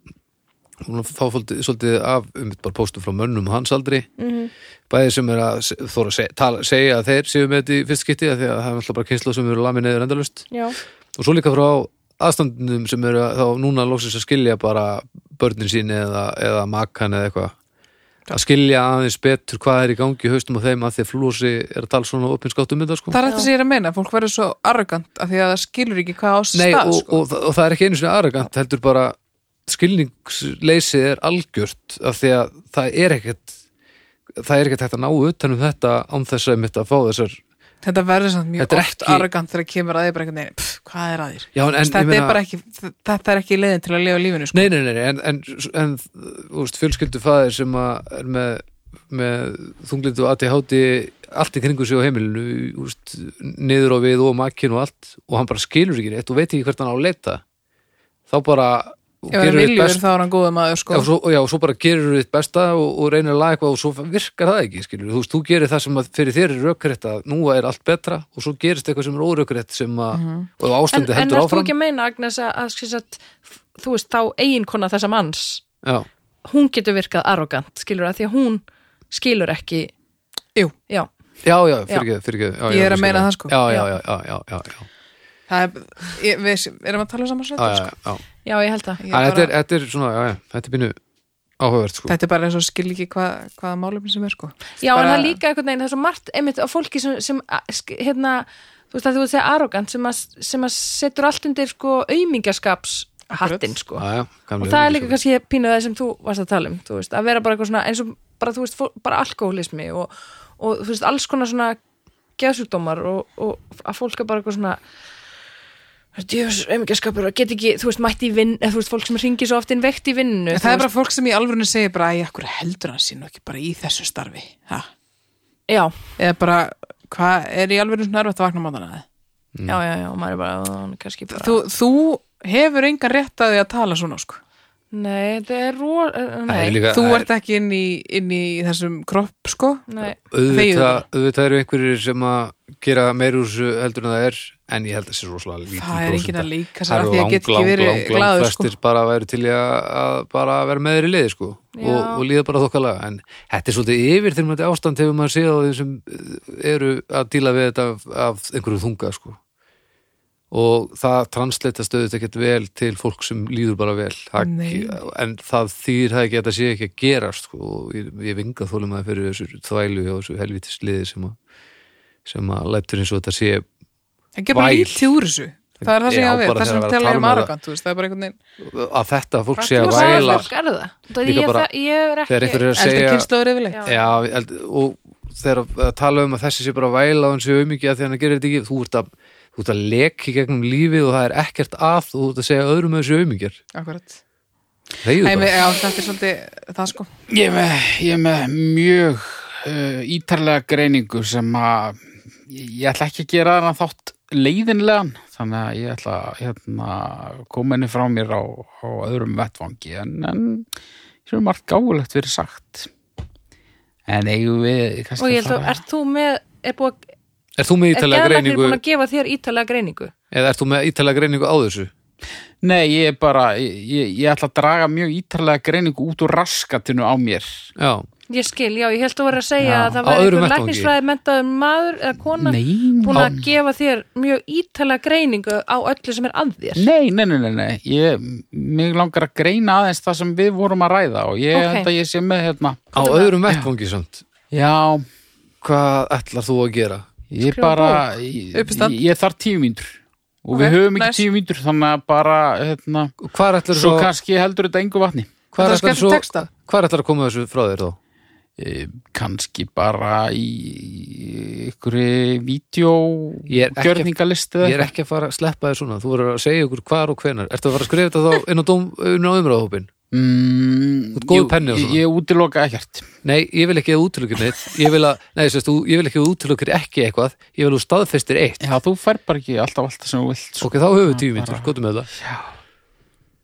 Speaker 2: það hún fá svolítið, svolítið af um bara póstum frá mönnum á hans aldri
Speaker 3: Mhm.
Speaker 2: bæði sem er að se- þóra að se- tala, segja að þeir séu með þetta í fyrst skipti af því að það er alltaf bara kynslu sem eru lamin eður endalust
Speaker 3: já,
Speaker 2: og svo líka frá aðstandunum sem eru að- þá núna loksins að skilja bara börnin sín eða, eða makan eða eitthvað að skilja aðeins betur hvað er í gangi í haustum á þeim að því að flósi er að tala svona opinskáttum um þetta sko
Speaker 1: Það er þetta sem ég er að meina, fólk verður svo arrogant af því að það skilur ekki hvað á sér
Speaker 2: Nei,
Speaker 1: stað
Speaker 2: og,
Speaker 1: sko.
Speaker 2: og, og, það er ekki einu sinni arrogant heldur bara skilningsleysið er algjört af því að það er ekkert það er ekkert hægt að ná utan um þetta án þess að mitt að fá þessar já,
Speaker 1: Þetta verður samt mjög
Speaker 2: Þetta er
Speaker 1: oft
Speaker 2: ekki-
Speaker 1: arrogant þegar kemur að þið bara einhvern veginn, pff, hvað er að þér?
Speaker 2: en, en
Speaker 1: þetta, er bara ekki, þetta er ekki leiðin til að lifa lífinu sko.
Speaker 2: Nei, nei, nei, nei, en, en, en úst, fjölskyldufæðir sem að er með, með þunglindu og ADHD allt í kringu sig á heimilinu úst, niður á við og makkin og allt og hann bara skilur ekki neitt og veit ekki hvert hann á að leita þá bara
Speaker 1: Ef það er
Speaker 2: gerir
Speaker 1: viljur þá er hann góða maður sko.
Speaker 2: Já, svo, já, svo bara gerir þitt besta og, og reynir að laga eitthvað og svo virkar það ekki, skilur. Þú veist, þú gerir það sem að fyrir þér er rökrétt að nú er allt betra og svo gerist eitthvað sem er órökrétt sem að, og
Speaker 3: En,
Speaker 2: ástandi
Speaker 3: en
Speaker 2: heldur
Speaker 3: ert þú
Speaker 2: áfram.
Speaker 3: ekki að meina, Agnes, að, að, skils að þú veist, þá eiginkona þessa manns
Speaker 2: Já,
Speaker 3: hún getur virkað arrogant, skilur það, því að hún skilur ekki
Speaker 1: Jú.
Speaker 3: Já,
Speaker 2: já, já, fyrir ekki, fyrir ekki. Já,
Speaker 1: Ég
Speaker 2: já,
Speaker 1: er að meina
Speaker 2: skilur.
Speaker 1: það, sko.
Speaker 2: Já, já, já, já, já, já, já,
Speaker 1: Það er, ég, við erum að tala um saman
Speaker 2: já,
Speaker 1: sveitar
Speaker 2: já,
Speaker 1: sko.
Speaker 2: já.
Speaker 3: já, ég held það
Speaker 1: Ég
Speaker 2: En þetta
Speaker 1: bara-
Speaker 2: er, þetta er svona, já, já, þetta er bínu áhugavert, sko.
Speaker 1: Þetta er bara eins og skil ekki hvað, hvaða málefni sem er sko.
Speaker 3: Já, en
Speaker 1: Bara-
Speaker 3: það er líka einhvern veginn, það er svo margt einmitt á fólki sem, sem a- sk- hérna, þú veist að þú veist segja arrogant sem að, sem að setur allt undir sko aumingaskaps hattinn sko
Speaker 2: Já, já, gamli
Speaker 3: og það er líka
Speaker 2: öryggis-
Speaker 3: kannski pínu það sem þú varst að tala um þú veist, að vera bara eitthvað svona eins og bara, þú veist, fó- bara alkoholismi og, og þú veist, alls konar svona geðsjúkdómar og, og að fólk er bara eitthvað svona djöfus, aumingaskapur og get ekki, þú veist, mætti í vinn eða þú veist, fólk sem ringir svo oft inn veikt í vinnu
Speaker 1: En
Speaker 3: þú
Speaker 1: það er
Speaker 3: veist,
Speaker 1: bara fólk sem í alvörinu segir bara að ég heldur hann sín og ekki bara í þessu starfi. Ha?
Speaker 3: já,
Speaker 1: Eða bara, hvað er í alvörinu svona erfitt að vakna mátana það?
Speaker 3: já, já, já, og maður er bara, "Ó, kannski bara
Speaker 1: Þú, þú hefur engan rétt að því að tala svona sko.
Speaker 3: Nei, það er ró... eh,
Speaker 2: Það er
Speaker 3: Nei,
Speaker 2: líka,
Speaker 1: Þú
Speaker 2: það er-
Speaker 1: ert ekki inn í, inn í þessum kropp sko.
Speaker 3: nei.
Speaker 2: auðvitað,
Speaker 1: þegiðu.
Speaker 2: auðvitað eru einhverjir sem að gera meir úr þessu heldur en það er en ég held að það sé rosalega lítið
Speaker 1: Það er enginn að líka sér
Speaker 2: það
Speaker 1: að
Speaker 2: eru
Speaker 1: því að
Speaker 2: lang,
Speaker 1: get ekki
Speaker 2: lang,
Speaker 1: verið
Speaker 2: lang, lang
Speaker 1: glaður sko.
Speaker 2: flestir bara væri til í að, að bara vera með þeir í liði sko og,
Speaker 3: Já.
Speaker 2: og líða bara þokkalega en þetta er svolítið yfir þegar maður ástand hefur maður séð á þeim sem eh, eru að díla við þetta af, af einhverju þunga sko og það transleita stöðut ekkert vel til fólk sem líður bara vel það,
Speaker 1: Nei.
Speaker 2: en það þýr það ekki að þetta sé ekki að gerast sko. og ég, ég vinga þólum að fyrir þessu þvælu og þessu helvitis liði sem að sem að lætur eins og þetta sé
Speaker 1: Það gerur bara
Speaker 2: Væl.
Speaker 1: lítið úr þessu Það er það
Speaker 2: Já,
Speaker 1: sem ég hafi,
Speaker 2: bara
Speaker 1: það sem
Speaker 2: þegar að
Speaker 1: tala
Speaker 2: tala
Speaker 1: um
Speaker 2: um
Speaker 1: arrogant þú veist, Það er bara einhvern veginn
Speaker 2: að þetta fólk sé
Speaker 3: Þú
Speaker 2: að
Speaker 3: sagði
Speaker 2: væla
Speaker 3: fólk er það. Það
Speaker 2: Líka
Speaker 3: ég,
Speaker 2: bara-
Speaker 3: það, ég er
Speaker 2: þegar
Speaker 3: ekki...
Speaker 2: einhver er að
Speaker 1: eldri
Speaker 2: segja
Speaker 1: kynsluður yfirleitt
Speaker 3: Já.
Speaker 2: Já, eld, og þegar að tala um að þessi sé bara að væla og hann sé auðmikið að því hann gerir þetta ekki þú ert að, þú ert að leki gegnum lífið og það er ekkert að og þú ert að segja öðrum að þessi auðmikið
Speaker 1: Akkurat
Speaker 2: þegar
Speaker 1: Heimi,
Speaker 2: bara,
Speaker 1: já, Þetta er svolítið það sko
Speaker 4: Ég er með, ég er með mjög uh, ítarlega greiningu sem að ég ég ætla ekki að gera þarna þátt leiðinlegan þannig að ég ætla að hérna, koma henni frá mér á, á öðrum vettvangi en, en ég er margt gáfulegt verið sagt en eigum við kannski
Speaker 3: Og ég held
Speaker 4: að
Speaker 3: að,
Speaker 4: fara-
Speaker 3: ert þú með... Er búið að...
Speaker 2: Er þú með
Speaker 3: Er
Speaker 2: ítalega
Speaker 3: geðlæknir
Speaker 2: greiningu
Speaker 3: búin að gefa þér ítalega greiningu?
Speaker 2: eða ert þú með ítalega greiningu á þessu?
Speaker 4: Nei, ég er bara, ég, ég, ég ætla að draga mjög ítarlega greiningu út úr raskatinu á mér
Speaker 2: Já,
Speaker 3: Ég skil, já, ég held að vera að segja
Speaker 4: Já.
Speaker 3: að það
Speaker 2: Á
Speaker 3: var
Speaker 2: öðrum
Speaker 3: einhver
Speaker 2: vettvangi.
Speaker 3: læknisfræði mentaður maður eða kona
Speaker 4: Nei,
Speaker 3: búin að
Speaker 4: á-
Speaker 3: gefa þér mjög ítalega greiningu á öllu sem er að þér
Speaker 4: Nei, nei, nei, nei, nei. Ég, mig langar að greina aðeins það sem við vorum að ræða og ég
Speaker 3: Ok.
Speaker 4: held að ég sé með hérna.
Speaker 2: á öðrum vettvangi samt
Speaker 4: Já,
Speaker 2: hvað ætlar þú að gera?
Speaker 4: ég
Speaker 3: Skrifa
Speaker 4: bara, ég,
Speaker 1: Uppistand.
Speaker 4: ég þarf tíu mínútur og
Speaker 1: Ok,
Speaker 4: við höfum ekki
Speaker 1: nice.
Speaker 4: tíu mínútur þannig að bara, hérna,
Speaker 2: Og Hvar ætlar
Speaker 4: svo
Speaker 2: svo,
Speaker 4: kannski heldur þetta engu vatni.
Speaker 2: hvar
Speaker 1: Þetta er
Speaker 2: ætlar
Speaker 1: skemmt
Speaker 2: svo
Speaker 1: texta.
Speaker 2: hvar ætlar að koma þessu frá þér þá?
Speaker 4: E, kannski bara í einhverju
Speaker 2: Ég er ekki-
Speaker 4: vídjógjörningalist
Speaker 2: Ég er ekki að fara að sleppa þér svona þú verður að segja ykkur hvar og hvenar Ertu að fara að skrifa þetta þá inn á, dóm, inn á umræðahópin?
Speaker 4: mm,
Speaker 2: Þú ert góður
Speaker 4: jú,
Speaker 2: penni og
Speaker 4: ég-
Speaker 2: svona.
Speaker 4: Ég útiloka ekkert.
Speaker 2: Nei, ég vil ekki að útlökir neitt ég vil, að, nei, sérst, þú, ég vil ekki að útlökir ekki eitthvað ég vil að þú staðfestir eitt
Speaker 4: Já, þú fær bara ekki alltaf allt sem þú vilt. Sko.
Speaker 2: Ok, þá höfum við tíu mínútur, gotum með það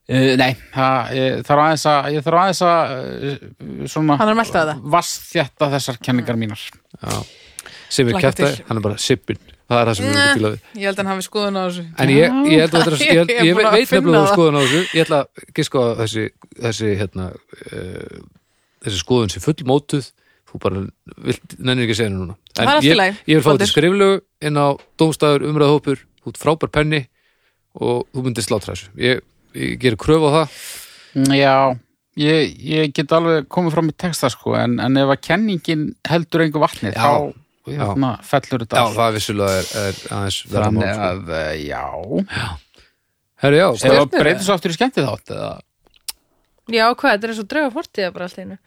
Speaker 4: Uh, nei, það, ég þarf aðeins að, ég þarf aðeins að uh, svona
Speaker 1: Hann er meltað það.
Speaker 4: vassþjætta þessar kenningar mínar.
Speaker 2: sem er
Speaker 1: Hlakka
Speaker 2: kæft
Speaker 1: til.
Speaker 2: hann er bara sippin það er það sem við erum að bíla við
Speaker 1: Ég held að hann hafi skoðun á þessu.
Speaker 2: en ég, ég, held að þetta er- ég, held-
Speaker 1: Ég er
Speaker 2: ég
Speaker 1: búin að
Speaker 2: veit
Speaker 1: finna
Speaker 2: nefnilega
Speaker 1: það.
Speaker 2: þú skoðun á þessu ég ætla að giska á þessi þessi, hérna, uh, þessi skoðun sem fullmótuð þú bara vilt, nennir ekki að segja henni núna
Speaker 1: Það er allt í
Speaker 2: ég,
Speaker 1: lagi,
Speaker 2: ég vil fá
Speaker 1: Baldur.
Speaker 2: þetta skriflegu inn á dómstæður umræðhópur, þú ert frábær penni og þú myndir slátra þessu ég, ég gerir kröfu á það
Speaker 4: Mm, Já, ég, ég get alveg komið fram í texta sko, en, en ef að kenningin heldur engu vatni,
Speaker 2: Já, já.
Speaker 4: þá hérna, fellur þetta
Speaker 2: Já,
Speaker 4: allt.
Speaker 2: það vissulega er, er aðeins verra mál,
Speaker 4: Þannig
Speaker 2: sko.
Speaker 4: að, uh, já,
Speaker 2: Herru, já,
Speaker 4: ef
Speaker 2: hvað-
Speaker 4: það breytir svo aftur í skemmti þátt, eða?
Speaker 3: Já, hvað, þetta er eins og drauga fortíða bara allt í einu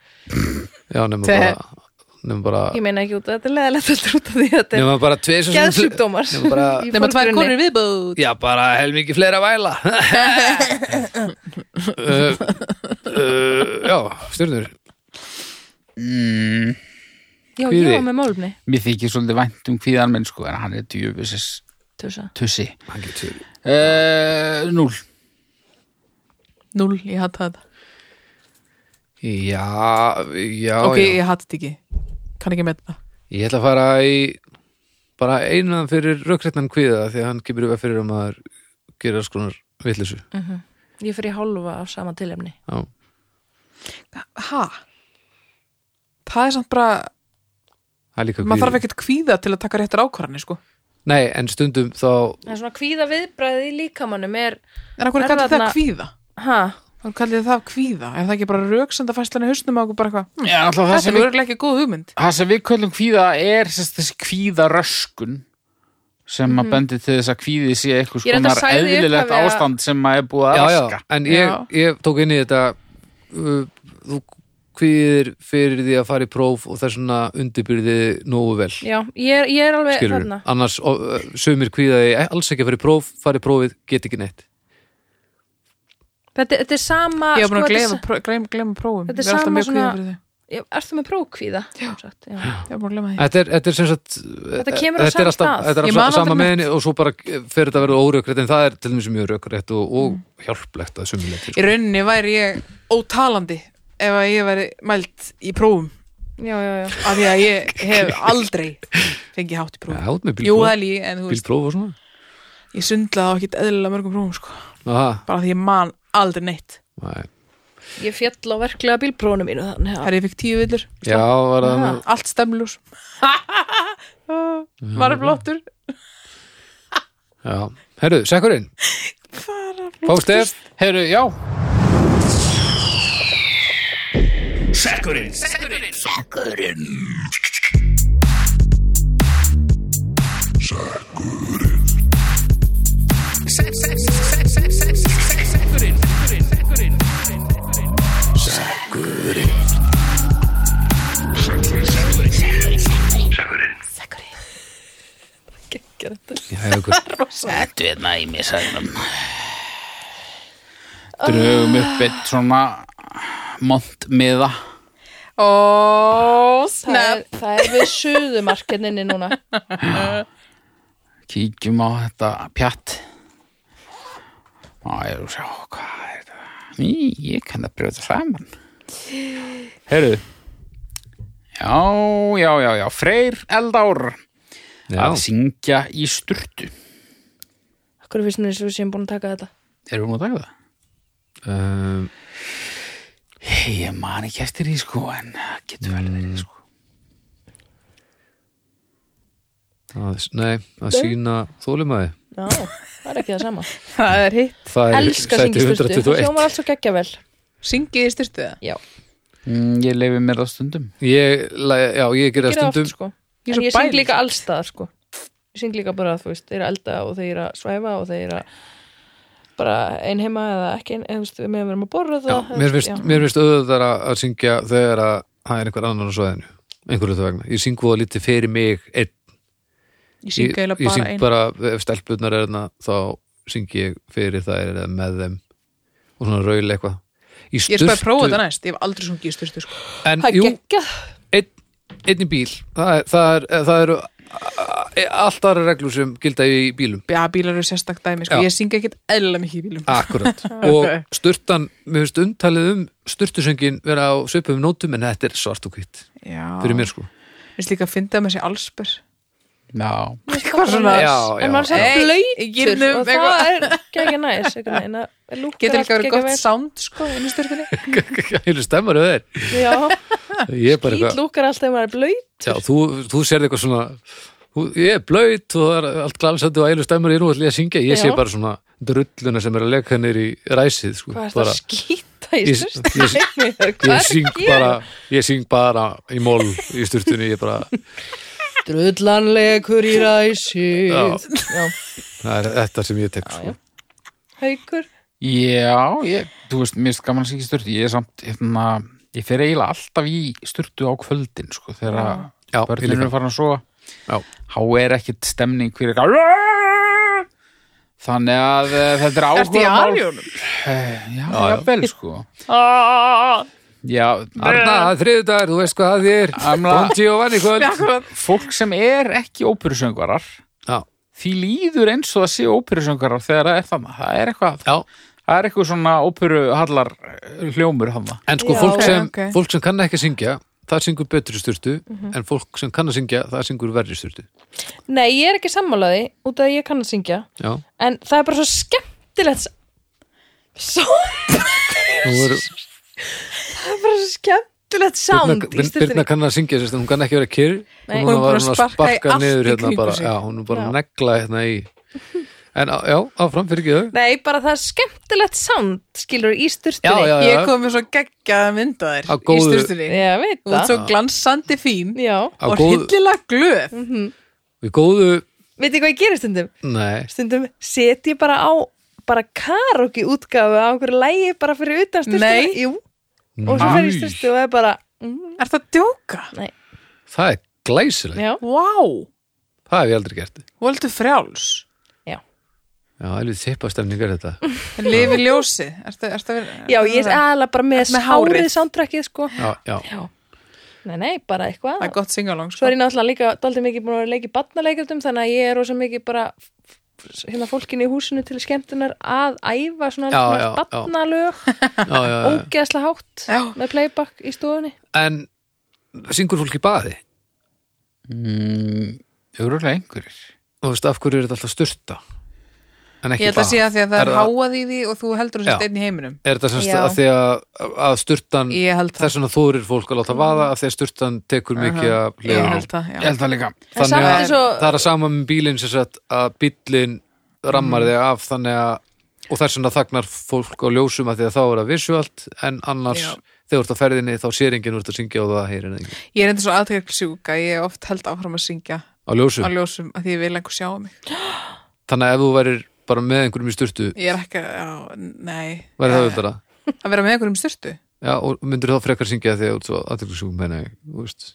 Speaker 2: já nefnum
Speaker 1: Þe-
Speaker 2: bara nefnum bara,
Speaker 3: Ég meina ekki út að þetta er leðalegt þetta er út af því að þetta er
Speaker 2: nefnum bara tveir sem
Speaker 3: geðsjúkdómar
Speaker 2: Nema bara-
Speaker 3: Í
Speaker 1: Nefna tvær
Speaker 3: fólksgrunni.
Speaker 1: konur í viðbúð.
Speaker 2: Já, bara helmingi fleira væla uh, uh, Já, stjörnur
Speaker 4: Mm,
Speaker 3: Já, ég
Speaker 2: Kvíði.
Speaker 3: var með málumni
Speaker 4: mér þykir svolítið vænt um hvíðan minn, sko, en hann er djöfisins
Speaker 3: Tussa.
Speaker 4: tussi.
Speaker 2: Hann getur
Speaker 4: Uh, núl.
Speaker 1: Null, ég hatt það.
Speaker 2: Já, já,
Speaker 1: ok,
Speaker 2: já
Speaker 1: ég hatt þetta ekki. Kann ekki með það.
Speaker 2: Ég ætla að fara í bara einan fyrir rökkrætnan kviða því að hann kemur upp fyrir að maður gera skonar vitleysu
Speaker 3: Ég fer í hálfa af sama tilefni
Speaker 2: Já,
Speaker 1: Ha? Það er samt bara,
Speaker 2: það er líka
Speaker 1: maður þarf
Speaker 2: kvíði
Speaker 1: ekkert kvíða til að taka réttar ákvarðanir, sko.
Speaker 2: Nei, en stundum þá
Speaker 3: Það er svona kvíða viðbræði í líkamannum er
Speaker 1: En af hverju
Speaker 3: Er
Speaker 1: kallir það
Speaker 3: þarna-
Speaker 1: kvíða?
Speaker 3: Ha?
Speaker 1: Hvað kallir það kvíða? Er það ekki bara röksendafæslan í hausnum á okkur bara eitthvað?
Speaker 4: Já, alltaf það
Speaker 1: Hm. Þetta
Speaker 4: sem
Speaker 1: er
Speaker 4: við
Speaker 1: örgulega ekki góð hugmynd.
Speaker 4: það sem við köllum kvíða er sérst, þessi kvíðaröskun sem að bendi til þess að kvíði sé eitthvað
Speaker 3: Mhm. Ég er enda
Speaker 4: skonar
Speaker 3: sagði í
Speaker 4: eðlilegt
Speaker 3: upphafi að-
Speaker 4: ástand sem maður er búið að
Speaker 2: já,
Speaker 4: raska
Speaker 2: já, en ég,
Speaker 1: Já.
Speaker 2: ég tók inn í þetta uh, þú kvíðir fyrir því að fara í próf og þess vegna undirbyrði nógu vel
Speaker 3: Já, ég er, ég er alveg
Speaker 2: skilur,
Speaker 3: Eh, þarna
Speaker 2: annars ó, ö, sumir kvíðaði alls ekki að fara í próf, fara í prófið get ekki neitt
Speaker 3: Þetta, þetta er sama
Speaker 1: Ég hef búin að
Speaker 3: sko, þetta er
Speaker 1: gleyma, pró- gleyma, gleyma prófum.
Speaker 3: Þetta er
Speaker 1: Ég alltaf
Speaker 3: sama
Speaker 1: mjög kvíðin
Speaker 3: svona-
Speaker 1: fyrir þau.
Speaker 3: Já, Ertu með prófkvíða? Já. Sagt, já.
Speaker 1: Ég hef búin að gleyma því.
Speaker 2: þetta er, þetta er sem sagt eh,
Speaker 3: Þetta kemur á
Speaker 2: þetta er
Speaker 3: sama
Speaker 2: alltaf,
Speaker 3: stað.
Speaker 2: þetta er
Speaker 1: Ég
Speaker 2: alltaf
Speaker 1: man aldrei
Speaker 2: sama
Speaker 1: neitt.
Speaker 2: meðinni og svo bara fyrir þetta að vera órökrétt en það er til dæmis mjög rökrétt og, og
Speaker 3: Mm.
Speaker 2: hjálplegt að sko. sumuleiti
Speaker 1: Í rauninni væri ég ótalandi ef að ég væri mælt í prófum
Speaker 3: já, já, já
Speaker 1: af því að ég hef aldrei fengið hátt í prófum.
Speaker 2: hát með
Speaker 1: Jú, það
Speaker 2: bílpróf,
Speaker 1: er lígi, en þú veist,
Speaker 2: bílpróf og svona
Speaker 1: ég sundlaði á ekkit eðlilega mörgum prófum, sko.
Speaker 2: Aha,
Speaker 1: Bara því ég man aldrei neitt.
Speaker 2: nei.
Speaker 3: Ég fjall á verklega bílprófunu mínu þannig að
Speaker 1: Herra, ég fekk tíu villur,
Speaker 2: já, var það nú-
Speaker 1: allt stemljús. Var er blottur?
Speaker 2: já, herru, sekkurinn fástef
Speaker 4: Heru, já,
Speaker 5: Sækurinn Sækurinn Sækurinn Sækurinn Sækurinn
Speaker 3: geggja þetta
Speaker 2: Já, ykkur.
Speaker 4: þetta er næmi særum drögum upp eitt svona montmiða
Speaker 1: Ó,
Speaker 3: Það er,
Speaker 1: snap.
Speaker 3: það er við suðumarkinninni núna
Speaker 4: kíkjum á þetta pjatt og ég sjá hvað er þetta Í, ég kann að brjóta saman Heru Já, já, já, já Freyr Eldár
Speaker 2: Já.
Speaker 4: að syngja í sturtu
Speaker 3: Akkur finnst mér eins og við séum búin að taka þetta
Speaker 4: Erum við búin að taka það?
Speaker 2: Um,
Speaker 4: ég man ekki eftir því sko en það getur vel
Speaker 2: Mm.
Speaker 4: verið sko
Speaker 2: að, nei, að sína þólimaði
Speaker 3: Já, það er ekki það sama
Speaker 1: Það er hitt.
Speaker 2: það er
Speaker 3: Elskar
Speaker 2: sæti
Speaker 3: syngistyrtu, það
Speaker 2: 121
Speaker 3: sjómar alls og geggja vel
Speaker 1: Syngið í styrstu það.
Speaker 3: Já,
Speaker 4: mm, ég leifi mér það stundum
Speaker 2: ég, la- já, ég gerði
Speaker 3: gera
Speaker 2: það
Speaker 3: oft
Speaker 2: stundum
Speaker 3: sko
Speaker 1: Ég er
Speaker 3: En
Speaker 1: svo
Speaker 3: ég syng
Speaker 1: bæði.
Speaker 3: líka allstaðar sko Ég syng líka bara, þú veist, þeir eru að elda og þeir eru að svæfa og þeir eru að bara einheima eða ekki ein, eða, þú veist, meðan við erum að borða
Speaker 2: já,
Speaker 3: það
Speaker 2: mér finnst- mér finnst auðvitað að, að syngja þegar að það er einhver annan á svoðinu einhverju það vegna, ég syng voða lítið fyrir mig einn,
Speaker 1: Ég
Speaker 2: ég,
Speaker 1: syng eiginlega
Speaker 2: ég
Speaker 1: bara
Speaker 2: syng
Speaker 1: einu.
Speaker 2: bara ef stelpurnar er þarna, þá syng ég fyrir þær eða með þeim og svona raul eitthvað Í
Speaker 1: Ég er spæði að prófa
Speaker 2: sturtu-
Speaker 1: þetta næst. Ég hef aldrei sungið í styrstu sko.
Speaker 2: en,
Speaker 3: Það
Speaker 2: jú,
Speaker 3: geggja
Speaker 2: einn, einn í bíl það, er, það, er, það eru allt aðra reglur sem gilda í bílum
Speaker 1: Já, bílar eru sérstak dæmi sko.
Speaker 2: Já.
Speaker 1: Ég syng ekkit eðlilega mikið í bílum.
Speaker 2: akkurat og sturtan, mér finnst umtalið um sturtusöngin vera á söpum nótum en þetta er svart og hvitt
Speaker 1: Já.
Speaker 2: fyrir mér sko
Speaker 1: Mér finnst líka að finna með sér allsber.
Speaker 4: já,
Speaker 3: Hvað
Speaker 1: svona-
Speaker 2: Já, já,
Speaker 3: En maður er
Speaker 1: já.
Speaker 3: samt
Speaker 2: um
Speaker 1: Hey, girnum,
Speaker 3: blöytur sko. og það er geggja næs einhvern veginn að- að lúkkar
Speaker 1: Getur
Speaker 3: allt
Speaker 1: líka verið
Speaker 3: geggja
Speaker 1: gott
Speaker 3: vel.
Speaker 1: sound sko inn í styrkunni.
Speaker 2: heilu stemmar auðvitað
Speaker 3: Já,
Speaker 2: er ég er bara
Speaker 3: ít
Speaker 2: eitthvað
Speaker 3: lúkkar alltaf maður er blöyt
Speaker 2: já, þú, þú sérð eitthvað svona þú- ég er blöyt og það er allt glansandi og heilu stemmar ég er nú allir að syngja ég sé
Speaker 3: Já.
Speaker 2: bara svona drulluna sem er að leka henni í ræsið sko
Speaker 3: Hvað er það
Speaker 2: bara,
Speaker 3: að skýta í
Speaker 2: Ég-
Speaker 3: styrstu?
Speaker 2: ég- ég
Speaker 3: Hvað er
Speaker 2: syng bara ég syng bara í mól í sturtunni ég bara
Speaker 3: Drullanlegur í ræsi
Speaker 2: Já.
Speaker 3: Já,
Speaker 2: Það er þetta sem ég tek sko.
Speaker 3: haukur
Speaker 4: Já, ég, þú veist, mér finnst gaman að syngja í sturtu Ég er samt, hérna, ég fer eiginlega alltaf í sturtu á kvöldin, sko Þegar
Speaker 2: Já, ég
Speaker 4: börnir
Speaker 2: líka.
Speaker 4: eru farin að sofa
Speaker 2: Já.
Speaker 4: Há er ekkit stemning fyrir eitthvað Þannig að eh, þetta er
Speaker 1: Ertu í
Speaker 4: áhuga
Speaker 1: arjónum?
Speaker 4: Já, jafnvel, sko Já,
Speaker 2: Arna, þriðdagar, þú veist hvað það er
Speaker 4: Amla.
Speaker 2: Bondi og vann í kvöld
Speaker 1: Akkurat.
Speaker 4: fólk sem er ekki óperusöngvarar
Speaker 2: Já,
Speaker 4: Því líður eins og það sé óperusöngvarar þegar það er þannig Það er eitthvað,
Speaker 2: já.
Speaker 4: það er eitthvað svona óperuhallar eh, hljómur hann
Speaker 2: En sko
Speaker 3: Já,
Speaker 2: fólk,
Speaker 1: ok,
Speaker 2: sem,
Speaker 1: ok. Mhm.
Speaker 2: fólk sem kann ekki að syngja það syngur betri sturtu en fólk sem kann að syngja, það syngur verri sturtu
Speaker 3: Nei, ég er ekki sammálaði út af að ég kann að syngja
Speaker 2: Já,
Speaker 3: En það er bara svo skemmtilegt Svo
Speaker 2: nú er
Speaker 3: bara svo skemmtilegt sound í
Speaker 2: Birna, Birna
Speaker 3: styrtunni
Speaker 2: kann að syngja sérst, en hún kann ekki að vera kyrr og
Speaker 3: Nei.
Speaker 2: núna
Speaker 1: Hún
Speaker 2: var
Speaker 1: er búin að
Speaker 2: hún að
Speaker 1: sparka í
Speaker 2: sparka
Speaker 1: allt í
Speaker 2: niður hérna
Speaker 1: kringum
Speaker 2: bara,
Speaker 1: sig.
Speaker 2: já, hún er bara
Speaker 3: Já.
Speaker 2: að negla hérna í En á- já, áfram fyrir ekki þau
Speaker 3: Nei, bara það er skemmtilegt sound skilur í styrtunni
Speaker 2: Já, já.
Speaker 1: Ég kom með svo geggjaða mynd á þér
Speaker 2: Á
Speaker 1: í
Speaker 2: góðu-
Speaker 1: styrstunni.
Speaker 3: Ég veit
Speaker 1: Þú ert
Speaker 3: það
Speaker 1: svo glansandi fín
Speaker 3: Já,
Speaker 2: Á
Speaker 1: og
Speaker 2: góðu-
Speaker 1: hryllilega glöð.
Speaker 2: Við góðu,
Speaker 3: veit ég hvað ég gerir stundum?
Speaker 2: nei
Speaker 3: Stundum set ég bara á bara karaoke útgáfu á einhverju lægi bara fyrir utan styrtunni
Speaker 1: Nei.
Speaker 3: Jú, og svo fyrir styrstu og það er bara mm,
Speaker 1: Er það að djóka?
Speaker 3: Nei,
Speaker 2: Það er glæsilegt,
Speaker 3: já,
Speaker 1: Vá, wow.
Speaker 2: það hef ég aldrei gert
Speaker 1: voldu frjáls.
Speaker 3: já
Speaker 2: Já, alveg þippastemningar þetta
Speaker 1: Lifi ljósið. Ertu, ertu að vera...
Speaker 3: Já, ég Ah. er aðalega bara með,
Speaker 1: Með hárið.
Speaker 3: hárið soundtrackið sko
Speaker 2: Já, já,
Speaker 3: Nei, nei, bara eitthvað
Speaker 1: Það er gott singalong,
Speaker 3: Svo
Speaker 1: sko.
Speaker 3: er ég náttúrulega líka daldið mikið búin að vera að leika í badnaleikjöldum þannig að ég er rosa mikið bara f- f- hérna fólkinu í húsinu til skemmtunar að æfa svona
Speaker 2: Já,
Speaker 3: alls
Speaker 2: já, já.
Speaker 3: konar badnalög
Speaker 2: já, já, já.
Speaker 3: ógeðslega hátt
Speaker 1: Já.
Speaker 3: með playback í stofunni
Speaker 2: En syngur fólk í baði?
Speaker 4: Mm, Örulega einhverjir
Speaker 2: Þú veist, af hverju er þetta alltaf styrta? En
Speaker 1: Ég
Speaker 2: ekki
Speaker 1: held að sé að því að það
Speaker 2: Er
Speaker 1: er
Speaker 2: það-
Speaker 1: háað í því og þú heldur þess
Speaker 2: Já. Mm.
Speaker 1: að einn í heiminum.
Speaker 2: Er þetta semst
Speaker 3: Já.
Speaker 2: að því að, að styrtan
Speaker 1: Ég held það.
Speaker 2: þess vegna þórir fólk að láta vaða af því að styrtan tekur mikið af
Speaker 1: Ég
Speaker 2: leður.
Speaker 1: held það,
Speaker 4: Ég
Speaker 1: já.
Speaker 4: held það líka
Speaker 3: samt
Speaker 2: Þannig að
Speaker 3: er svo-
Speaker 2: það er að sama með bílinn sem sagt að bíllinn
Speaker 1: Mm.
Speaker 2: rammar þig af þannig að og þess vegna þagnar fólk á ljósum að því að þá er það visuált en annars
Speaker 1: Já.
Speaker 2: þegar þú ert á ferðinni þá sér enginn úr þetta að syngja og það heyrir enginn.
Speaker 1: Ég er enda svo aðteglisjúka, ég hef oft held áfram að syngja
Speaker 2: Á ljósum.
Speaker 1: á ljósum að því ég vil einhver sjá mig.
Speaker 2: Þannig að ef þú værir bara með einhverjum í styrtu,
Speaker 1: Ég er ekki, já, nei.
Speaker 2: væri það auðvitað
Speaker 1: Að vera með einhverjum styrtu.
Speaker 2: Já, og myndir þá frekar syngja þegar þú ert svo aðtöklusjúkum henni, þú veist.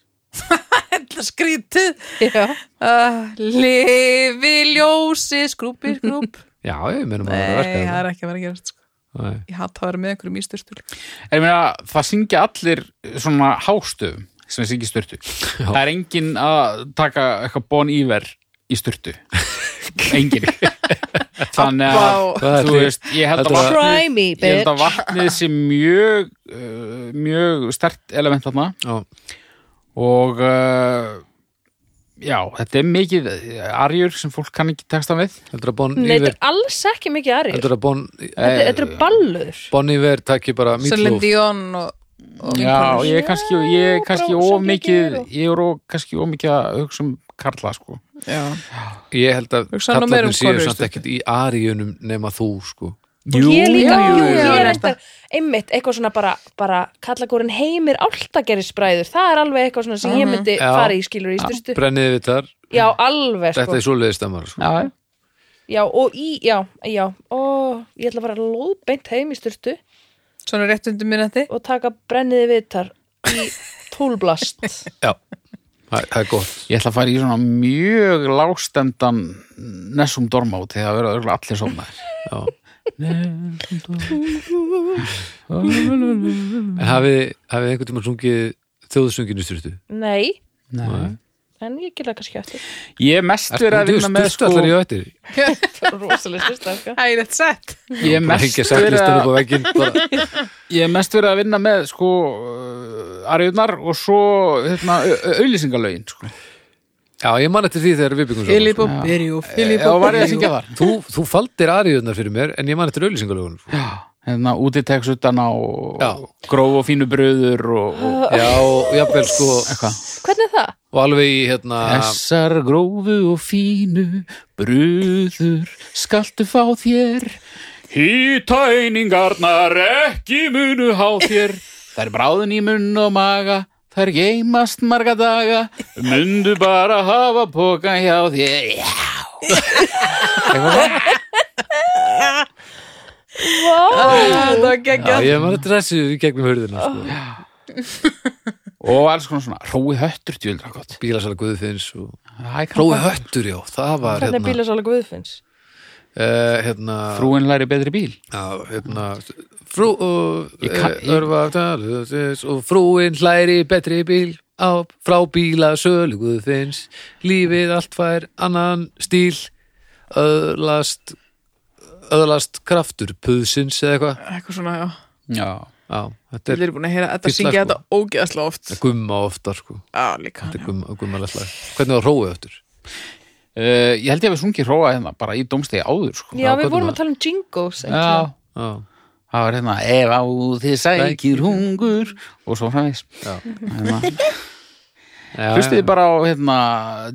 Speaker 1: Hella skrítið.
Speaker 3: Já,
Speaker 1: Uh, lifi ljósi, skrúpi, skrúp.
Speaker 2: Já, ég meina maður er að hérna.
Speaker 1: nei, það
Speaker 2: verka
Speaker 1: er ekki að vera að gerast, sko.
Speaker 2: þetta. Nei.
Speaker 1: Ég hatt að vera með einhverjum í styrtu. líka.
Speaker 4: En ég meina, það syngja allir svona hástöfum sem syngja í styrtu Það er enginn að taka eitthvað Bon Iver í styrtu Enginn Þannig
Speaker 1: Vá.
Speaker 2: Það
Speaker 4: að,
Speaker 2: er
Speaker 4: þú
Speaker 2: því-
Speaker 4: veist, ég held að
Speaker 2: Þetta var-
Speaker 4: vatnið
Speaker 3: try me
Speaker 4: Ég held
Speaker 3: bitch
Speaker 4: að vatnið sé mjög uh, mjög stert element þarna
Speaker 2: Já,
Speaker 4: og uh, já, þetta er mikið eh, arjur sem fólk kann ekki texta við
Speaker 2: heldur að Bon
Speaker 3: Nei,
Speaker 2: Iver,
Speaker 3: þetta er alls ekki mikið aðri
Speaker 2: heldur að Bon,
Speaker 3: Þetta þetta er ballur
Speaker 2: bon Iver takki bara
Speaker 1: Celine
Speaker 2: mýtlóf.
Speaker 1: Dion og
Speaker 3: og
Speaker 4: Já, ég er kannski, ég er kannski
Speaker 3: Já,
Speaker 4: of
Speaker 3: sorgleikir
Speaker 4: mikið,
Speaker 3: og-
Speaker 4: ég er of, kannski of mikið að hugsa um karla, sko.
Speaker 1: já.
Speaker 2: Ég held að
Speaker 1: Hugsaðu nú meira um
Speaker 2: kallarnir séu
Speaker 1: konur,
Speaker 2: samt
Speaker 1: stundum.
Speaker 2: ekkit í aríunum nema þú, sko.
Speaker 3: og ég líka,
Speaker 1: jú,
Speaker 3: jú,
Speaker 1: jú,
Speaker 3: ég
Speaker 1: jú,
Speaker 3: er
Speaker 1: jú.
Speaker 3: reyndar einmitt, eitthvað svona bara, bara kallagórin heimir áltagerisbræður, það er alveg eitthvað svona sem ég myndi
Speaker 2: Já.
Speaker 3: fara í skilur í styrstu,
Speaker 2: Brenniði við þar,
Speaker 3: já, alveg
Speaker 2: þetta
Speaker 3: sko,
Speaker 2: er svoleiðist stammar, sko.
Speaker 4: Já,
Speaker 3: já, og í, já, já og ég ætla að fara lóðbeint heim í styrstu
Speaker 1: svona rétt undir minnati
Speaker 3: og taka brenniði vitar í tólblast
Speaker 2: Já, það það er gott.
Speaker 4: Ég ætla að fara í svona mjög lágstemdan Nessum Dormá til það verða örugglega allir sofnaðir.
Speaker 2: Já. En hafið hafið einhvern tímann sungið þjóðsönginu styrtu?
Speaker 3: nei,
Speaker 4: Nei.
Speaker 3: en ég gila kannski eftir
Speaker 4: Ég er mest verið að vinna með sko,
Speaker 2: allar í öttir?
Speaker 3: það er rosalega styrsta sko.
Speaker 1: hægilegt sett
Speaker 4: ég er
Speaker 2: Bara
Speaker 4: mest
Speaker 2: hengja
Speaker 4: verið
Speaker 2: sætlistan
Speaker 4: að
Speaker 2: upp á vegginn bara.
Speaker 4: ég er mest verið að vinna með sko uh, ariðnar og svo hérna, auðlýsingalögin sko.
Speaker 2: Já, ég man eftir því þegar við byggum saman. sko.
Speaker 1: Filip og Byrjú Filip
Speaker 4: og
Speaker 1: og
Speaker 4: var ég
Speaker 1: Byrjú
Speaker 4: að syngja þar
Speaker 2: Þú, þú faldir ariðunar fyrir mér en ég man eftir sko. auðlýsingalögun
Speaker 4: hérna úti tekst utan á
Speaker 2: Já.
Speaker 4: gróf og fínu bröður og, og
Speaker 2: Já, og jafnvel sko
Speaker 3: hvernig er það?
Speaker 2: og alveg í hérna
Speaker 4: Þessar grófu og fínu brúður skaltu fá þér Hýtæningarnar ekki munu há þér Þær bráðun í munn og maga Þær geimast marga daga Mundu bara hafa póka hjá þér Já,
Speaker 1: það var
Speaker 2: Já,
Speaker 1: geggjað
Speaker 2: ég man eftir þessu í gegnum hurðina sko.
Speaker 4: Og alls konar svona Rói höttur djúldra gott
Speaker 2: Bílasala Guðfinns og
Speaker 4: Æ,
Speaker 2: Rói Höttur, já, það var
Speaker 3: hvernig er
Speaker 2: hérna,
Speaker 3: bílasála Guðfinns?
Speaker 2: uh, hérna
Speaker 4: Frúin læri betri bíl
Speaker 2: Já, hérna Frú uh, og
Speaker 4: Ég kann- ég-
Speaker 2: örfa talus og frúin hlæri betri bíl á, frá bíla sölu Guðfinns lífið allt fær annan stíl öðlast öðlast kraftur puðsins eða eitthvað
Speaker 1: eitthvað svona já
Speaker 4: Já
Speaker 2: Já, þetta
Speaker 1: Við
Speaker 2: er
Speaker 1: erum búin að heyra þetta
Speaker 2: Fylla,
Speaker 1: syngja
Speaker 2: sko.
Speaker 1: þetta ógeðslega oft
Speaker 2: gumma oftar sko
Speaker 1: Já, líka
Speaker 2: Þetta er gumma, gumma lag Hvernig var róið öftur?
Speaker 4: Uh, ég held ég að við sungi róa hérna bara í domstegi áður sko.
Speaker 3: já,
Speaker 2: Já,
Speaker 3: við
Speaker 2: gott
Speaker 3: vorum
Speaker 2: um
Speaker 3: að tala um jingos
Speaker 4: Já,
Speaker 2: Já,
Speaker 4: Það var hérna, ef á þið sækir hungur og svo framvegis.
Speaker 2: Já.
Speaker 4: Hérna,
Speaker 2: já
Speaker 4: Hlustið
Speaker 2: já.
Speaker 4: bara á hérna,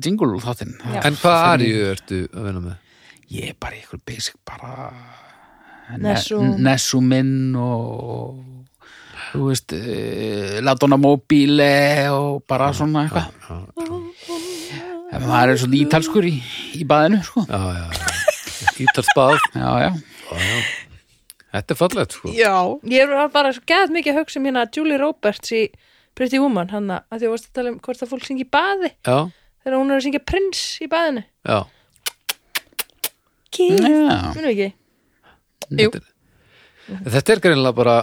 Speaker 4: jingle þáttinn.
Speaker 3: Já.
Speaker 2: En hvað ariðu ertu að vinna með?
Speaker 4: Ég er bara í ykkur basic bara
Speaker 3: Nessum.
Speaker 4: Nessuminn og þú veist, uh, Latona Mobile og bara svona eitthvað. En maður er svona ítalskur í, í baðinu, sko.
Speaker 2: Já, já, já Ítalsbað
Speaker 4: Já, já.
Speaker 2: Þetta er fallegt sko
Speaker 1: Já,
Speaker 3: Ég var bara svo gæð mikið að hugsa um hérna Julie Roberts í Pretty Woman hann að því að varst að tala um hvort að fólk syngi í baði
Speaker 2: Já,
Speaker 3: þegar hún er að syngja prins í baðinu
Speaker 2: já
Speaker 3: Kýr,
Speaker 4: Já,
Speaker 3: minnum ekki
Speaker 1: Jú.
Speaker 2: Þetta er- Þetta er greinilega bara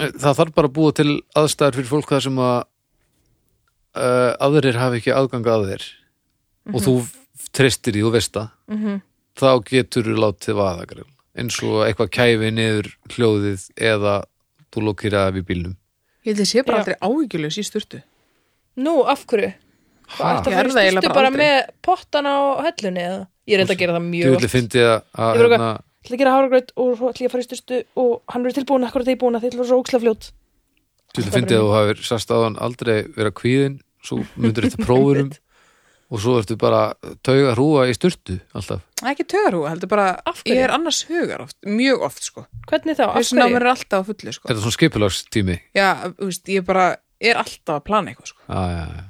Speaker 2: eh, Það þarf bara að búa til aðstæður fyrir fólk það sem að uh, aðrir hafi ekki aðganga að þér
Speaker 3: Mhm.
Speaker 2: og þú treystir því og veist það þá getur þú látið vaða greinilega eins og eitthvað kæfi niður hljóðið eða þú lókir af í bílnum
Speaker 1: ég held ég sé bara
Speaker 3: Já.
Speaker 1: aldrei áhyggjulegs í sturtu
Speaker 3: Nú, af hverju? Það
Speaker 1: Ég er
Speaker 3: fyrir
Speaker 1: það eiginlega
Speaker 3: styrstu
Speaker 1: bara
Speaker 3: bara
Speaker 1: aldrei.
Speaker 3: með pottan á hellunni eða? Ég reynda að gera það
Speaker 2: Ég
Speaker 3: mjög
Speaker 2: vil fyndi að, að
Speaker 3: Ég vil
Speaker 2: hérna,
Speaker 3: ætla að gera háragröð og svo ætla ég að fara í styrstu og hann verður tilbúin akkur að það er búin að þeir eru svo ókslega fljót
Speaker 2: Til að fyndi að þú hafir sast áðan aldrei vera kvíðin, svo myndur þetta prófurum og svo ertu bara tauga hrúa í sturtu alltaf.
Speaker 1: Ekki tögarhú, heldur bara
Speaker 3: Af hverju?
Speaker 1: Ég er annars hugar oft, mjög oft sko
Speaker 3: Hvernig þá? Af
Speaker 1: Þessi námur
Speaker 3: hverju?
Speaker 1: er alltaf á fullu sko
Speaker 2: Þetta er svona skipulagstími.
Speaker 1: Já, þú veist, ég bara er alltaf að plana eitthvað sko
Speaker 2: Já, já, já.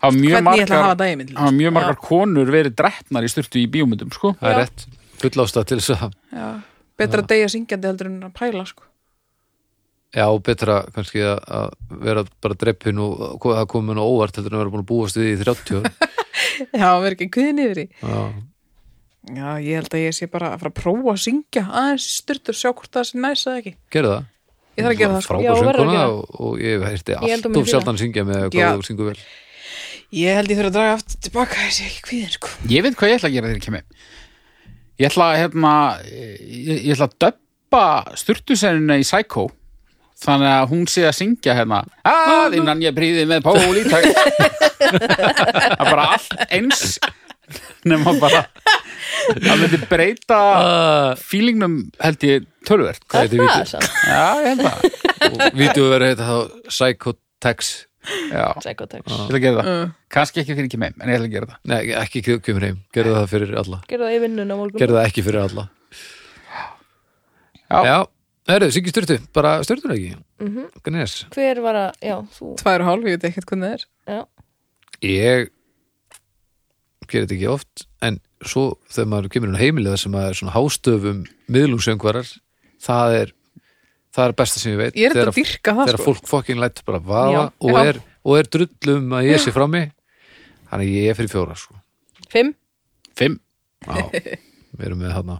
Speaker 4: það var mjög
Speaker 1: Hvernig ég ætla að hafa
Speaker 4: margar,
Speaker 1: daginn minn
Speaker 4: það var mjög margar konur verið drefnar í styrtu í bíómyndum, sko.
Speaker 2: Það er
Speaker 3: Já.
Speaker 2: rétt. Full ástæða til þess að,
Speaker 1: Betra að deyja syngjandi heldur en að pæla sko
Speaker 2: já, betra kannski að, að vera bara dreppin og og það komin á óvart heldur en að vera búin að búast við því í 30 ár.
Speaker 1: Já, verður ekki kviðin yfir í
Speaker 2: Já,
Speaker 1: Já, ég held að ég sé bara að fara að prófa að syngja aðeins í sturtu og sjá hvort það sé næs eða ekki
Speaker 2: gerðu það.
Speaker 1: Ég þarf að gera það sko
Speaker 3: Já,
Speaker 2: Frábær
Speaker 3: verður að
Speaker 2: sönguna
Speaker 3: gera það.
Speaker 2: og, og ég heyrti
Speaker 3: Ég held að hún
Speaker 2: alltof
Speaker 3: myndi
Speaker 2: sjaldan syngja með
Speaker 1: Já.
Speaker 2: hvað þú syngur vel.
Speaker 1: Ég held ég þurfa að draga aftur tilbaka þessi ekki kviðin sko
Speaker 4: Ég veit hvað ég ætla að gera þegar ég kem heim Ég ætla að hérna, ég, ég ætla að döppa styrtusennina í Psycho þannig að hún sé að syngja hérna að innan ég príði með pól í tæk það er bara allt eins nema bara það myndi breyta feelingnum held ég tölvert
Speaker 2: Hvað heitir
Speaker 3: Það
Speaker 2: vítið?
Speaker 3: er samt.
Speaker 4: já, ég held að
Speaker 2: og vídeo verið heita þá Psychotex
Speaker 4: Já,
Speaker 3: Psychotex
Speaker 4: ég ætla að gera
Speaker 3: Mm.
Speaker 4: það. Kannski ekki fyrir ekki meim, en ég ætla að gera það.
Speaker 2: Nei, ekki kemur heim, gerðu það fyrir alla
Speaker 3: Gerðu það í vinnun á morgun
Speaker 2: Gerðu það ekki fyrir alla
Speaker 4: Já.
Speaker 2: Já, herru, Siggi Sturtu bara Sturtur ekki
Speaker 1: Mhm.
Speaker 2: Hvernig er þess?
Speaker 3: Hver var að, já, þú
Speaker 1: Tvær og hálf, ég veit ekkert hvernig það er
Speaker 3: já.
Speaker 2: Ég gerir þetta ekki oft en svo þegar maður kemur inn á heimilið þar sem maður er svona hástöfum miðlungsöngvarar, það er það er besta sem ég veit
Speaker 1: Ég er þetta
Speaker 2: Þegar-
Speaker 1: að dyrka það
Speaker 2: þegar
Speaker 1: sko
Speaker 2: fólk fokkin lætur bara vaða
Speaker 1: Já.
Speaker 2: og,
Speaker 1: Já.
Speaker 2: Er, og er drullum að ég sé frá mig þannig að ég er fyrir fjóra sko.
Speaker 3: Fimm
Speaker 4: Fimm.
Speaker 2: Já, við erum með hana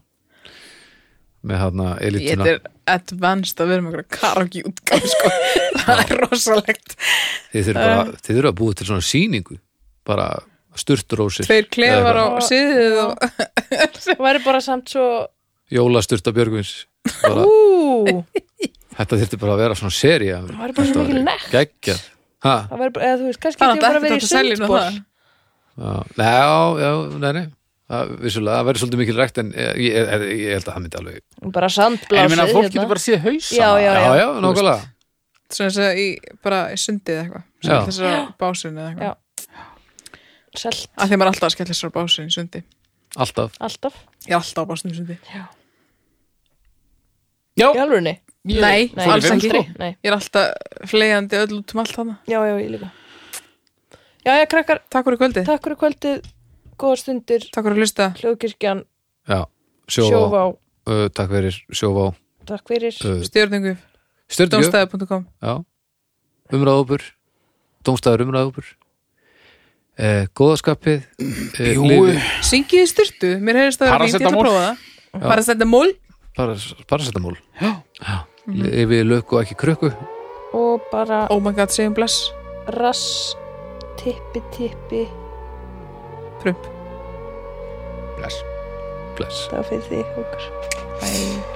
Speaker 2: með hana
Speaker 1: Ég
Speaker 2: elituna
Speaker 1: er advanced að vera með einhverja karaoke útgáð sko Það er rosalegt
Speaker 2: þið þurfum
Speaker 3: Um.
Speaker 2: bara, þið þurfum að búa til svona sýningu bara sturtrósir
Speaker 1: Tveir klefar
Speaker 2: Eða
Speaker 1: á
Speaker 2: eitthvað.
Speaker 1: siðið og
Speaker 3: Það væri bara samt svo
Speaker 2: jólasturta Björgvins bara,
Speaker 3: Ú,
Speaker 2: þetta þyrfti bara að vera svona seria það
Speaker 3: væri bara svo mikil nekt.
Speaker 2: geggja ha,
Speaker 3: það væri bara, eða þú veist, kannski
Speaker 1: Það
Speaker 3: getur
Speaker 1: er
Speaker 3: bara
Speaker 1: ekki
Speaker 3: verið
Speaker 1: þetta
Speaker 3: í
Speaker 1: sælinu
Speaker 3: sundból
Speaker 1: það
Speaker 2: já, nei, já, já, nei, nei það, vissulega, það verður svolítið mikil rækt en eh, ég, ég, ég, ég held að það myndi alveg
Speaker 3: Bara hérna.
Speaker 4: En ég
Speaker 3: sandblásið
Speaker 4: meina að fólk getur bara séð haus
Speaker 3: Já, já,
Speaker 2: já, já, nákvæmlega
Speaker 1: Svona þess að í, bara í sundið eða eitthvað
Speaker 2: Já.
Speaker 1: Svona þess að básinu eða
Speaker 3: Já.
Speaker 1: eitthvað
Speaker 3: Selt,
Speaker 1: Af því að maður er alltaf að skella sér á básinu í sundi
Speaker 2: alltaf
Speaker 3: alltaf
Speaker 1: Ég er alltaf á básinu í sundi
Speaker 4: Já,
Speaker 3: Í alvörunni?
Speaker 4: Ég-
Speaker 1: Nei,
Speaker 3: Nei,
Speaker 1: alls
Speaker 4: Fór í
Speaker 1: ekki
Speaker 4: vinnu,
Speaker 3: aldrei. Nei,
Speaker 1: Ég er alltaf fleigjandi öll út um allt hana
Speaker 3: já, já, ég líka Já, já, krakkar,
Speaker 1: Takk fyrir kvöldið,
Speaker 3: takk fyrir kvöldið Góða stundir,
Speaker 1: takk fyrir að hlusta
Speaker 3: hljóðkirkjan
Speaker 2: já, sjóvá,
Speaker 3: Sjóvá,
Speaker 2: Uh, takk fyrir sjóvá
Speaker 3: takk fyrir
Speaker 2: uh,
Speaker 1: Stjörningu,
Speaker 2: stjórnum
Speaker 1: domstæði.com
Speaker 2: Já, umræðupur Dómstæður umræðupur eh, Góðaskapið eh,
Speaker 4: Jú.
Speaker 2: lifið-
Speaker 1: Syngið í styrtu, mér heyrðist það vera fínt, ég ætla að prófa það Paracetamol
Speaker 2: paras- Parasetamól Já, Yfir löku og ekki krökku
Speaker 3: Og bara
Speaker 1: Oh my god, segjum bless
Speaker 3: rass Tippi, tippi
Speaker 1: Prump
Speaker 4: Bless.
Speaker 2: Bless
Speaker 3: Það var fyrir því okkur
Speaker 1: Bye